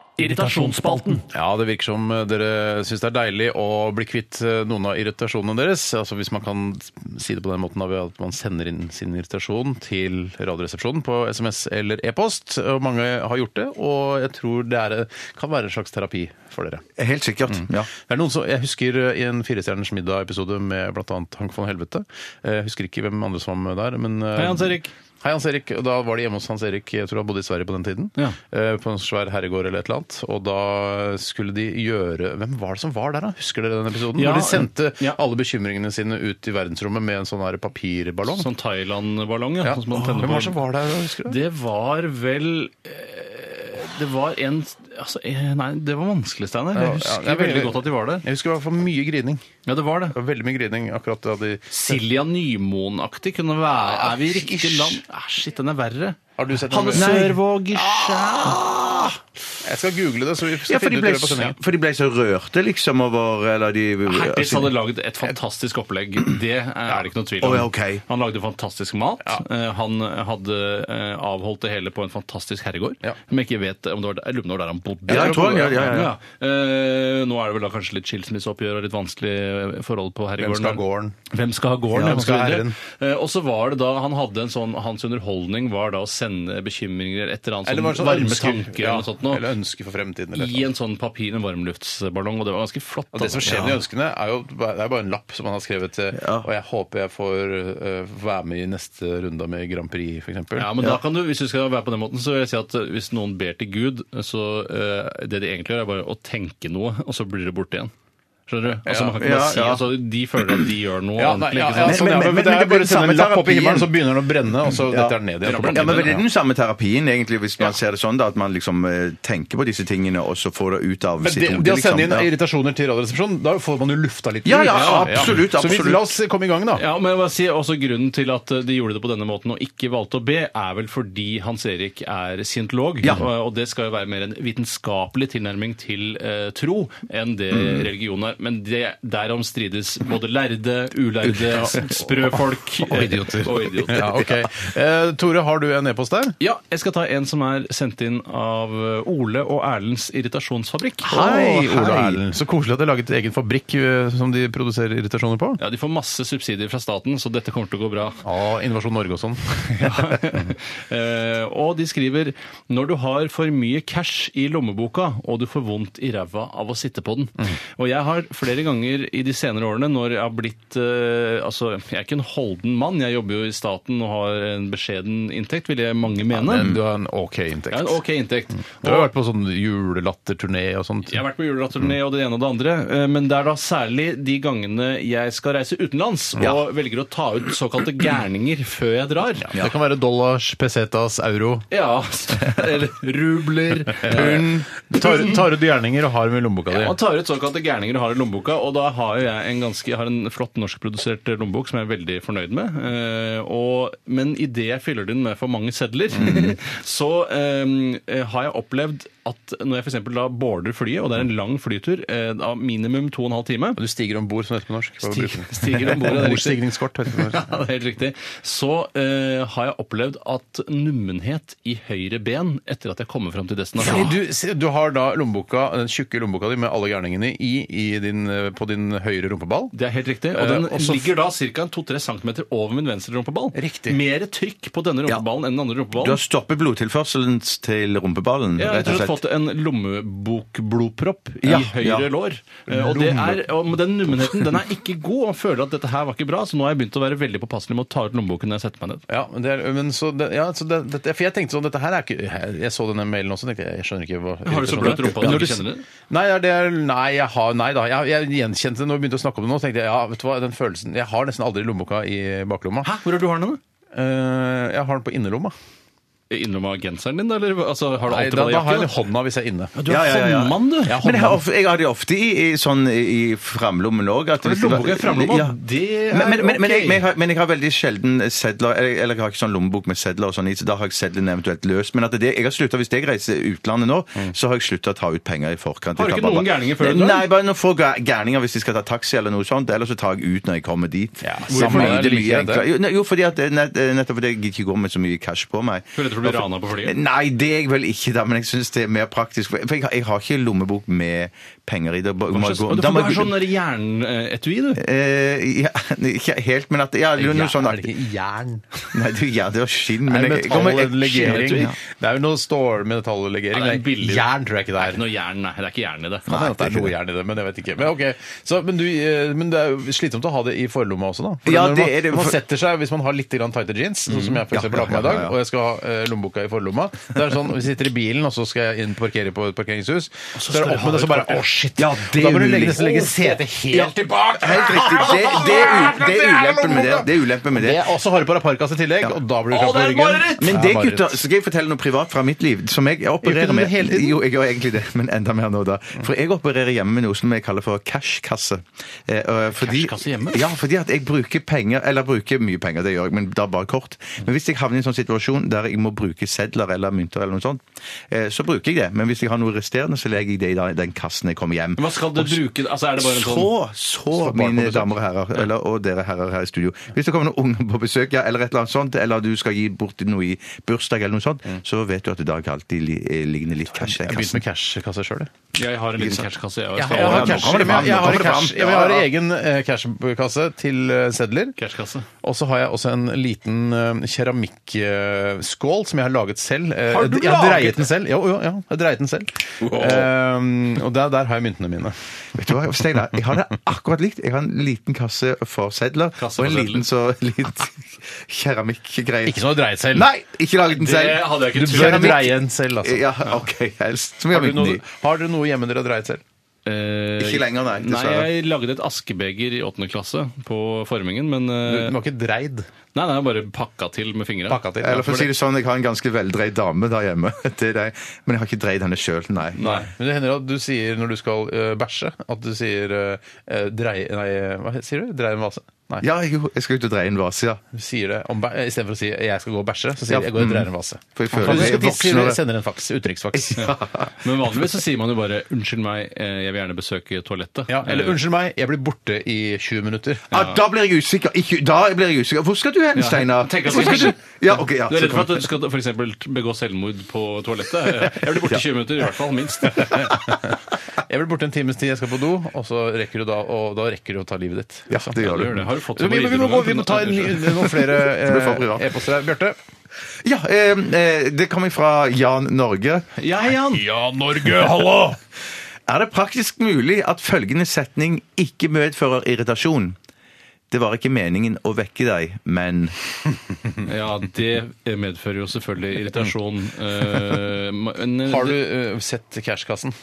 S5: Irritasjonsspalten.
S1: Ja, det virker som eh, dere syns det er deilig å bli kvitt eh, noen av irritasjonene deres. Altså Hvis man kan si det på den måten da, ved at man sender inn sin irritasjon til Radioresepsjonen på SMS eller e-post. Og Mange har gjort det, og jeg tror det er, kan være en slags terapi for dere.
S2: Helt sikkert. Ja.
S1: Det er noen som, jeg husker eh, i en Firestjerners middag-episode med bl.a. Hank von Helvete. Jeg husker ikke hvem andre som var med der. Men, eh,
S3: Hei, Hans Erik.
S1: Hei, Hans Erik. Og Da var de hjemme hos Hans Erik. Jeg tror han bodde i Sverige på den tiden.
S3: Ja.
S1: Eh, På en svær herregård eller et eller annet. Og da skulle de gjøre Hvem var det som var der, da? Husker dere den episoden?
S3: Ja,
S1: Når de sendte
S3: ja.
S1: alle bekymringene sine ut i verdensrommet med en sånn her papirballong.
S3: Sånn Thailand-ballong, ja.
S1: Ja.
S3: Sånn som man
S1: Åh,
S3: tenner
S1: Hvem
S3: på.
S1: var det som var der, da? Husker du?
S3: Det var vel eh, Det var en altså, eh, Nei, det var vanskelig, Steinar.
S1: Ja, ja,
S3: Jeg husker
S1: jeg-
S3: veldig godt at de var der.
S1: Jeg husker i hvert fall mye grining.
S3: Ja, det var det.
S1: Det var Veldig mye grining akkurat da de
S3: Silja Nymoen-aktig kunne være Er vi i riktig
S1: Ish.
S3: land? Ah, shit, den er verre.
S1: Har du sett
S3: Hanne
S1: noe-
S3: Sørvåg ah!
S1: Jeg skal google det, så vi skal
S2: Ja, for de
S1: finne ut
S2: ble,
S1: det på sendingen.
S2: for de ble så rørte, liksom, over eller de,
S3: Hertis
S1: sånn
S3: hadde lagd et fantastisk opplegg. Det er det ikke noe tvil om.
S2: Å, ja, ok.
S3: Han lagde fantastisk mat. Eh, Han hadde eh, avholdt det hele på en fantastisk herregård.
S1: Ja.
S3: Som jeg ikke vet om det var der, jeg lurer på om det var der han bodde.
S2: Ja, jeg tror han- ja, ja, ja.
S3: Eh, Nå er det vel da kanskje litt skilsmisseoppgjør og litt vanskelig eh, forhold på herregården.
S1: Hvem skal ha gården?
S3: Hvem skal ha gården?
S1: Ja,
S3: ja,
S1: hvem skal ha
S3: osv.
S1: æren?
S3: Eh, Og så var det da han hadde en sånn Hans underholdning var da å sende bekymringer eller et eller
S1: Eller
S3: annet
S1: var det
S3: sånn
S1: sånn
S3: varme
S1: ønsker?
S3: tanker
S1: Ja,
S3: eller noe sånt noe.
S1: Eller ønsker for fremtiden. Eller
S3: I en sånn papir, en varmluftsballong, og det var ganske flott.
S1: Og det som
S3: altså.
S1: skjer
S3: Ja.
S1: med de ønskene, er jo bare- det er bare en lapp som han har skrevet til. Og jeg håper jeg får øh, være med i neste runde med Grand Prix, f.eks.
S3: Ja, men da kan du, Hvis du skal være på den måten, så vil jeg si at eh, hvis noen ber til Gud, så eh, det de egentlig gjør, er bare å tenke noe, og så blir det borte igjen. Skjønner du? Altså,
S1: Ja.
S3: man kan ikke bare
S2: Ja,
S3: si,
S2: ja.
S3: altså, De føler at de gjør noe
S1: Ja, nei,
S3: ordentlig.
S1: ja,
S3: ikke
S1: ja,
S3: sant?
S1: sånn,
S2: Men-
S1: ja, men,
S2: men-
S1: det er
S2: men det
S1: bare
S2: blir
S1: å sende en
S2: samme
S1: lapp opp i
S2: terapien.
S1: himmelen, så begynner den å brenne, og så detter den ned igjen. på
S2: Ja, men Det er
S1: bakken.
S2: den samme terapien, egentlig, hvis man ser det sånn, da, at man liksom eh, tenker på disse tingene, og så får det ut av
S1: Men
S2: sitt
S1: det,
S2: hode.
S1: det å sende inn
S2: liksom. Ja.
S1: irritasjoner til Radioresepsjonen, da får man jo lufta litt.
S2: Ja, ja,
S1: ut.
S2: absolutt,
S1: Så vi,
S2: absolutt.
S1: la oss komme i gang, da.
S3: Ja, men jeg vil bare si også Grunnen til at eh, de gjorde det på denne måten og ikke valgte å be, er vel fordi Hans Erik er scientolog.
S2: Ja.
S3: Og, og det skal jo være mer en vitenskapelig tilnærming til eh, tro enn det religion er. Men det, derom strides både lærde, ulærde, sprø folk eh, Og idioter.
S1: Ja, ok. Eh, Tore, har du en e-post der?
S3: Ja, jeg skal ta en som er sendt inn av eh, Ole og Erlends irritasjonsfabrikk.
S1: Hei, Ola Erlend. Så koselig at de har laget egen fabrikk eh, som de produserer irritasjoner på.
S3: Ja, De får masse subsidier fra staten, så dette kommer til å gå bra.
S1: Ja, Innovasjon Norge og sånn.
S3: Eh, og de skriver når du har for mye cash i lommeboka og du får vondt i ræva av å sitte på den.
S1: Mm.
S3: Og jeg har flere ganger i de senere årene når jeg har blitt eh, Altså, jeg er ikke en holden mann, jeg jobber jo i staten og har en beskjeden inntekt, vil jeg mange mene.
S1: Men du har en OK inntekt.
S3: jeg har en ok inntekt.
S1: Du har vært på sånn julelatterturné og sånt.
S3: Jeg har vært på julelatterturné og det ene og det andre, eh, men det er da særlig de gangene jeg skal reise utenlands og velger å ta ut såkalte gærninger før jeg drar.
S1: Det kan være dollars, pesetas, euro.
S3: Ja, eller rubler, pund
S1: Tar, tar ut gjerninger og har dem i lommeboka di.
S3: Man tar ut såkalte gærninger og har i lommeboka, og da har jo jeg en ganske jeg har en flott norskprodusert lommebok som jeg er veldig fornøyd med. Eh, og, men idet jeg fyller den med for mange sedler, så eh, har jeg opplevd at når jeg f.eks. da boarder flyet, og det er en lang flytur eh, av minimum to og en halv time
S1: Du stiger om bord, som det heter på norsk. Hva
S3: Stig-
S1: bruker du?
S3: stiger om bord, det er riktig.
S1: Bordstigningskort, heter det på norsk.
S3: Ja, det er helt riktig. Så eh, har jeg opplevd at nummenhet i høyre ben etter at jeg kommer fram til
S1: Fordi
S3: destinasjonen.
S1: Du, se, du har da lommeboka, den tjukke lommeboka di med alle gjerningene i, i din, eh, på din høyre rumpeball.
S3: Det er helt riktig. Og den
S1: Eh, også-
S3: ligger da ca. 2-3 cm over min venstre rumpeball.
S1: Riktig.
S3: Mer trykk på denne rumpeballen enn den andre
S2: Du
S3: rumpeballen.
S2: har stoppet blodtilførselen til rumpeballen,
S3: Ja,
S2: rett og
S3: jeg tror jeg har
S2: slett.
S3: fått en lommebokblodpropp i
S2: Ja,
S3: høyre
S2: ja.
S3: lår. Eh, Og, det er, og med den nummenheten den er ikke god, og føler at dette her var ikke bra, så nå har jeg begynt å være veldig påpasselig med å ta ut lommeboken når jeg setter meg ned.
S1: Ja, men det er, men så det, ja, så det, dette- for jeg tenkte sånn, dette her er ikke Jeg, jeg så denne mailen også, tenkte jeg, jeg skjønner ikke hva
S3: Har du så bløt rumpe at du
S1: Men når
S3: ikke
S1: s-
S3: kjenner det?
S1: Nei, ja, det er, nei, jeg har, nei da. Jeg, jeg gjenkjente det når vi begynte å snakke om det nå. så tenkte jeg, ja, vet du hva, den følelsen Jeg har nesten aldri lommeboka i baklomma.
S3: Hvor er du har den, da?
S1: Eh, jeg har den på innerlomma.
S3: innlomma av genseren din, da? Eller altså, har du
S1: Nei,
S3: alltid
S1: da,
S3: bare
S1: da har jeg den
S3: jakke?
S1: i hånda hvis jeg er inne.
S3: Du er håndmann, du.
S1: Ja,
S2: Men jeg har, of- jeg har det ofte i, i, sånn, i framlommen òg.
S3: Lommebok er framlomma. Det er
S2: Men, men, men, men, jeg,
S3: ok.
S2: men, jeg har, men jeg har veldig sjelden sedler eller, eller jeg har ikke sånn lommebok med sedler og sånn i, så da har jeg sedlene eventuelt løs. Men at det, jeg har sluttet, hvis jeg reiser utlandet nå, så har jeg slutta å ta ut penger i forkant.
S3: Mm. Har du
S2: Jeg
S3: ikke
S2: tar
S3: noen gærninger før du drar?
S2: Nei, bare noen få gær- gærninger hvis de skal ta taxi eller noe sånt. Eller så tar jeg ut når jeg kommer dit.
S1: Ja,
S2: Så
S1: hvorfor
S2: mye-
S1: er
S2: det er mye
S1: det like det?
S2: enklere. Jo, nei, Jo, fordi at, det- nett- eh, nettopp fordi jeg gidder ikke gå med så mye cash på meg.
S3: Du er redd for å bli rana
S1: Eh,
S3: på flyet?
S2: Nei, det er jeg vel ikke, da, men jeg syns det er mer praktisk. For for jeg, har- jeg har ikke lommebok med penger i. Da må jeg gå-
S3: Men Du
S2: da må
S3: får
S2: jeg
S3: være
S2: gå-
S3: sånn der jernetui, du.
S2: Eh, ja, ikke helt, men at ja, noe sånn aktig.
S1: jern?
S2: Nei, du, ja, det var skinn, men
S1: Men
S2: jeg- jeg kommer- jeg-
S1: metallegering.
S2: skinn, ja.
S1: Det er jo noe stål med metallegering.
S3: Ja, det er
S1: men
S3: billig.
S1: Jern tror jeg ikke det er.
S3: Noe jern, nei. Det er ikke jern i det.
S1: Kan hende at det er noe jern i det, men jeg vet ikke. Men, ok. så, men, du, eh, men det er jo slitsomt å ha det i forlomma også, da. For
S2: Ja,
S1: når
S2: det
S1: man,
S2: er det. Mm.
S1: når man setter seg, Hvis man har litt grann tighte jeans, sånn som jeg for
S2: Ja,
S1: eksempel har på meg i
S2: ja,
S1: dag,
S2: ja, ja.
S1: og jeg skal ha eh, lommeboka i forlomma Det er sånn, Vi sitter i bilen, og så skal jeg inn parkere på et parkeringshus. Så er det opp med det, så bare Å, shit!
S2: Ja, det er
S1: da må du
S2: mulig.
S1: legge, nesten legge setet helt tilbake!
S2: Helt riktig. Det, det, er u, det er ulempen med det. Det er ulempen med det.
S1: Det er også harde på parkas i tillegg, og da blir du kramp på ryggen.
S2: Men
S1: Ja,
S2: det,
S1: mareritt.
S2: gutter, skal jeg fortelle noe privat fra mitt liv? Som jeg, jeg
S1: Gjør ikke
S2: opererer
S1: du det
S2: med
S1: hele tiden?
S2: Jo, jeg gjør egentlig det, men enda mer nå, da. For jeg opererer hjemme med noe som jeg kaller for cashkasse. Eh, og fordi-
S3: Cashkasse hjemme?
S2: Ja, fordi at jeg bruker penger, eller bruker mye penger, det gjør jeg, men da bare kort. Men hvis jeg havner i en sånn situasjon der jeg må bruke sedler eller mynter eller noe sånt, eh, så bruker jeg det. Men hvis jeg har noe resterende, så legger jeg det i da- den kassen jeg kommer hjem.
S3: Men Hva skal du bruke? Altså, er det bare en sånn
S2: Så, så, mine damer og herrer, eller, og dere herrer her i studio. Hvis det kommer noen unger på besøk, ja, eller et eller annet sånt, eller du skal gi bort noe i bursdag eller noe sånt,
S3: Mm.
S2: så vet du at det da ikke alltid li- eh, ligner litt cash i
S1: Jeg begynte
S2: kassen.
S1: med cash-kasse sjøl, jeg.
S3: Jeg har en liten cashkasse. Jeg,
S1: Jeg
S3: også.
S1: har, jeg har,
S2: nå
S1: cash,
S2: kommer det fram,
S1: men jeg
S2: nå
S1: har,
S2: kommer det
S1: cash,
S2: fram.
S1: jeg har
S2: Ja, ja.
S1: egen eh, cashkasse til eh, sedler.
S3: Cashkasse.
S1: Og så har jeg også en liten eh, keramikkskål som jeg har laget selv. Eh,
S3: Har du
S1: jeg har
S3: laget
S1: dreiet den selv? Jo, jo, ja, jeg har dreiet den selv. Eh, og der, der har jeg myntene mine.
S2: Vet du hva, Steinar? Jeg har det akkurat likt. Jeg har en liten kasse for sedler,
S3: Kasse
S2: og
S3: for
S2: en liten så litt keramikkgreie.
S1: Ikke som du har dreiet selv.
S2: Nei, ikke laget den
S3: Det
S2: selv.
S3: hadde jeg
S1: Du
S3: ikke
S1: bør
S2: Keramikk.
S1: dreie en selv, altså.
S2: Ja, ok, helst. Som jeg har
S1: Har, du
S2: mynt i.
S1: noe, har dere noe hjemme dere har dreiet selv?
S3: Eh,
S2: Ikke lenger, nei,
S3: Nei,
S2: dessverre.
S3: jeg lagde et askebeger i åttende klasse på formingen, men
S1: Du,
S3: eh,
S1: du har ikke dreid
S3: Nei, nei, jeg bare pakka til med fingra.
S1: pakka til?
S2: Eller for å si
S1: det.
S2: det sånn, jeg har en ganske veldreid dame der hjemme. Det er deg. Men jeg har ikke dreid henne sjøl, nei.
S3: Nei.
S1: Men det hender at du sier når du skal eh, bæsje, at du sier eh, dreie Nei, hva sier du? Dreie en vase? Nei.
S2: Ja, jo, jeg skal ut og dreie en vase, ja.
S1: Du sier det om bæ- Istedenfor å si 'jeg skal gå og bæsje', så sier du 'jeg går og dreier en vase'.
S2: For jeg føler
S1: Hvis du
S2: jeg
S1: skal
S2: er
S1: tisse,
S2: voksen. og-
S1: sender en faks. Uttrykksfaks.
S3: Men vanligvis så sier man jo bare 'unnskyld meg, eh, jeg vil gjerne besøke toalettet'.
S1: Ja, eller
S3: Eh,
S1: 'unnskyld meg, jeg blir borte i 20 minutter'.
S2: Ah, da blir jeg usikker. Ikke, da blir jeg usikker. Hvor skal du hen, Steinar?
S3: tenk at
S2: Hvor
S3: du-
S2: skal du- Ja, ok, ja.
S3: Du er redd for at du skal for eksempel begå selvmord på toalettet? Jeg blir borte i 20 minutter, i hvert fall. Minst.
S1: Ah. Jeg blir borte en times tid, jeg skal på do, og så rekker du da, og da rekker du å ta livet ditt.
S2: Ja,
S1: liksom.
S2: det gjør
S3: Ja, det
S2: du.
S3: gjør det. Har du fått
S1: Vi, vi, vi, må, gå, vi må ta en,
S3: hemoroider?
S1: noen flere
S2: Det blir for privat.
S1: eh, e-poster her. Bjarte?
S2: Ja, eh, eh, det kommer fra Jan Norge.
S3: Ja, Jan!
S1: Ja, Norge, hallo!
S2: Er det praktisk mulig at følgende setning ikke medfører irritasjon? Det var ikke meningen å vekke deg, men
S3: Ja, det medfører jo selvfølgelig irritasjon. eh, men-
S1: Har du eh, sett cashkassen?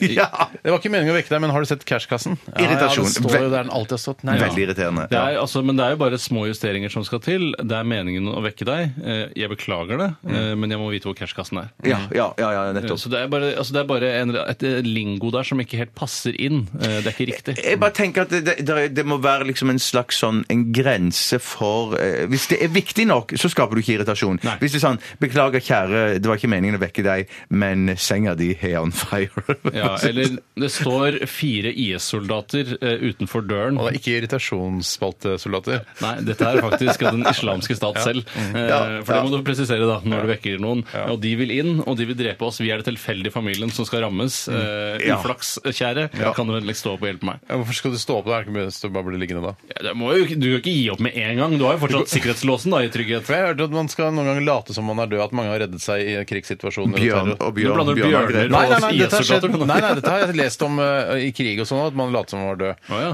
S2: Ja!
S1: Det var ikke meningen å vekke deg, men har du sett cashkassen? Ja,
S2: Irritasjon.
S1: Ja, det står jo der den alltid har stått. Nei,
S2: Veldig irriterende.
S3: Det er, altså, men det er jo bare små justeringer som skal til. Det er meningen å vekke deg. Eh, Jeg beklager det,
S1: Mm.
S3: eh, men jeg må vite hvor cashkassen er.
S2: Ja, ja, ja, ja
S3: Eh,
S2: nettopp.
S3: Så det er bare, altså det er bare en, et eh, lingo der som ikke helt passer inn. Eh, Det er ikke riktig.
S2: Jeg bare tenker at det, det, det er- det må være liksom en slags sånn en grense for eh, Hvis det er viktig nok, så skaper du ikke irritasjon.
S3: Nei.
S2: Hvis det er sånn 'Beklager, kjære, det var ikke meningen å vekke deg, men senga di er on fire'.
S3: Ja, eller det står fire IS-soldater eh, utenfor døren.
S1: Og det er ikke irritasjonsspaltesoldater.
S3: Nei, dette er faktisk den islamske stat selv. Eh,
S2: Mm. Ja,
S3: For det
S2: ja.
S3: må du presisere da, når du vekker noen. Og de vil inn, og de vil drepe oss. Vi er det tilfeldige familien som skal rammes. Eh,
S2: Mm. Ja.
S3: Uflaks, kjære. Kan du vennligst stå opp og hjelpe meg?
S1: Ja, Hvorfor skal du stå opp da? Er det ikke mye å bare bli liggende da?
S3: Ja, det må jo, ikke- du kan ikke gi opp med en gang. Du har jo fortsatt sikkerhetslåsen da, i trygghet.
S1: For jeg hørte at man skal noen ganger late som man er død, at mange har reddet seg i krigssituasjoner.
S2: Bjørn
S1: og terror.
S2: og
S3: Du
S2: bjørn,
S3: blander
S2: bjørn,
S3: bjørner.
S1: Nei, nei, nei, dette har skjedd.
S3: IS-soldater, men-
S1: nei, nei, dette har jeg lest om eh, i krig og sånn, at man later som man var død.
S3: Å, ja.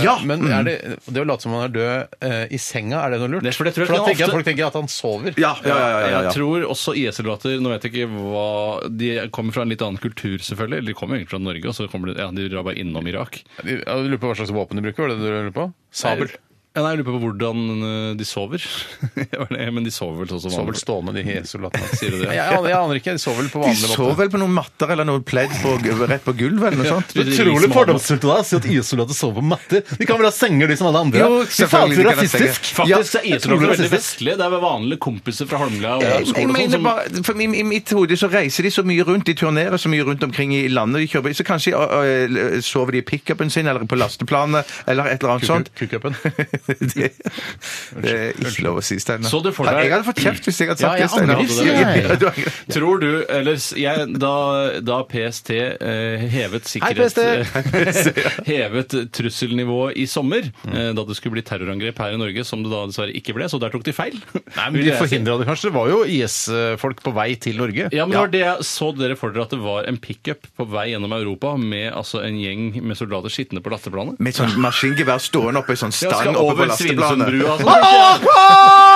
S1: Eh,
S2: Ja,
S1: Men er det, det å late som man er død eh, i senga, er det noe lurt?
S3: Det er for det tror jeg
S1: da
S3: ofte-
S1: tenker jeg at folk tenker at han sover.
S2: Ja, ja, ja, ja, ja,
S3: Jeg
S2: ja.
S3: tror også IS-soldater Nå vet jeg ikke hva De kommer fra en litt annen kultur, selvfølgelig. Eller De kommer egentlig fra Norge, og så kommer de, ja, de drar bare innom Irak.
S1: Jeg lurer på hva slags våpen de bruker, var det det du lurer på? Sabel.
S3: Ja, nei, jeg lurer på hvordan eh, de sover. Det var det, Men de sover vel sånn som
S1: Så vel
S3: vanlig.
S1: stående, de he- soldatene.
S3: Sier du det?
S1: Nei, Jeg, aner- jeg aner ikke. De så vel på
S2: De
S1: vanlig
S2: sov
S1: måte.
S2: vel på noen matter eller noe pledd på, rett på gulvet eller noe sånt?
S3: Det er utrolig fordomsfullt
S1: av deg å si at IS-soldater sover på matter. De kan vel ha senger, de som alle andre.
S2: Jo, Fy faen, selvfølgelig så de kan ha rasistisk. senger. Ja,
S1: Faktisk
S3: Jeg tror det er veldig vestlig. Det er vel vanlige kompiser fra Holmlia og
S2: Jeg, jeg
S3: skole og sånn
S2: mener
S3: som
S2: bare, for I i mitt hode så reiser de så mye rundt, de turnerer så mye rundt omkring i landet. de kjøper, Så kanskje ø, ø, sover de i pickupen sin eller på lasteplanet eller et eller annet sånt.
S1: Kukupen.
S2: det, det er ikke lov å si, Steinar.
S3: Så du for deg-
S2: Ja, Jeg hadde fått kjeft hvis jeg hadde
S1: Ja,
S2: sagt
S1: jeg
S2: det, Steinar.
S1: angrer, sier jeg.
S2: Ja, du angrer.
S3: Tror du, eller s- jeg, da, da PST eh, hevet sikkerhet Hevet trusselnivået i sommer, eh, da det skulle bli terrorangrep her i Norge, som det da dessverre ikke ble, så der tok de feil.
S1: Nei, men
S3: Vil
S1: De
S3: jeg si.
S1: forhindra det kanskje. Det var jo IS-folk på vei til Norge.
S3: Ja, men det var det jeg så dere for dere at det var en pickup på vei gjennom Europa med altså en gjeng med soldater sittende på lasteplanet?
S2: Med sånn maskingevær stående oppe i sånn
S3: Ja,
S2: stang
S3: skal
S2: oppe på
S3: over
S2: lasteplanet.
S3: Svinesundbrua og sånn.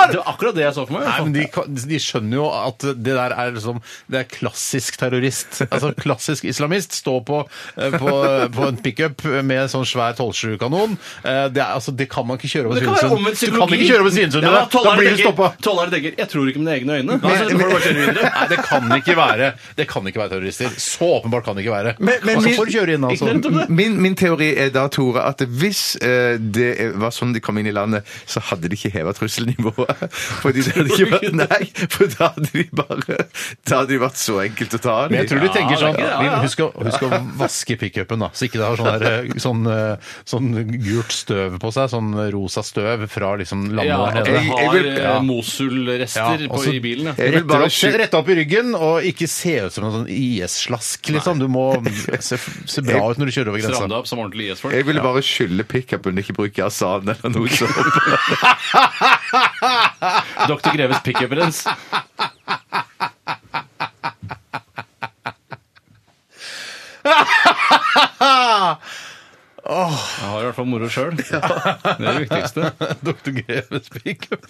S3: Det var akkurat det jeg så for meg.
S1: Nei, men de, de skjønner jo at det der er liksom Det er klassisk terrorist. Altså klassisk islamist. Stå på, eh, på, på en pickup med sånn svær 12-7-kanon. Eh, Det, er- altså, det kan man ikke kjøre over
S3: Det kan være
S1: Svinesund.
S3: omvendt
S1: Du
S3: psykologi.
S1: kan ikke kjøre over Svinesund. med det. da blir du stoppa.
S3: Tollere tenker 'jeg tror ikke mine egne øyne'. Altså, da får du bare kjøre videre.
S1: Nei, det kan ikke være Det kan ikke være terrorister. Så åpenbart kan det ikke være.
S2: Men- men
S1: og så
S2: min-
S1: får du kjøre inn, altså.
S3: Ignorant om det.
S2: Min, min teori er da, Tore, at hvis eh, det er- var sånn de kom inn i landet, så hadde de ikke heva trusselnivået. Fordi det hadde ikke vært Nei, for da hadde de bare Da hadde de vært så enkelt å ta av
S1: Men jeg tror de
S2: de.
S1: tenker sånn
S3: det er ikke det, ja, ja.
S1: vi- Husk å, husk å vaske pickupen, da. Så ikke det har sånn, der, eh, sånn, eh, sånn gult støv på seg. Sånn rosa støv fra liksom landet
S3: Ja, at
S1: der nede.
S3: du
S2: Jeg- jeg
S3: har
S2: vil-
S3: eh,
S1: ja.
S3: Mosul-rester
S1: Ja,
S3: på-
S1: også-
S3: i bilen. Ja.
S2: Jeg vil
S1: Rette
S2: bare
S1: opp,
S2: sky-
S1: rette opp i ryggen og ikke se ut som en sånn IS-slask, liksom. Du må se, se bra ut når du kjører over
S3: Stramme deg
S1: grensa.
S3: opp som ordentlig IS-folk.
S2: Jeg ville bare skylle pickupen, ikke bruke asan eller noe sånt.
S3: Dr. Greves pickup-rens. Jeg har i hvert fall moro sjøl. Det er det viktigste.
S1: Dr. Greves pickup.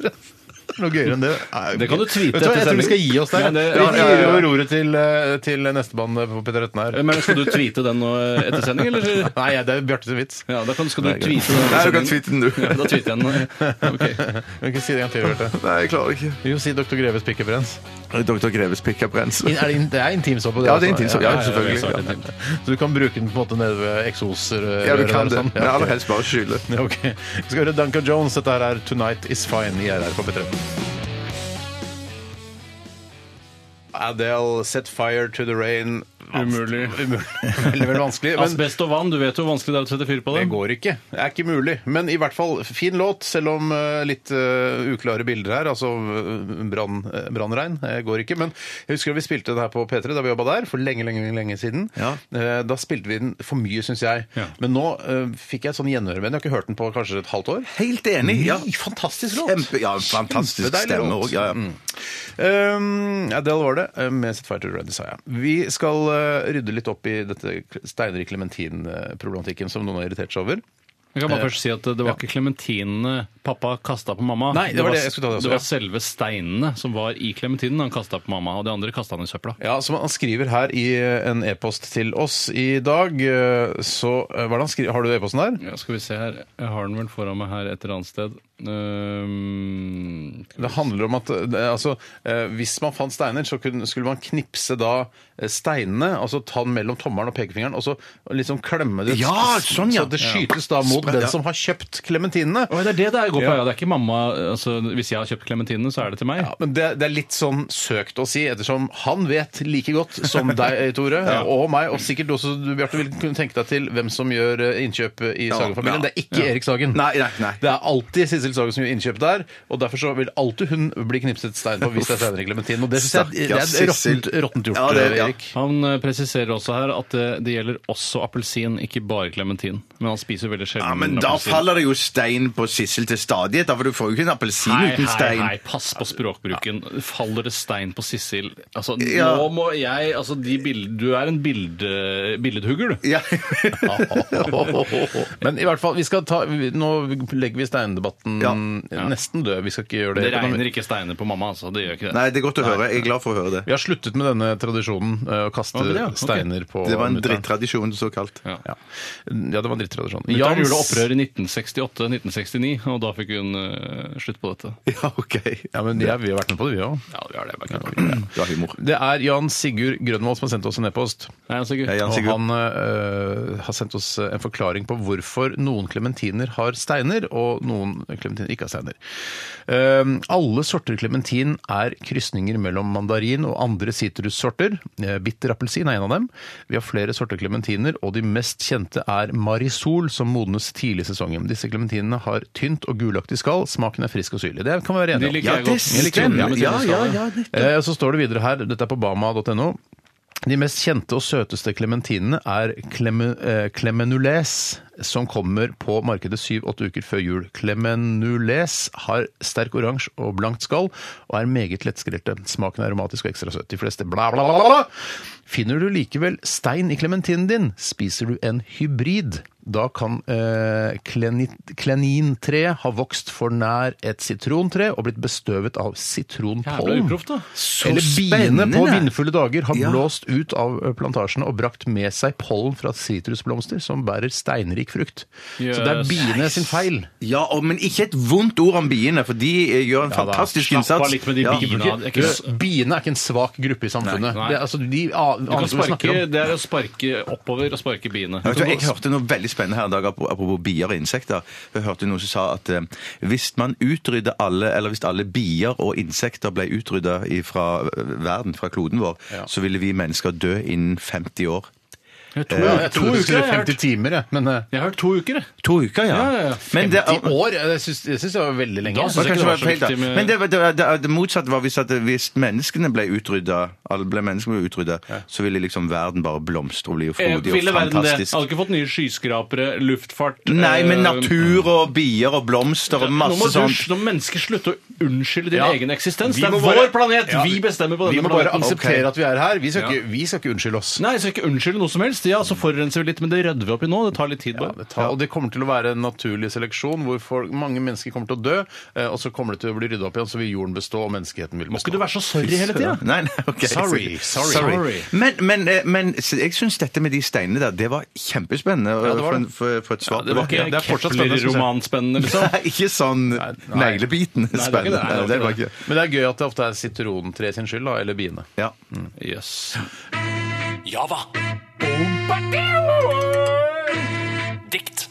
S1: Noe gøyere enn det er-
S3: Det kan du tweete
S1: Vet du hva, Jeg
S3: etter
S1: tror vi skal
S3: sending.
S1: gi oss der.
S3: Men det-
S1: Vi
S3: ja, ja,
S1: gir
S3: ja.
S1: over roret til, eh, til nestemann på P13 her.
S3: Eh, Men Skal du tweete den nå eh, etter sending, eller?
S1: Nei, det er Bjarte sin vits.
S3: Ja, da kan, skal du tweete den.
S2: Nei, du
S3: etter
S2: kan
S3: sending.
S2: tweete den, du.
S3: Ja, da tweeter jeg den. nå. Ok.
S1: Vi kan ikke si det en gang til, Bjarte.
S2: Nei, jeg klarer ikke.
S1: Jo, si Dr. Greves pickup-rens.
S2: Dr. Greves pickup-rens.
S1: In- er det in- Det er intimsåpe, det.
S2: Ja, det er
S1: også.
S2: intimsåpe, ja, selvfølgelig.
S1: ja, ja. Så du kan bruke den på en måte nede ved eksosrøret?
S2: Ja, du kan
S1: eller
S2: det.
S1: sånn?
S2: Men aller helst bare skyle.
S1: Ja, ok. Vi skal høre Duncan Jones. Dette her er 'Tonight Is Fine' i RR på P13. Adele, set fire to the rain.
S3: Umulig.
S1: Umulig. Veldig, veldig vanskelig. Men
S3: Asbest og vann, du vet jo hvor vanskelig det er å sette fyr på
S1: det
S3: det.
S1: går ikke. Det er ikke mulig. Men i hvert fall fin låt, selv om eh, litt eh, uklare bilder her. Altså eh, brann- eh, brannregn eh, går ikke. Men jeg husker da vi spilte den her på P3 da vi jobba der, for lenge, lenge lenge, lenge siden.
S2: Ja.
S1: Eh, Da spilte vi den for mye, syns jeg.
S3: Ja.
S1: Men nå eh, fikk jeg sånn gjenhør med den. Jeg har ikke hørt den på kanskje et halvt år.
S2: Helt enig. Ja.
S1: Ny, Fantastisk låt!
S2: Kjempe, ja, fantastisk
S1: Kjempedeilig
S2: stemme
S1: låt.
S2: òg. Ja, ja.
S1: Mm. Um, Adele var det, eh, med sitt Fighter Ready, sa jeg. Vi skal eh, rydde litt opp i dette Steinar Clementin-problematikken som noen har irritert seg over.
S3: Jeg kan bare først si at Det var ikke klementinene pappa kasta på mamma.
S1: Nei, det var det jeg skulle ta det også,
S3: det var selve steinene som var i klementinen han kasta på mamma. Og det andre kasta han i søpla.
S1: Ja, som han skriver her i eh, en e-post til oss i dag, eh, så eh, hva er det han skriver? Har du e-posten der?
S3: Ja, skal vi se her. Jeg har den vel foran meg her et eller annet sted. Ehm,
S1: Det handler om at eh, det- altså, eh, hvis man fant steiner, så kunne, skulle man knipse da eh, steinene, altså ta den mellom tommelen og pekefingeren, og så liksom klemme det.
S2: Ja, sånn, ja.
S1: Så det skytes da mot den som har kjøpt klementinene.
S3: Oi, det er det det går på.
S1: Ja.
S3: Ja. Det er ikke mamma altså, Hvis jeg har kjøpt klementinene, så er det til meg.
S1: Ja, men det, det er litt sånn søkt å si, ettersom han vet like godt som deg, Tore, og meg, og sikkert også du, Bjarte, vil kunne tenke deg til hvem som gjør eh, innkjøp i Sagen-familien.
S2: ja.
S1: Det er ikke Erik Sagen.
S2: Nei, nei, nei.
S1: Det er alltid Sissel Sagen som gjør innkjøp der, og derfor så vil alltid hun bli knipset stein på hvis det er Steinar i Clementin. Og det synes jeg det
S2: Stakkars
S1: er
S2: Sissel.
S1: råttent, råttent gjort,
S2: Ja, det- ja.
S1: Erik.
S3: Han eh, presiserer også her at det, det gjelder også appelsin, ikke bare klementin. Men han spiser veldig sjelden
S2: Ja, men da
S3: appelsin.
S2: faller det jo stein på Sissel til stadighet. da, For du får jo ikke en appelsin
S3: Hei,
S2: uten
S3: hei,
S2: stein.
S3: hei, pass på språkbruken. Faller det stein på Sissel? Altså,
S2: Ja.
S3: nå må jeg Altså, de bild, du er en bilde, billedhugger, du.
S2: Ja.
S1: Men i hvert fall, vi skal ta, vi- nå legger vi steindebatten
S2: Ja.
S1: nesten død. Vi skal ikke gjøre det.
S3: Det regner ikke steiner på mamma, altså. Det gjør ikke det.
S2: Nei, det er godt å høre. Jeg er glad for å høre det.
S1: Vi har sluttet med denne tradisjonen eh, å kaste
S3: Å, det er det, ja. Ok.
S1: steiner på
S2: Det var en
S1: mutter'n.
S2: drittradisjon, såkalt.
S1: Ja, det var en drittradisjon.
S3: Mutter'n
S1: Jans-
S3: gjorde opprør i 1968-1969, og da fikk hun eh, slutt på dette.
S2: Ja, OK.
S1: Ja, men jeg- vi har vært med på det, vi òg.
S3: Ja, vi har det. bare kødda.
S2: Du har humor.
S1: Det er Jan Sigurd Grønvold som har sendt oss en e-post.
S3: Nei, altså, ikke-
S2: Ja, Jan
S1: Og
S2: Sigurd.
S1: han eh, har sendt oss en forklaring på hvorfor noen klementiner har steiner, og noen klementiner ikke har steiner. Eh, alle sorter klementin er krysninger mellom mandarin og andre sitrussorter. Eh, Bitterappelsin er en av dem. Vi har flere sorter klementiner, og de mest kjente er marisol, som modnes tidlig i sesongen. Disse klementinene har tynt og gulaktig skall. Smaken er frisk og syrlig. Det kan vi være enige
S3: De
S1: om.
S3: liker
S2: Ja,
S3: jeg
S2: det
S3: godt. Jeg liker
S2: stemmer.
S3: godt.
S2: Ja, ja, ja. det-
S1: Eh, Så står det videre her, dette er på bama.no. De mest kjente og søteste klementinene er cleme- eh, clemenules, som kommer på markedet syv-åtte uker før jul. Clemenules har sterk oransje og blankt skall, og er meget lettskrelte. Smaken er aromatisk og ekstra søt. De fleste bla, bla, bla, bla, bla. Finner du likevel stein i klementinen din, spiser du en hybrid. Da kan eh, kleni- klenintreet ha vokst for nær et sitrontre og blitt bestøvet av
S3: Jævla
S1: sitronpollen.
S3: uproft, da.
S2: Så
S1: Eller biene på
S2: spennende.
S1: vindfulle dager har
S2: Ja.
S1: blåst ut av plantasjene og brakt med seg pollen fra sitrusblomster som bærer steinrik frukt. Så det er
S3: Yes.
S1: biene sin feil.
S2: Ja, og, men ikke et vondt ord om biene, for de eh, gjør en
S1: da,
S2: fantastisk
S3: slapp av
S2: innsats.
S3: litt med de
S2: ja.
S3: biene. Ja, det er ikke s-
S1: Du, biene er ikke en svak gruppe i samfunnet.
S3: Nei, nei.
S1: Det, er- altså, de a-
S3: Du kan
S1: aner ikke hva vi
S3: sparke,
S1: snakker om.
S3: det er å sparke oppover og sparke biene.
S2: Jeg, vet, du, jeg hørte noe veldig spennende her en dag apro- apropos bier og insekter. Jeg hørte noen som sa at eh, hvis man utrydder alle, eller hvis alle bier og insekter ble utrydda fra verden, fra kloden vår, så ville vi mennesker dø innen 50 år.
S3: To,
S1: Ja, jeg
S3: to
S1: trodde du
S3: uker
S1: skulle
S3: har jeg
S1: 50
S3: hørt.
S1: timer, jeg. Men eh,
S3: Jeg har hørt to uker, jeg.
S2: To uker, ja.
S3: Ja, ja, ja.
S2: Men det,
S1: i år eh, Jeg syns jeg syns det var veldig lenge.
S3: Da
S2: Det
S3: synes
S2: var
S3: jeg
S2: kanskje
S3: ikke det
S2: bare
S3: var så
S2: feil, da.
S3: viktig med-
S2: Men det, var- det, var- det, det motsatte var hvis, at, eh, hvis menneskene ble utrydda, alle ble menneskene ble utrydda, så ville liksom verden bare blomstre og bli
S3: Eh,
S2: frodig og
S3: Ville verden det?
S2: fantastisk.
S3: Hadde ikke fått nye skyskrapere, luftfart
S2: Nei, men
S3: eh,
S2: natur og bier og blomster og
S3: Nå må
S2: masse sånt.
S3: dusj, nå må mennesker slutte å unnskylde din
S1: Ja.
S3: egen eksistens.
S1: Vi
S3: Det er
S1: må
S3: vår
S1: bare-
S3: planet!
S1: Ja,
S3: vi bestemmer på
S1: Vi
S3: denne
S1: må bare
S3: planeten.
S1: akseptere
S2: Ok.
S1: at vi er her. Vi skal,
S3: Ja.
S1: ikke, vi skal ikke unnskylde oss.
S3: Nei, så ikke unnskylde noe som helst. Ja, så forurenser vi litt, men det redder vi opp i nå. Det tar litt tid,
S1: Ja,
S3: bare.
S1: det tar, og det kommer til å være en naturlig seleksjon hvor folk, mange mennesker kommer til å dø, eh, og så kommer det til å bli rydda opp igjen, så vil jorden bestå, og menneskeheten vil
S3: Må
S1: bestå.
S3: ikke du være så sorry hele tida?
S2: Nei, nei, ok.
S1: Sorry, sorry.
S3: Sorry.
S2: Men, men, eh, men s- jeg syns dette med de steinene der, det var kjempespennende eh,
S1: det var det.
S2: For, for, for et svar.
S3: Det var ikke
S2: Ja, det er fortsatt spennende, synes jeg.
S3: Kepler-romanspennende, liksom.
S2: Nei, ikke sånn
S1: nei.
S2: neglebitende
S3: det var ikke det.
S2: spennende.
S3: Nei,
S2: Nei, det var ikke det.
S1: Men det er gøy at det ofte er sitrontre sin skyld, da, eller biene.
S2: Ja.
S3: Mm. Yes.
S5: Java. Dikt.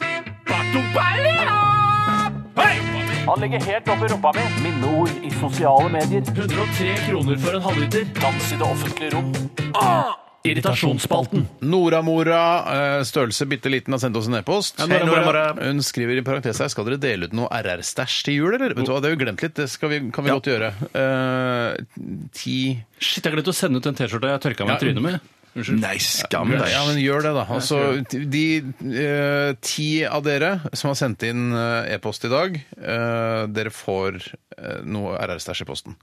S5: Han ligger helt oppi rumpa mi. Minneord i sosiale medier. 103 kroner for en halvliter. Dans i det offentlige rom. Ah! Irritasjonsspalten.
S1: Nora Mora, eh, størrelse bitte liten, har sendt oss en e-post.
S3: Hei, Nora Mora.
S1: Hun skriver i parentes her skal dere dele ut noe RR-stæsj til jul, eller? Vet du hva, Det er jo glemt litt, det skal vi, kan vi godt gjøre. Eh, ti
S3: Shit, jeg glemte å sende ut den T-skjorta jeg tørka meg i trynet med. Unnskyld.
S2: Nei, skam deg.
S1: Ja, men gjør det, da. Altså, de eh, ti av dere som har sendt inn eh, e-post i dag, eh, dere får eh, noe RR-stæsj i posten.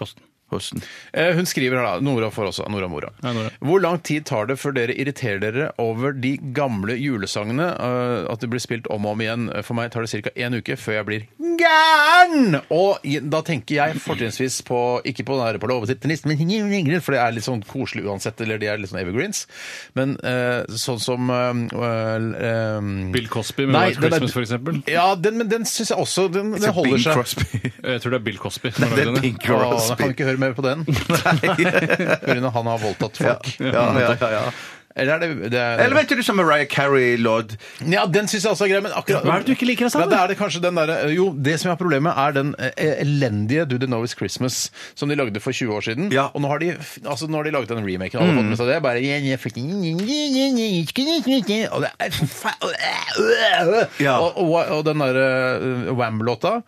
S3: Posten.
S2: Hvordan?
S1: Eh, hun skriver her, da. Nora får også. Nora Mora.
S3: Ja, Nora.
S1: Hvor lang tid tar det før dere irriterer dere over de gamle julesangene? eh, at det blir spilt om og om igjen? For meg tar det ca. én uke før jeg blir gæren! Og i- da tenker jeg fortrinnsvis på ikke på den her på låven til nissen, men ingen ringer, for det er litt sånn koselig uansett, eller de er litt sånn evergreens. Men eh, sånn som eh, eh,
S3: Bill Cosby med
S1: Nei,
S3: White
S1: den er-
S3: Christmas, for eksempel.
S1: Ja, den, men den syns jeg også Den, den
S2: Det
S1: holder
S2: Bing
S1: seg.
S2: Crosby.
S3: Eh, Jeg tror det er Bill Cosby. som har
S2: Det
S3: lagd
S2: er
S3: den, ja.
S2: Bing
S1: Åh, da kan vi
S2: Crosby.
S1: ikke høre mer på den. Pga. han har voldtatt folk.
S2: Ja, ja, ja, ja.
S1: Eller er det, det er,
S2: Eller vet du det som Mariah Carey, Lord
S1: Ja, den syns jeg også er grei, men akkurat
S3: Hva er det du ikke liker av
S1: ja,
S3: sangen?
S1: det er det kanskje den derre Jo, det som jeg har problemet med, er den eh, elendige Do They Know It's Christmas som de lagde for 20 år siden.
S2: Ja. Mm.
S1: Og nå har de f- altså, nå har de laget en remake, og alle har fått med seg det. Bare Og det er fa- øh,
S2: Ja.
S1: og, og, og den derre eh, Wham-låta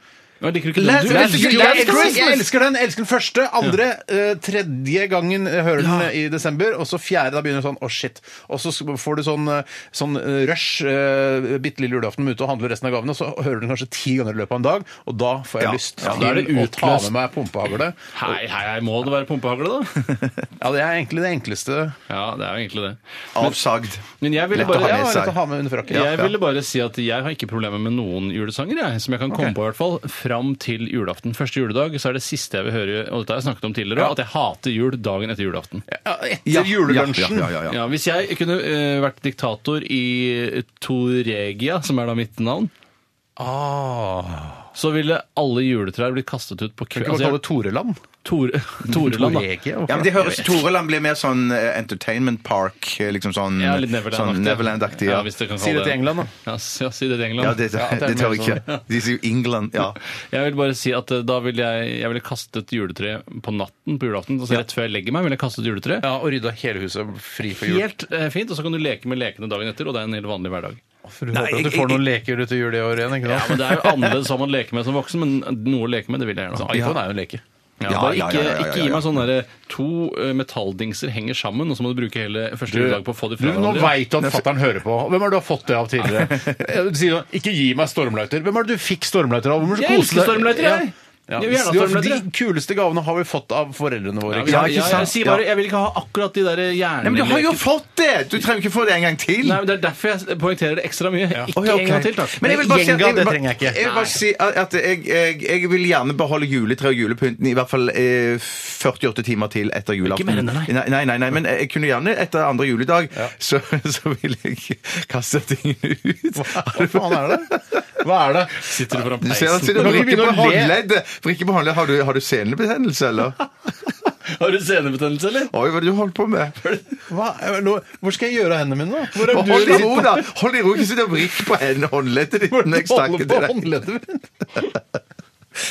S3: Ja, Liker du ikke
S2: Let's
S3: den? Du
S2: get
S3: elsker
S2: together.
S3: den.
S1: jeg elsker, jeg elsker den! Jeg elsker den første, andre, eh, tredje gangen jeg hører den eh,
S2: Ja.
S1: i desember, og så fjerde, da begynner du sånn å shit. Og så får du sånn, eh, sånn eh, rush eh, bitte lille julaften med ute og handler resten av gavene, og så hører du den kanskje ti ganger i løpet av en dag, og da får jeg
S2: Ja.
S1: lyst
S2: Ja,
S3: da er det
S1: til å ta
S3: utløst.
S1: med meg pumpehagle.
S3: Hei, hei, hei, må det være pumpehagle, da?
S1: Ja, det er egentlig det enkleste
S3: Ja, det er jo egentlig det.
S2: Avsagd?
S3: Men jeg ville
S2: Lett å
S3: bare
S2: ha
S1: ja,
S2: med
S1: det er
S2: seg.
S1: lett å ha med under frakken.
S3: Jeg ville bare si at jeg har ikke problemer med noen julesanger, jeg, som jeg kan komme på, i hvert fall. Fra fram til julaften. Første juledag så er det siste jeg vil høre, og dette har jeg snakket om tidligere, at jeg hater jul dagen etter julaften.
S1: Ja, etter julelunsjen.
S2: Ja, ja, ja, ja.
S3: Ja, hvis jeg kunne eh, vært diktator i Toregia, som er da mitt navn,
S2: Ah.
S3: så ville alle juletrær blitt kastet ut på altså,
S1: Kan
S3: kveld.
S1: ikke bare kalle det Toreland?
S3: Tore, Toreland, da.
S1: Toregia, hvorfor?
S2: Ja, men det høres Toreland blir mer sånn eh, Entertainment Park, eh, liksom sånn
S3: Ja, litt Neverland-aktig.
S2: sånn Neverland-aktig.
S3: Ja,
S2: Ja,
S3: hvis dere kan
S1: Si
S3: kalle
S1: det til England, da.
S3: Ja, s- ja, si det til England.
S2: ja, det,
S1: Ja,
S2: det,
S1: det er
S2: tør
S1: mer
S2: jeg ikke. De sier jo England. Ja.
S3: Jeg vil bare si at eh, da ville jeg, jeg ville kastet juletre på natten på julaften. Altså rett før jeg legger meg, ville jeg kastet juletre.
S1: Ja, Og rydda hele huset fri for jul.
S3: Helt eh, fint, og så kan du leke med lekene dagen etter, og det er en helt vanlig hverdag.
S1: For du håper at du får noen leker ut i jul i år igjen, ikke
S3: Ja,
S1: sant?
S3: men Det er jo annerledes hva man leker med som voksen, men noe å leke med, det vil jeg gjerne ha.
S1: iPhone er jo en leke.
S3: Ja,
S2: Ja,
S3: bare
S2: ja,
S3: ikke,
S2: ja, ja, ja,
S3: ikke gi
S2: ja.
S3: meg sånn derre to eh, metalldingser henger sammen, og så må du bruke hele første juledag på å få de
S1: Du,
S3: fra
S1: nå
S3: hverandre.
S1: veit du at fatter'n hører på. Hvem er det du har fått det av tidligere? Eh, Du sier jo 'ikke gi meg stormløyter'. Hvem er det du fikk stormløyter av? Hvorfor
S3: Jeg
S1: kose
S3: elsker
S1: deg?
S3: stormløyter, jeg.
S1: Ja.
S3: Jeg vil gjerne ha
S1: Det var
S3: stormløyter,
S1: De kuleste gavene har vi fått av foreldrene våre.
S3: Ja,
S1: ikke
S3: ja,
S1: sant?
S3: ja, jeg, sier bare, jeg vil ikke ha akkurat de der
S2: Nei, men du har jo
S3: jernlekene.
S2: fått det! Du trenger ikke få det en gang til.
S3: Nei, men Det er derfor jeg poengterer det ekstra mye. Ikke
S2: Å, ja, ok.
S3: en gang til, takk.
S2: Men jeg vil bare si at
S1: Gjenga,
S2: jeg,
S1: det
S2: vil bare-
S1: trenger jeg ikke.
S2: Jeg vil bare si at at jeg, jeg, jeg vil gjerne beholde juletre og julepynten i hvert fall eh, 48 timer til etter julaften.
S3: mer enn det,
S2: nei. Nei, nei, nei, men jeg kunne gjerne etter andre juledag, så, så vil jeg kaste tingene ut.
S1: Hva faen er det? Hva er det?
S3: Sitter du foran
S2: Du ser,
S3: peisen?
S2: sitter og
S1: Når vi
S2: vrikker
S1: begynner
S2: på
S1: å le-
S2: håndleddet. Vrikker på håndleddet. Har du, har du senebetennelse, eller?
S3: Har du senebetennelse, eller?
S2: Oi, hva er det du holder på med?
S1: Hva? Nå- Hvor skal jeg gjøre av hendene mine nå? Hvor
S2: Hold i ro, da! Hold i ro, ikke sitt og vrikk på hendene- håndleddet ditt. når jeg snakker til deg.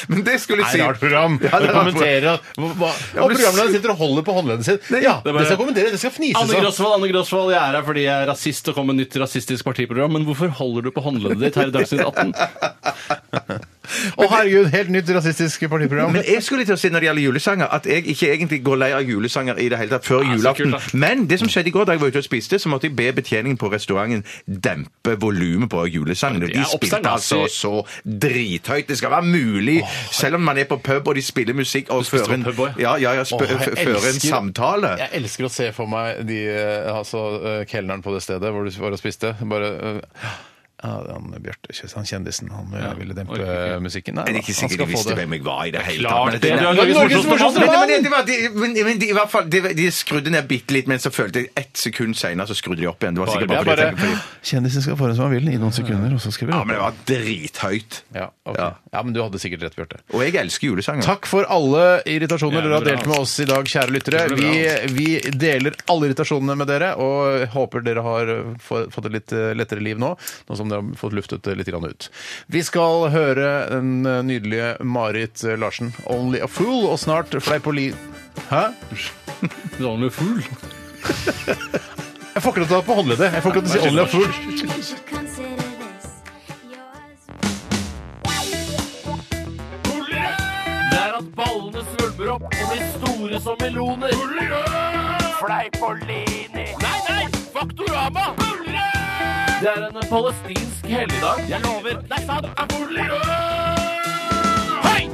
S2: Men det skulle jeg
S1: Nei,
S2: si.
S1: rart program.
S2: Ja, det er
S1: Du
S2: rart
S1: kommenterer at hva, hva,
S2: Ja,
S1: Og
S2: men-
S1: programlederen sitter og holder på håndleddet sitt.
S2: Nei,
S1: Ja,
S2: det
S3: er
S1: det
S3: bare-
S1: skal kommentere, det skal fnise
S3: Anne
S1: sånn.
S3: Grosvold, Anne Grosvold, jeg er her fordi jeg er rasist og kommer med nytt rasistisk partiprogram, men hvorfor holder du på håndleddet ditt her i Dagsnytt 18?
S1: Å herregud, helt nytt rasistisk partiprogram.
S2: Men jeg skulle til å si når det gjelder julesanger, at jeg ikke egentlig går lei av julesanger i det hele tatt før
S3: Ah, så
S2: julaften.
S3: kult, da.
S2: Men det som skjedde i går da jeg var ute og spiste, så måtte jeg be betjeningen på restauranten dempe volumet på julesangene.
S3: det er
S2: De spilte
S3: obsternasig.
S2: altså så drithøyt. Det skal være mulig, selv om man er på pub og de spiller musikk og
S3: spiste
S2: fører en,
S3: på pub også,
S2: ja, ja, ja, spø-
S1: Åh, jeg
S2: f- fører en
S1: elsker-
S2: samtale.
S1: Jeg elsker å se for meg de, eh, altså, eh, kelneren på det stedet hvor du var og spiste. Bare eh, ja, han Bjarte Kjøs, han kjendisen, han eh, ville dempe
S3: orker ikke.
S1: eh, musikken. Nei,
S2: Jeg er ikke
S1: da, han
S2: sikker
S1: skal
S2: de
S1: få
S2: visste
S1: det.
S2: hvem jeg var i det hele men
S3: klart det.
S2: er-
S3: Du er
S2: Men-
S3: Norges
S2: Norges
S3: morsomste
S2: morsomste
S3: mann!
S2: Men det var- de- men- men de- i hvert fall, de- de skrudde ned bitte litt, men så følte jeg ett sekund senere så skrudde de opp igjen. Det var sikkert
S1: Det
S2: bare
S1: er
S2: fordi jeg
S1: bare
S2: tenkte på de-
S1: Kjendisen skal få det som han vil i noen sekunder, og så skal vi
S2: Ja, men det var drithøyt.
S1: ja, ok.
S2: Ja.
S1: ja, men du hadde sikkert rett, Bjarte.
S2: Og jeg elsker julesanger.
S1: Takk for alle irritasjoner
S3: Ja,
S1: dere har
S3: bra.
S1: delt med oss i dag, kjære lyttere.
S3: Det ble
S1: Vi, vi deler alle irritasjonene med dere, og håper dere har få- fått et litt eh, lettere liv nå, nå som dere har fått luftet det litt grann ut. Vi skal høre den eh, nydelige Marit eh, Larsen, 'Only a Fool', og snart Fleipoli... Hæ?
S3: Du er only a fool.
S1: Jeg får ikke lov til å ta på håndleddet. Jeg får ikke lov til å si 'Only a Fool'.
S6: You should consider this yours.
S5: Det er at ballene svulmer opp og blir store som meloner. Fleipolini. Nei, nei! Faktorama! Det er en palestinsk helligdag. Jeg lover. Det er sant. Hei!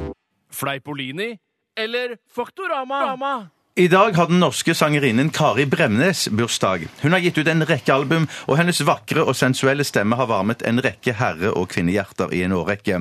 S5: Fleipolini eller Faktorama?
S2: I dag har den norske sangerinnen Kari Bremnes bursdag. Hun har gitt ut en rekke album, og hennes vakre og sensuelle stemme har varmet en rekke herre- og kvinnehjerter i en årrekke.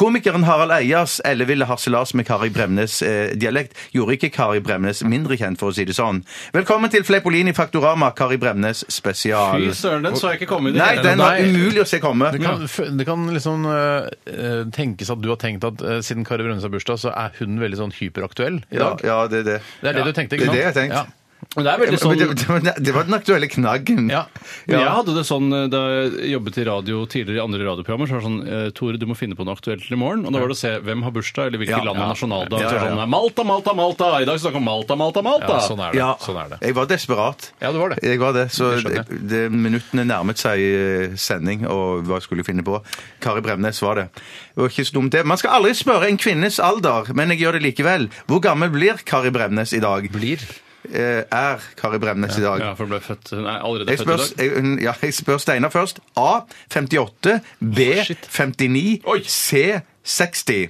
S2: Komikeren Harald Eias elleville harselas med Kari Bremnes-dialekt gjorde ikke Kari Bremnes mindre kjent, for å si det sånn. Velkommen til Fleipolini Faktorama, Kari Bremnes spesial.
S3: Fy søren, den så jeg ikke komme i det
S2: Nei,
S3: hele
S2: den var
S1: Nei.
S2: umulig å se komme.
S1: Det kan, f- det kan liksom eh, eh, tenkes at du har tenkt at eh, siden Kari Brønnes har bursdag, så er hun veldig sånn hyperaktuell i
S2: Ja,
S1: dag.
S2: ja, det er det.
S1: Det er det du tenkte,
S2: Det er
S1: ikke sant?
S2: det jeg har tenkt.
S1: Ja.
S3: Men Det er veldig
S2: Men
S3: sånn...
S2: det, det, det var den aktuelle knaggen.
S1: Ja.
S3: Men Jeg hadde det sånn eh, da jeg jobbet i radio tidligere i andre radioprogrammer, så var det sånn eh, Tore, du må finne på noe aktuelt til i morgen. Og da var det å se hvem har bursdag, eller hvilke
S2: Ja,
S3: land
S2: ja.
S3: har nasjonaldag.
S2: Ja, ja,
S3: Så var det
S2: ja.
S3: sånn, Malta, Malta, Malta! I dag snakker vi om Malta, Malta, Malta!
S1: Ja, sånn er det.
S2: Ja.
S1: Sånn er det.
S2: Jeg var desperat.
S1: Ja, du var det.
S2: Jeg var det, så
S1: Det skjønner
S2: det, det, Minuttene nærmet seg eh, sending, og hva skulle jeg finne på? Kari Bremnes var det. Det var ikke så dumt, det. Man skal aldri spørre en kvinnes alder, men jeg gjør det likevel. Hvor gammel blir Kari Bremnes i dag?
S1: Blir.
S2: Eh, er Kari Bremnes i dag?
S3: Ja, for hun ble født Hun er allerede
S2: Jeg
S3: født i
S2: spør,
S3: dag.
S2: jeg, hun- ja, jeg spør Steinar først. A 58, B
S3: shit.
S2: 59,
S3: Oi.
S2: C 60.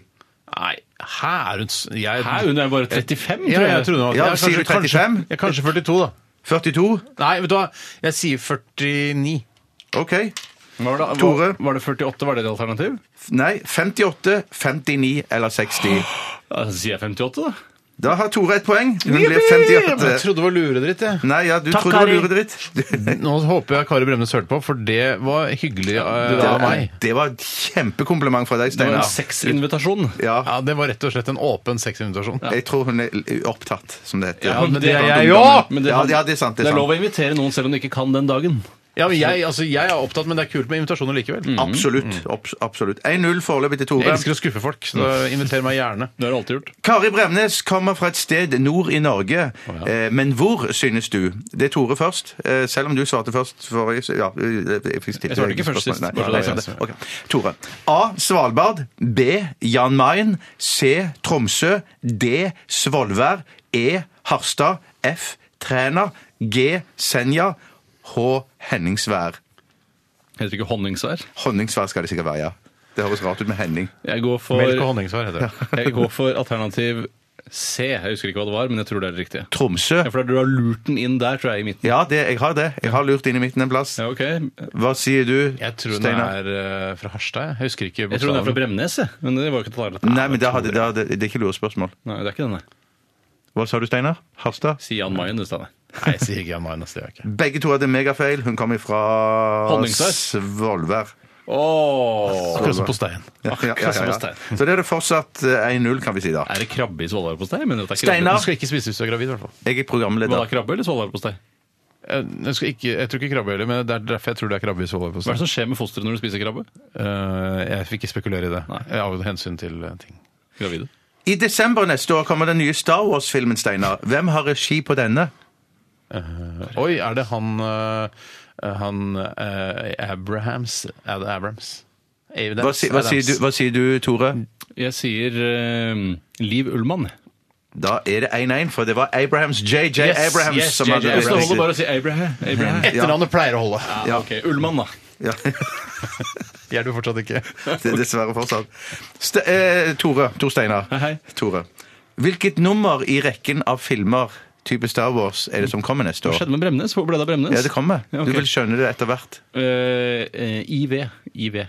S1: Nei, hæ er hun s- jeg,
S3: Hæ, hun er bare 35,
S1: Ja,
S3: tror
S1: jeg
S3: jeg.
S1: trodde hun var
S2: Ja,
S1: jeg,
S2: sier du 35?
S1: Kanskje, jeg, kanskje 42, da.
S2: 42?
S1: Nei, vet du hva. Jeg sier 49.
S2: OK.
S3: Var det,
S2: Tore?
S3: Var, var det 48? Var det et alternativ?
S2: Nei, 58, 59 eller 60.
S3: Ja, Så sier jeg 58, da.
S2: Da har Tore et poeng. Hun blir
S1: Jeg
S2: 58.
S1: trodde det var luredritt, jeg.
S2: Nei, ja, du
S5: Takk,
S2: trodde det var
S5: Kari.
S2: luredritt.
S1: Nå håper jeg Kari Bremnes hørte på, for det var hyggelig eh, av meg.
S2: Det var et kjempekompliment fra deg,
S3: Det
S2: Steinar.
S3: var en sexinvitasjon.
S2: Ja,
S1: Ja, Det var rett og slett en åpen sexinvitasjon.
S2: jeg tror hun er opptatt, som det heter.
S3: Ja, men det er ungdommen.
S1: jeg jo!
S3: Men
S2: Ja, ja, det er sant, det er sant.
S3: lov å invitere noen selv om du ikke kan den dagen.
S1: Ja, men jeg, altså, jeg er opptatt, men det er kult med invitasjoner likevel.
S3: Mm.
S2: Mm. Absolutt. obs- absolutt. 1-0 foreløpig til
S1: Jeg
S2: Tore.
S1: elsker å skuffe folk,
S2: Mm.
S1: så inviter meg gjerne.
S3: Det har du alltid gjort.
S2: Kari Bremnes kommer fra et sted nord i Norge,
S3: ja.
S2: eh, men hvor, synes du? Det er Tore først, eh, selv om du svarte først forrige s- ja, eh, jeg, fikk stilt-
S3: Jeg svarte ikke først
S2: spørsmål.
S3: sist,
S2: Nei,
S3: bare så
S2: nei,
S3: det er
S2: sant det. Ok. Tore. A. Svalbard. B. Jan Mayen. C. Tromsø. D. Svolvær. E. Harstad. F. Træna. G. Senja. H. Henningsvær.
S3: Heter ikke honningsvær.
S2: Honningsvær skal det sikkert være, ja. Det høres rart ut med Henning.
S3: Jeg går
S1: Melk og
S3: for,
S1: honningsvar heter det.
S3: jeg går for alternativ C. Jeg husker ikke hva det var, men jeg tror det er det riktige.
S2: Tromsø.
S3: Ja, for du har lurt den inn der, tror jeg, i midten.
S2: Ja, det, jeg har det. Jeg har lurt inn i midten en plass.
S3: Ja, ok. Jeg
S2: Hva sier du,
S1: Jeg tror den
S2: Steinar?
S1: er eh, fra Harstad. Jeg husker ikke
S3: tror den er fra
S1: bokstaven.
S3: Bremnes, jeg. Men det var jo ikke et alternativ.
S2: Nei, men det, hadde, det, hadde, det er ikke lurespørsmål.
S3: Nei, det er ikke den, nei.
S2: Hva sa du, Steinar? Harstad?
S3: Si Jan Mayen, du, Steinar.
S1: Nei, jeg sier ikke Jan Mayen. ass, Det gjør jeg ikke.
S2: Begge to hadde megafeil. Hun kom ifra
S3: Honningsvær.
S2: Svolvær.
S3: Åh!
S1: Akkurat som posteien.
S2: Ja, ja, ja,
S3: Akkurat som
S2: ja.
S3: hos Stein.
S2: Så det er det fortsatt eh, 1-0, kan vi si da.
S3: Er det krabbe i svolværpostei? Men det er krabbe.
S2: Steinar!
S1: Du skal ikke spise hvis du er gravid, i hvert fall.
S2: Jeg er
S3: Hva
S2: programleder.
S3: er krabbe eller svolværpostei?
S1: Jeg, jeg, skal ikke, jeg tror ikke krabbe heller, men det er derfor jeg tror det er krabbe i
S3: Hva er
S1: svolværpostei.
S3: det som skjer med fosteret når du spiser krabbe?
S1: Eh, jeg fikk ikke spekulere i det,
S3: Nei.
S1: av hensyn til eh, ting.
S3: Gravide.
S2: I desember neste år kommer den nye Star Wars-filmen, Steinar. Hvem har regi på denne?
S1: Oi, er det han eh, Han eh, Abrahams Er det Abrams? Abrams?
S2: Hva, si, hva, sier, du, hva sier du, Tore?
S3: Jeg sier eh, Liv Ullmann.
S2: Da er det 1-1, for det var Abrahams JJ
S1: Yes,
S2: Abrahams
S1: yes,
S2: som
S1: JJ
S2: hadde
S3: Jeg
S1: Abrahams.
S3: det holder
S2: regi.
S3: bare å si Abraham. Abraham.
S1: Etternavnet pleier å holde.
S3: Ja, ok. Ullmann, da.
S2: Ja,
S1: Gjør du fortsatt ikke?
S2: det er dessverre fortsatt. Ste eh, Tore. Tor Steinar.
S3: Hei, hei.
S2: Tore. Hvilket nummer i rekken av filmer type Star Wars er det som kommer neste
S3: Hva
S2: år?
S3: skjedde med Bremnes? Hvor ble det av Bremnes?
S2: Ja, det kommer.
S3: Ja, ok.
S2: Du vil skjønne det etter hvert.
S3: Eh, eh, IV. IV.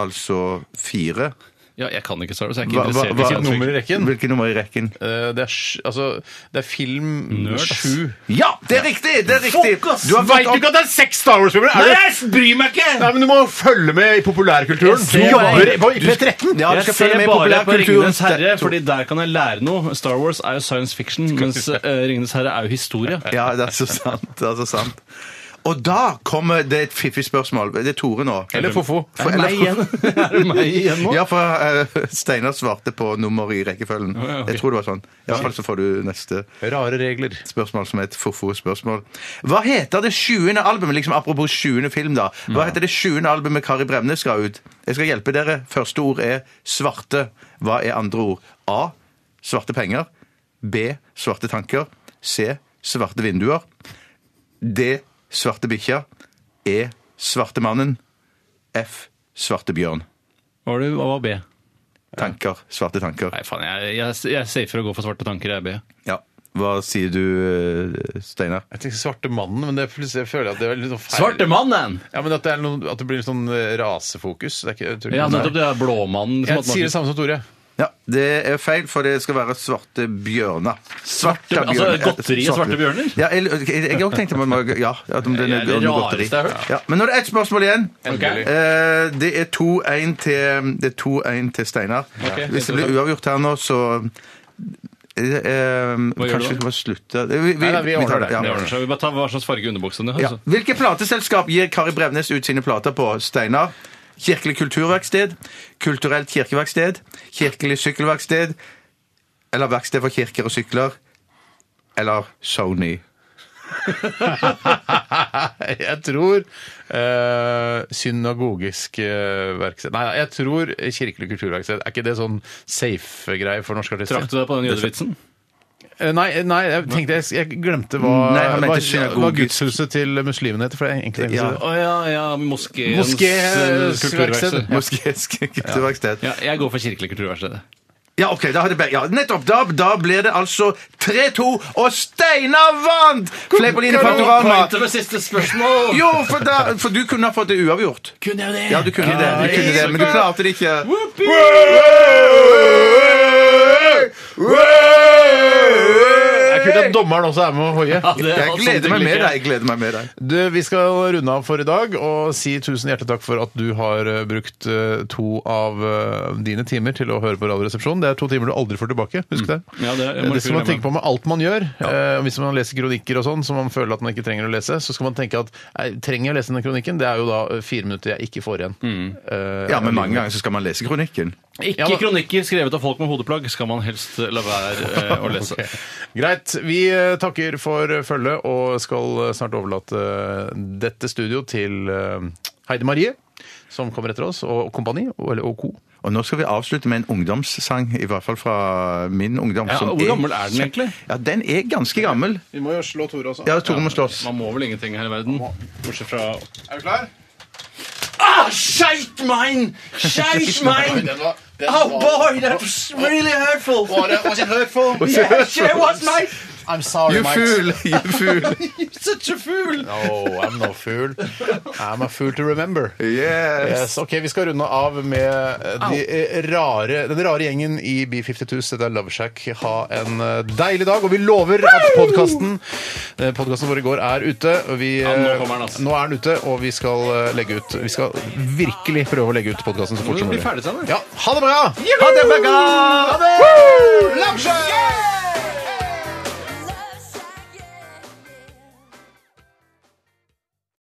S2: Altså fire.
S3: Ja, jeg kan ikke Star Wars. Jeg er
S2: Hva-
S3: ikke interessert
S2: hva-
S3: i
S2: hvilket
S3: science
S1: nummer i
S3: fiction.
S1: rekken?
S2: Hvilket nummer i rekken?
S1: Eh, det, er, sj- altså, det er film
S3: Nerd, ass.
S1: sju.
S2: Ja, det er riktig! Det er riktig! Du har fått
S1: Veit du
S2: opp
S1: ikke at det er seks Star Wars-filmer? Er det-
S3: bryr meg ikke!
S1: Nei, men Du må følge med i populærkulturen. Du
S3: ser
S1: jobber
S3: bare-
S1: på P13!
S2: Ja, du
S3: jeg
S2: skal
S3: ser
S2: følge med i
S3: bare på
S2: populærkulturen.
S3: Ringenes herre, fordi der kan jeg lære noe. Star Wars er jo science fiction, mens uh, Ringenes herre er jo historie.
S2: Ja, det er så sant. Det er så sant. Og da kommer det et fiffig spørsmål. Det er Tore nå.
S1: Eller Fofo.
S2: For- eller-
S3: Er det meg igjen nå?
S2: Ja, for eh, Steinar svarte på nummer i rekkefølgen.
S3: Å, ja, ok.
S2: Jeg tror det var sånn. I hvert fall så får du neste.
S1: Rare regler.
S2: spørsmål som er et forfo-spørsmål. Hva heter det 20. albumet? Liksom apropos 20. film, da. Hva heter det 20. albumet Kari Bremnes ga ut? Jeg skal hjelpe dere. Første ord er svarte. Hva er andre ord? A. Svarte penger. B. Svarte tanker. C. Svarte vinduer. D. Svarte bikkja. E. Svarte mannen. F. Svarte bjørn.
S3: Hva var det- hva var B?
S2: Tanker. Svarte tanker.
S3: Nei, faen, jeg, jeg, jeg er safer å gå for svarte tanker, jeg, B.
S2: Ja. Hva sier du, eh, Steinar?
S1: Jeg tenker Svarte mannen, men det, er- jeg føler at det er litt sånn feil.
S3: mannen!
S1: Ja, men at det, er noe, at det blir litt sånn eh, rasefokus. Det er ikke, jeg tror ikke
S3: Ja,
S1: Nei.
S3: nettopp det er blåmannen.
S1: jeg sier det samme som Tore.
S2: Ja, det er feil, for det skal være svarte bjørner. Svarte,
S3: altså, godteri og svarte bjørner?
S2: Ja, eller- jeg òg tenkte man må- ja, at om den
S3: Det
S2: er
S3: er det
S2: bjørn og
S3: rareste
S2: godteri.
S3: jeg har hørt.
S2: Ja, men nå er det ett spørsmål igjen.
S3: Ok.
S2: Eh, det er 2-1 til, det er 2-1 til Steinar.
S3: Ok,
S2: Hvis det blir uavgjort her nå, så eh, eh,
S3: gjør
S2: Kanskje vi
S3: du da?
S2: må slutte Vi, vi,
S1: Nei, nei, vi
S2: vi
S1: ordner
S2: tar det.
S1: det.
S2: Ja.
S3: Det ordner seg. Vi bare tar hva slags farge underbuksa du har.
S2: Ja.
S3: så.
S2: Hvilke plateselskap gir Kari Brevnes ut sine plater på, Steinar? Kirkelig kulturverksted, Kulturelt kirkeverksted, Kirkelig sykkelverksted, eller Verksted for kirker og sykler, eller Sony?
S1: Jeg tror eh, synagogisk eh, verksted Nei, jeg tror kirkelig kulturverksted. Er ikke det sånn safe-greie for norske artister?
S3: Trakk du deg på den jødevitsen?
S1: Eh, Nei, nei, jeg tenkte jeg, jeg glemte hva,
S2: Nei, han mente
S1: hva,
S2: synagogisk.
S1: hva gudshuset til muslimene heter. For jeg egentlig tenkte
S2: Ja.
S1: det.
S3: Å ja, ja, moskeens
S1: Moskeens
S3: eh, kulturverksted.
S1: verksted.
S2: Moskesk kulturverksted.
S3: Ja, jeg går for kirkelig kulturverksted.
S2: Ja, ok, da har det be- ja, nettopp. Da, da blir det altså 3-2, og Steinar vant! Fleipolini Faktorama.
S3: Pointer med siste spørsmål!
S2: Jo, for, da, for du kunne ha fått det uavgjort.
S1: Kunne jeg det?
S2: Ja, du kunne det, du kunne det men du klarte det ikke.
S1: Det er kult at dommeren også er med å hoie.
S2: Jeg
S3: altså
S2: gleder meg med deg. jeg gleder meg med deg.
S1: Du, vi skal runde av for i dag og si tusen hjertelig takk for at du har eh, brukt eh, to av eh, dine timer til å høre på Radioresepsjonen. Det er to timer du aldri får tilbake. Husk det.
S3: Mm. Ja, det er-
S1: Eh,
S3: må
S1: det skal man
S3: ikke glemme.
S1: tenke på med alt man gjør. Eh, Hvis man leser kronikker og sånn som man føler at man ikke trenger å lese, så skal man tenke at «Nei, trenger jeg å lese denne kronikken? Det er jo da eh, fire minutter jeg ikke får igjen.
S3: Mm.
S1: Eh,
S2: Ja, men mange ganger så skal man lese kronikken.
S3: Ikke kronikker skrevet av folk med hodeplagg skal man helst la være eh, å lese.
S1: Ok. Greit. Vi eh, takker for eh, følget og skal eh, snart overlate eh, dette studio til eh, Heidi Marie, som kommer etter oss, og kompani, og- eller og co.
S2: Og nå skal vi avslutte med en ungdomssang, i hvert fall fra min ungdom.
S3: Ja,
S2: som
S3: hvor gammel er den egentlig?
S2: Ja, Den er ganske gammel.
S1: Vi må jo slå Tore også.
S2: Ja, Tore må slåss.
S3: Man må vel ingenting her i verden. Bortsett fra
S1: Er du klar?
S3: Ah, skeit mein! Skeit mein!
S2: Oh,
S3: that was really hurtful!
S1: I'm sorry,
S2: You fool! You fool!
S3: Such a fool!
S1: No, I'm no fool. I'm a fool to remember.
S2: Yes!
S1: Yes, ok, Vi skal runde av med eh, de eh, rare, den rare gjengen i B52s. Dette er Loveshack. Ha en eh, deilig dag. Og vi lover at podkasten Podkasten vår i går er ute. og Vi, eh,
S3: nå kommer den, altså.
S1: nå er den ute, og vi skal eh, legge ut Vi skal virkelig prøve å legge ut podkasten så fort som
S3: Bli
S1: mulig.
S3: ferdig sammen.
S1: Ja, ha det bra!
S2: Ha det, Becca!
S1: Ha det! Loveshack!